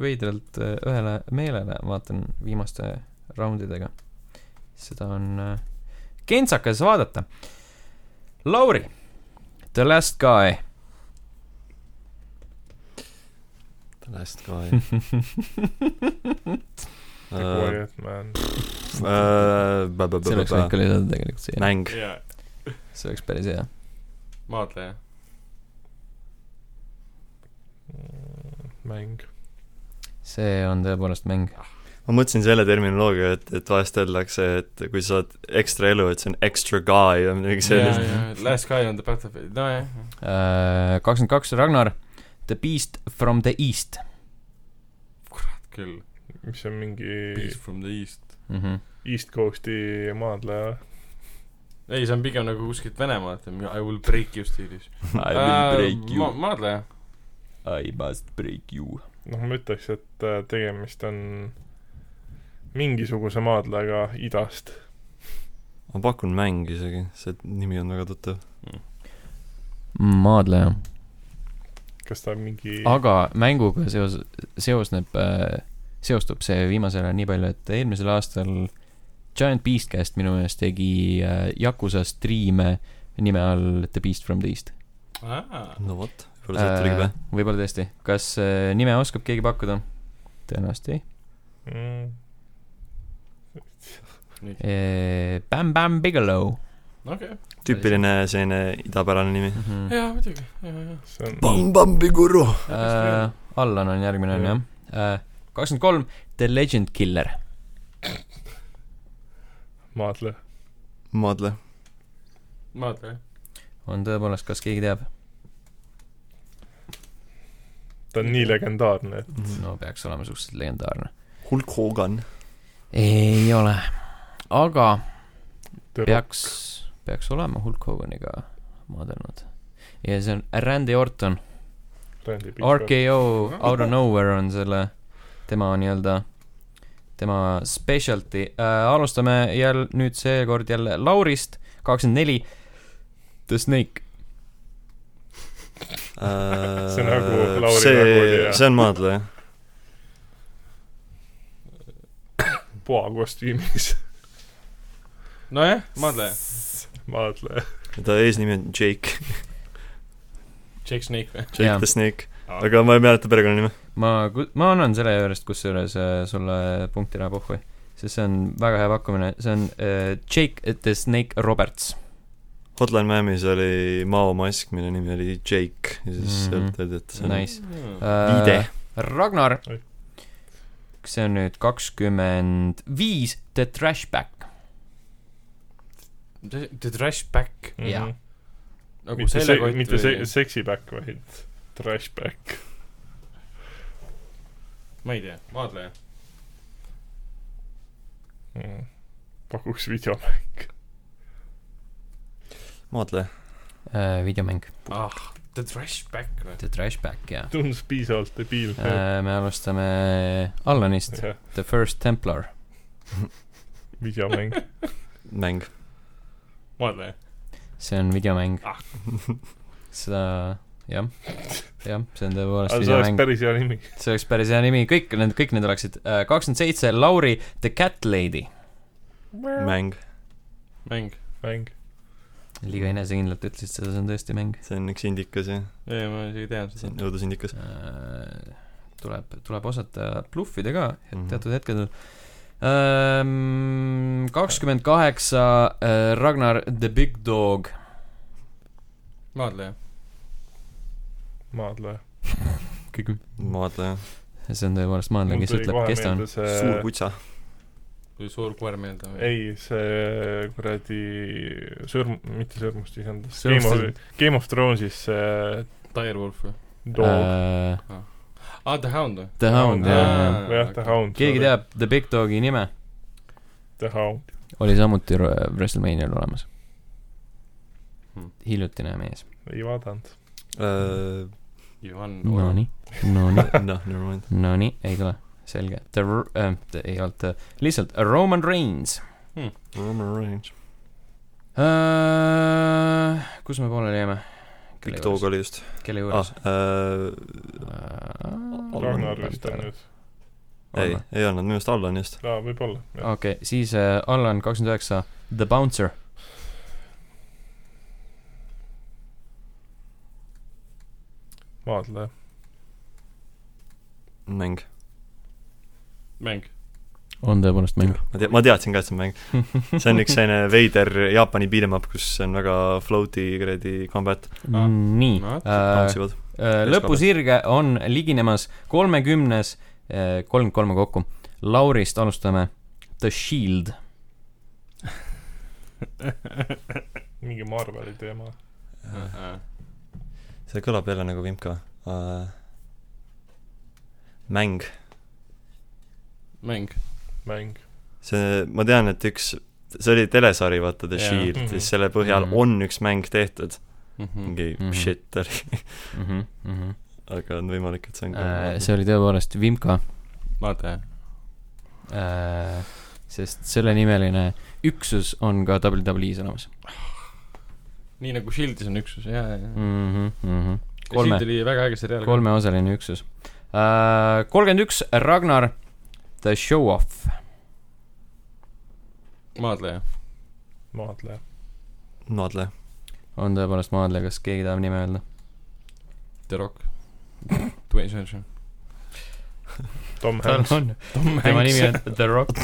A: veidralt äh, ühele meelele , vaatan viimaste raundidega . seda on äh, kentsakas vaadata . Lauri , The Last Guy .
B: Last Guy Äh,
D: Quiet Man .
B: äh, ba- ba-
A: see
B: ba-
A: oleks
B: ba-
A: võinud
B: ba-
A: ka lisada tegelikult siia .
B: mäng .
A: see oleks päris hea .
C: maadleja .
D: mäng .
A: see on tõepoolest mäng .
B: ma mõtlesin selle terminoloogia , et , et vahest öeldakse , et kui sa saad ekstra elu , et see on extra guy või midagi sellist .
C: Last Guy on the Battlefield , nojah .
A: Äh, kakskümmend kaks , Ragnar , The Beast from the East
C: küll .
D: mis on mingi
C: Beast from the East .
A: mm . -hmm.
D: East Coast'i maadleja või ?
C: ei , see on pigem nagu kuskilt Venemaalt , I will break you stiilis .
B: I
C: Äh,
B: will break you .
C: maadleja .
A: I must break you .
D: noh , ma ütleks , et äh, tegemist on mingisuguse maadlejaga idast .
B: ma pakun mäng isegi , see nimi on väga tuttav .
A: maadleja ,
D: kas ta on mingi
A: aga mänguga seos , seosneb , seostub see viimasel ajal nii palju , et eelmisel aastal Giant Beast käest minu meelest tegi äh, Yakuza striime nime all The Beast from the East .
B: no vot , võib-olla sealt
A: Äh,
B: tuligi pähe .
A: võib-olla tõesti , kas äh, nime oskab keegi pakkuda ? tõenäoliselt ei .
D: mm, ?
A: Bam-Bam Äh, Bigelow
C: okei ,
B: tüüpiline selline idapärane nimi .
A: mm . -hmm.
C: jaa , muidugi , jaa , jaa .
D: see on
B: Bambambi guru .
A: äh, . Allan on järgmine , on
D: Jah.
A: jah . kakskümmend kolm , The Legend Killer .
D: maadleja .
B: maadle .
C: maadleja .
A: on tõepoolest , kas keegi teab ?
D: ta on nii legendaarne , et
A: no peaks olema suhteliselt legendaarne .
B: Hulk Hogan .
A: ei ole . aga
D: The Rock
A: peaks , peaks olema Hulk Hoganiga maadelnud . ja see on Randy Orton ,
D: Randy Pitchford .
A: RKO Out of Nowhere on selle , tema nii-öelda , tema specialty äh, . alustame jälle nüüd seekord jälle Laurist , kakskümmend neli , The Snake .
B: see
D: See nagu Lauri nagu oli,
B: Äh, see ,
D: jah.
B: see on maadle , jah .
D: poa kostüümis
C: nojah , maadleja .
D: maadleja .
B: ta eesnimi on Jake ,
C: Jake Snake või ?
B: Jake
A: Jah.
B: the Snake . aga ma ei mäleta perekonnanime .
A: ma , ma annan selle juurest , kusjuures äh, sulle punkti ära puhvi , sest see on väga hea pakkumine , see on äh, Jake the Snake Roberts .
B: Hotline Miami's oli Mao mask , mille nimi oli Jake ja siis
A: Mhm.
B: mm -hmm. sealt öeldi , et see on
A: Nice.
C: jaa ,
B: viide
A: äh, . Ragnar
D: Oi. ,
A: see on nüüd kakskümmend viis , The Trashback .
C: The the Trash Back .
A: Jaa. .
C: nagu
D: Mhm. mitte see ,
C: seljakott
D: mitte see ,
C: või ?
D: seksi back , vaid trash back .
C: ma ei tea , maadleja .
D: Mhm. pakuks videomäng .
B: maadleja .
A: Äh, videomäng ,
C: ah , The Trash Back või ?
A: The Trashback , jah
D: tundus piisavalt debiilne .
A: äh, . me alustame Allanist ,
D: jah ,
A: The First Templar .
D: videomäng .
B: mäng .
C: maadleja .
A: see on videomäng .
D: Ah.
A: seda , jah , jah , see on tõepoolest
D: aga see oleks
A: videomäng .
D: päris hea nimi .
A: see oleks päris hea nimi , kõik need , kõik need oleksid . kakskümmend seitse , Lauri The Cat Lady .
B: mäng ,
C: mäng .
D: mäng .
A: liiga enesekindlalt ütlesid seda , see on tõesti mäng .
B: see on üks indikas ja
C: ei , ma isegi tean
B: see
C: seda .
B: on õudusindikas .
A: äh, tuleb , tuleb osata bluffida ka et
B: Mhm.
A: teatud hetkedel . kakskümmend kaheksa , Ragnar the Big Dog .
C: maadleja .
D: maadleja .
B: maadleja ,
A: see on tõepoolest maadleja , kes ütleb , kes ta on .
D: see...
B: suur kutsa .
C: kui suur koer meelde või ?
D: ei , see kuradi sõrm , mitte sõrmust isendus , Game of
A: Sõrmustisend. ,
D: Game of Thronesis see äh,
C: Direwolf või ?
D: Dog ,
C: aa , The Hound või ?
A: Äh, The Hound, jah, jah.
D: või jah , The . Hound .
A: keegi teab The Big Dogi nime ?
D: The Hound .
A: oli samuti Ro- WrestleManial olemas
C: Hmm. .
A: hiljutine mees .
D: ei vaadanud .
B: noh ,
C: Ivan .
A: Nonii , nonii ,
B: noh, never mind .
A: nonii , ei tule , selge . The , äh, the- ei olnud , lihtsalt Roman Reins
B: Roman Reigns .
A: äh, . kus me pooleli jäime ?
B: Big Dog oli just .
A: kelle
B: ah äh,
A: juures ?, Äh,
B: Allan
D: Ragnar
B: Allan
D: vist on . nüüd .
B: ei , ei olnud , minu arust Allan just .
D: aa , võib-olla .
A: okei , siis äh, Allan kakskümmend üheksa , The Bouncer .
D: maadleja .
B: mäng .
C: mäng .
A: on tõepoolest mäng .
B: ma tea- , ma teadsin ka , et see on mäng . see on üks selline veider Jaapani beat'em up , kus on väga float'i kuradi combat ,
C: Ah.
A: nii
B: Noh,
A: Äh,
C: No vot. ,
B: tantsivad .
A: lõpusirge on liginemas kolmekümnes , kolmkümmend kolme kokku . Laurist alustame , The Shield .
D: mingi Marveli teema .
B: Äh. see kõlab jälle nagu vimka uh, . mäng ,
C: mäng .
D: mäng .
B: see , ma tean , et üks , see oli telesari , vaata , The
C: Jaa.
B: Shield mm ,
D: Mhm.
B: -hmm. siis selle põhjal
A: Mhm.
B: mm -hmm. on üks mäng tehtud , mingi mm
A: Mhm.
B: -hmm. shit oli , Mhm, aga on võimalik , et see on ka
A: Äh, see oli tõepoolest Vimka ,
C: maadleja .
A: sest sellenimeline üksus on ka E WWE-s olemas .
C: nii nagu Shieldis on üksus , jaa , jaa , jaa .
B: Mhm,
A: kolme
C: Shield , oli väga äge seriaal .
A: kolmeosaline üksus . kolmkümmend üks , Ragnar , The Show-Off .
C: maadleja .
D: maadleja .
B: maadleja .
A: on tõepoolest maadleja , kas keegi tahab nime öelda ?
C: The Rock . Dwayne Johnson .
D: Tom Hanks .
A: on , tema nimi on The Rock .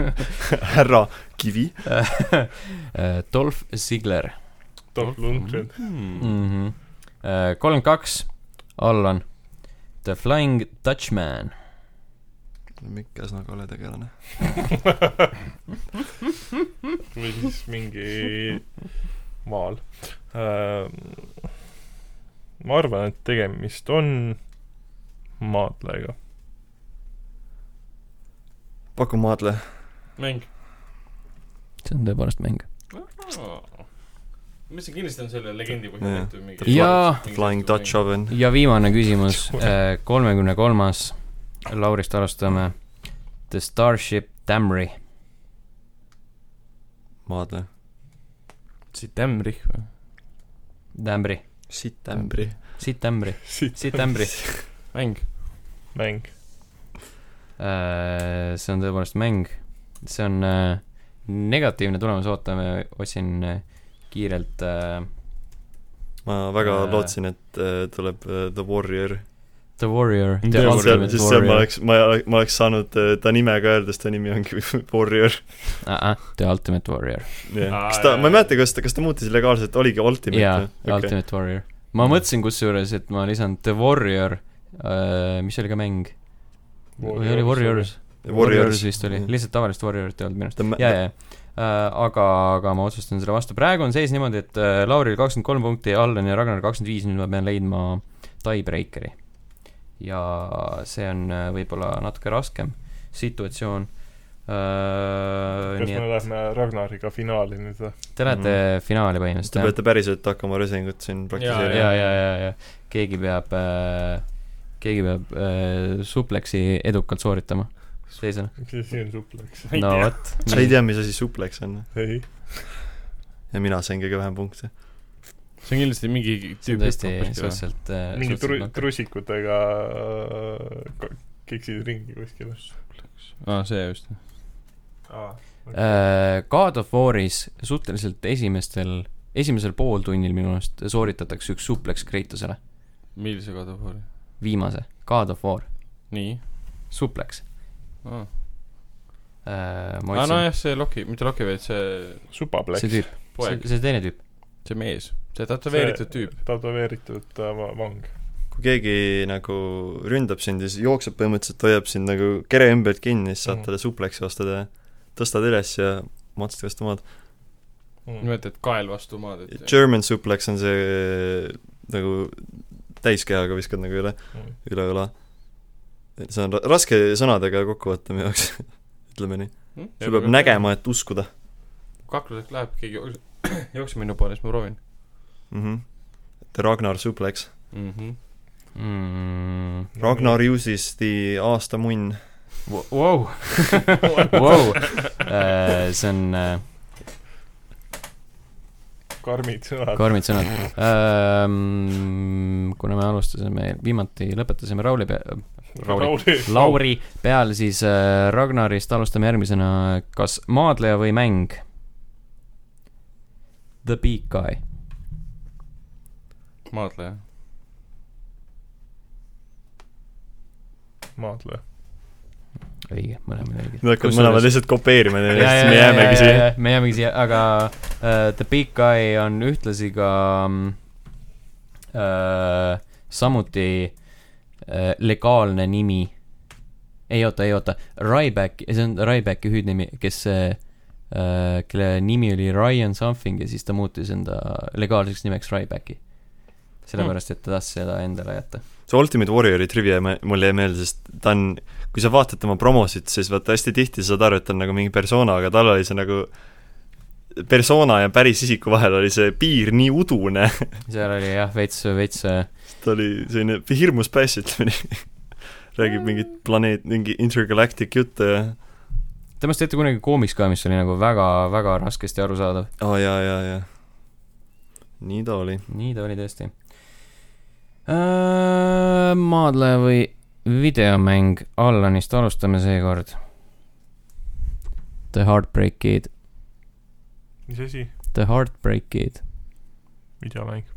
B: härra Kivi ,
A: Äh, Dolph Ziggler
D: Dolph
C: Mhm.
D: Lundgren .
A: mm . kolmkümmend kaks , Allan . The Flying Dutchman .
B: mikas nagu ole tegelane .
D: või siis mingi maal . ma arvan , et tegemist on maadlejaga .
B: paku maadleja ,
C: mäng .
A: see on tõepoolest mäng .
C: mis see kindlasti on selle legendi
B: Jaa.
C: põhjal tehtud mingi
A: Jaa.
B: Flying Dutch . Oven ,
A: ja viimane küsimus , kolmekümne kolmas . Laurist alustame . The Starship Damry .
B: maadleja .
C: see Dämmrich või ?
A: Damry ,
B: sitt ämbri .
A: siit Damry , siit Damry .
C: mäng .
D: mäng .
A: Äh, see on tõepoolest mäng . see on äh, negatiivne tulemus , ootame , otsin äh, kiirelt äh,
B: ma väga
A: Äh.
B: lootsin , et äh, tuleb äh, The Warrior
A: The Warrior .
B: Seal- seal , seal ma oleks , ma , ma oleks saanud äh, ta nime ka öeldes , ta nimi ongi Warrior
A: uh . -uh, the Ultimate Warrior .
B: yeah.
C: Aa, .
B: kas ta ,
C: jaa,
B: ma ei
C: jaa.
B: mäleta , kas ta , kas ta muutis legaalselt , oligi Ultimate
A: jaa
B: või ?, okei ,
A: Ultimate Warrior . ma mõtlesin kusjuures , et ma lisan The Warrior äh, , mis oli ka mäng . või oli Warriors ?. Warriors vist oli , lihtsalt tavalist Warriorit ei olnud minu arust .
B: ta mä-
A: jaa , jaa , jaa . aga , aga ma otsustan selle vastu , praegu on seis niimoodi , et äh, Lauril kakskümmend kolm punkti , Allan ja Ragnar kakskümmend viis , nüüd ma pean leidma tiebreakeri . ja see on äh, võib-olla natuke raskem situatsioon .
D: kas
A: Äh,
D: Mhm.
A: nii
D: me
A: et
D: lähme Ragnariga finaali nüüd või ?
A: te lähete finaali põhimõtteliselt ,
B: Te
A: jah ?
B: peate päriselt hakkama rösingut siin praktiseerima .
A: ja , ja , ja , ja keegi peab äh, , keegi peab äh, supleksi edukalt sooritama teisele .
D: mis asi on supleks ?
A: no vot .
B: sa ei tea , mis asi supleks on ?
D: ei .
B: ja mina sain kõige vähem punkte .
C: see on kindlasti mingi
A: see on
C: tüüp
A: tõesti
C: hüppab kuskile.
A: suhteliselt äh,
D: mingi tru- ,
A: suhteliselt
D: trusikutega äh, ka- kiksid ringi kuskil .
C: aa , Ah, see just .
A: Äh, God of War'is suhteliselt esimestel , esimesel pooltunnil minu arust sooritatakse üks supleks Kratosele ,
C: millise kodu poole ?
A: viimase , God of War ,
C: nii
A: supleks
C: ah. .
A: äh, . ma
C: aa ,
A: otsin
C: Ah, nojah , see Loki , mitte Loki , vaid see
D: supapleks .
A: see tüüp , see
C: poeg ,
A: see teine tüüp .
C: see mees , see tätoveeritud tüüp .
D: tätoveeritud äh, va- vang .
B: kui keegi nagu ründab sind ja siis jookseb põhimõtteliselt , hoiab sind nagu kere ümbert kinni , siis saad
D: Mhm.
B: talle supleksi osta ja tõstad üles ja matsad vastu maad .
D: Mm.
C: nimelt , et kael vastu maad , et
B: German suplex on see nagu täiskehaga viskad nagu üle ,
D: Mm.
B: üle õla . see on ra- raske sõnadega kokku võtta minu jaoks , ütleme nii .
C: hm?
B: sul peab . nägema , et uskuda
C: kakluseks läheb , keegi jooks- jookseb minu poole , siis ma proovin
B: mm . -hmm. Ragnar suplex .
C: mm . -hmm.
A: mm, .
B: Ragnar uses the aasta munn .
A: Wow. wow. Äh, see on äh,
D: karmid sõnad .
A: karmid sõnad ähm, . kuna me alustasime , viimati lõpetasime Rauli pea- , Rauli ,
D: Rauli .
A: Lauri peal , siis äh, Ragnarist alustame järgmisena , kas maadleja või mäng ? The big guy .
C: maadleja .
D: maadleja .
A: õige , mõlemad õiged .
B: me hakkame mõlemad lihtsalt kopeerima neid , siis me jäämegi siia .
A: siia . me jäämegi siia , aga uh, The Big Guy on ühtlasi ka mm, uh, samuti uh, legaalne nimi . ei oota , ei oota , Ryback , see on Rybacki hüüdnimi , kes uh, , kelle nimi oli Ryan something ja siis ta muutis enda legaalseks nimeks Rybacki . sellepärast , et ta tahtis seda endale jätta .
B: see Ultimate Warriori trivia me- mulle jäi meelde , sest ta on , kui sa vaatad tema promosid , siis vaata hästi tihti saad aru , et ta on nagu mingi persona , aga tal oli see nagu persona ja päris isiku vahel oli see piir nii udune ,
A: seal oli jah , veits , veits uh,
B: ta oli selline hirmus päss , ütleme nii . räägib mingit planeet , mingi intergalactic juttu ja
A: temast tehti kunagi koomiks ka , mis oli nagu väga , väga raskesti arusaadav .
B: aa oh, jaa , jaa , jaa . nii ta oli .
A: nii ta oli tõesti . maadleja või videomäng Allanist alustame seekord . The Heartbreak Kid ,
D: mis asi ?
A: The Heartbreak Kid .
D: videomäng .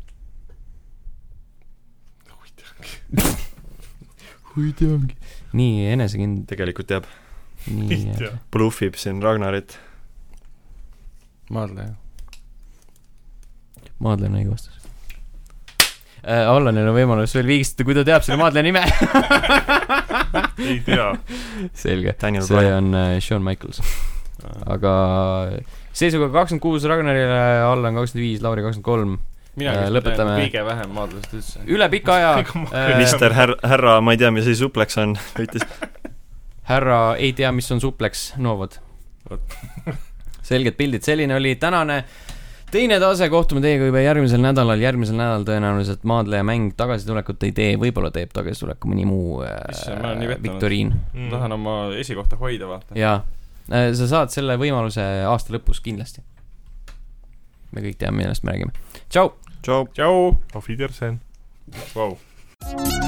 A: nii enesekindel ,
B: tegelikult teab ,
A: nii
D: ei . tea .
B: bluffib siin Ragnarit .
C: maadleja .
A: maadleja on õige vastus . Allanil on võimalus veel viigistada , kui ta teab selle maadleja nime .
D: ei tea .
A: selge ,
B: Daniel
A: see
B: Bryan .
A: on äh, Shawn Michaels .
D: Ah.
A: aga seisuga kakskümmend kuus Ragnarile , Allan kakskümmend viis , Lauri kakskümmend kolm .
C: mina
A: Äh,
C: vist
A: lõpetame-
C: tean kõige vähem maadlast üldse .
A: üle pika aja . äh,
B: Mister härra , härra , ma ei tea , mis see supleks on , võitis .
A: härra ei tea , mis on supleks Novod . selged pildid , selline oli tänane teine tase , kohtume teiega juba järgmisel nädalal , järgmisel nädalal tõenäoliselt maadleja mäng tagasitulekut ei tee , võib-olla teeb tagasituleku mõni muu
C: Issand, ma olen nii
A: äh,
C: pettunud.
A: viktoriin .
C: ma Mm. tahan oma esikohta hoida , vaata .
A: jaa , sa saad selle võimaluse aasta lõpus kindlasti . me kõik teame , millest me räägime . tšau .
B: tšau .
C: tšau .
D: Auf Wiedersehen .
C: Vau .
F: Thank you.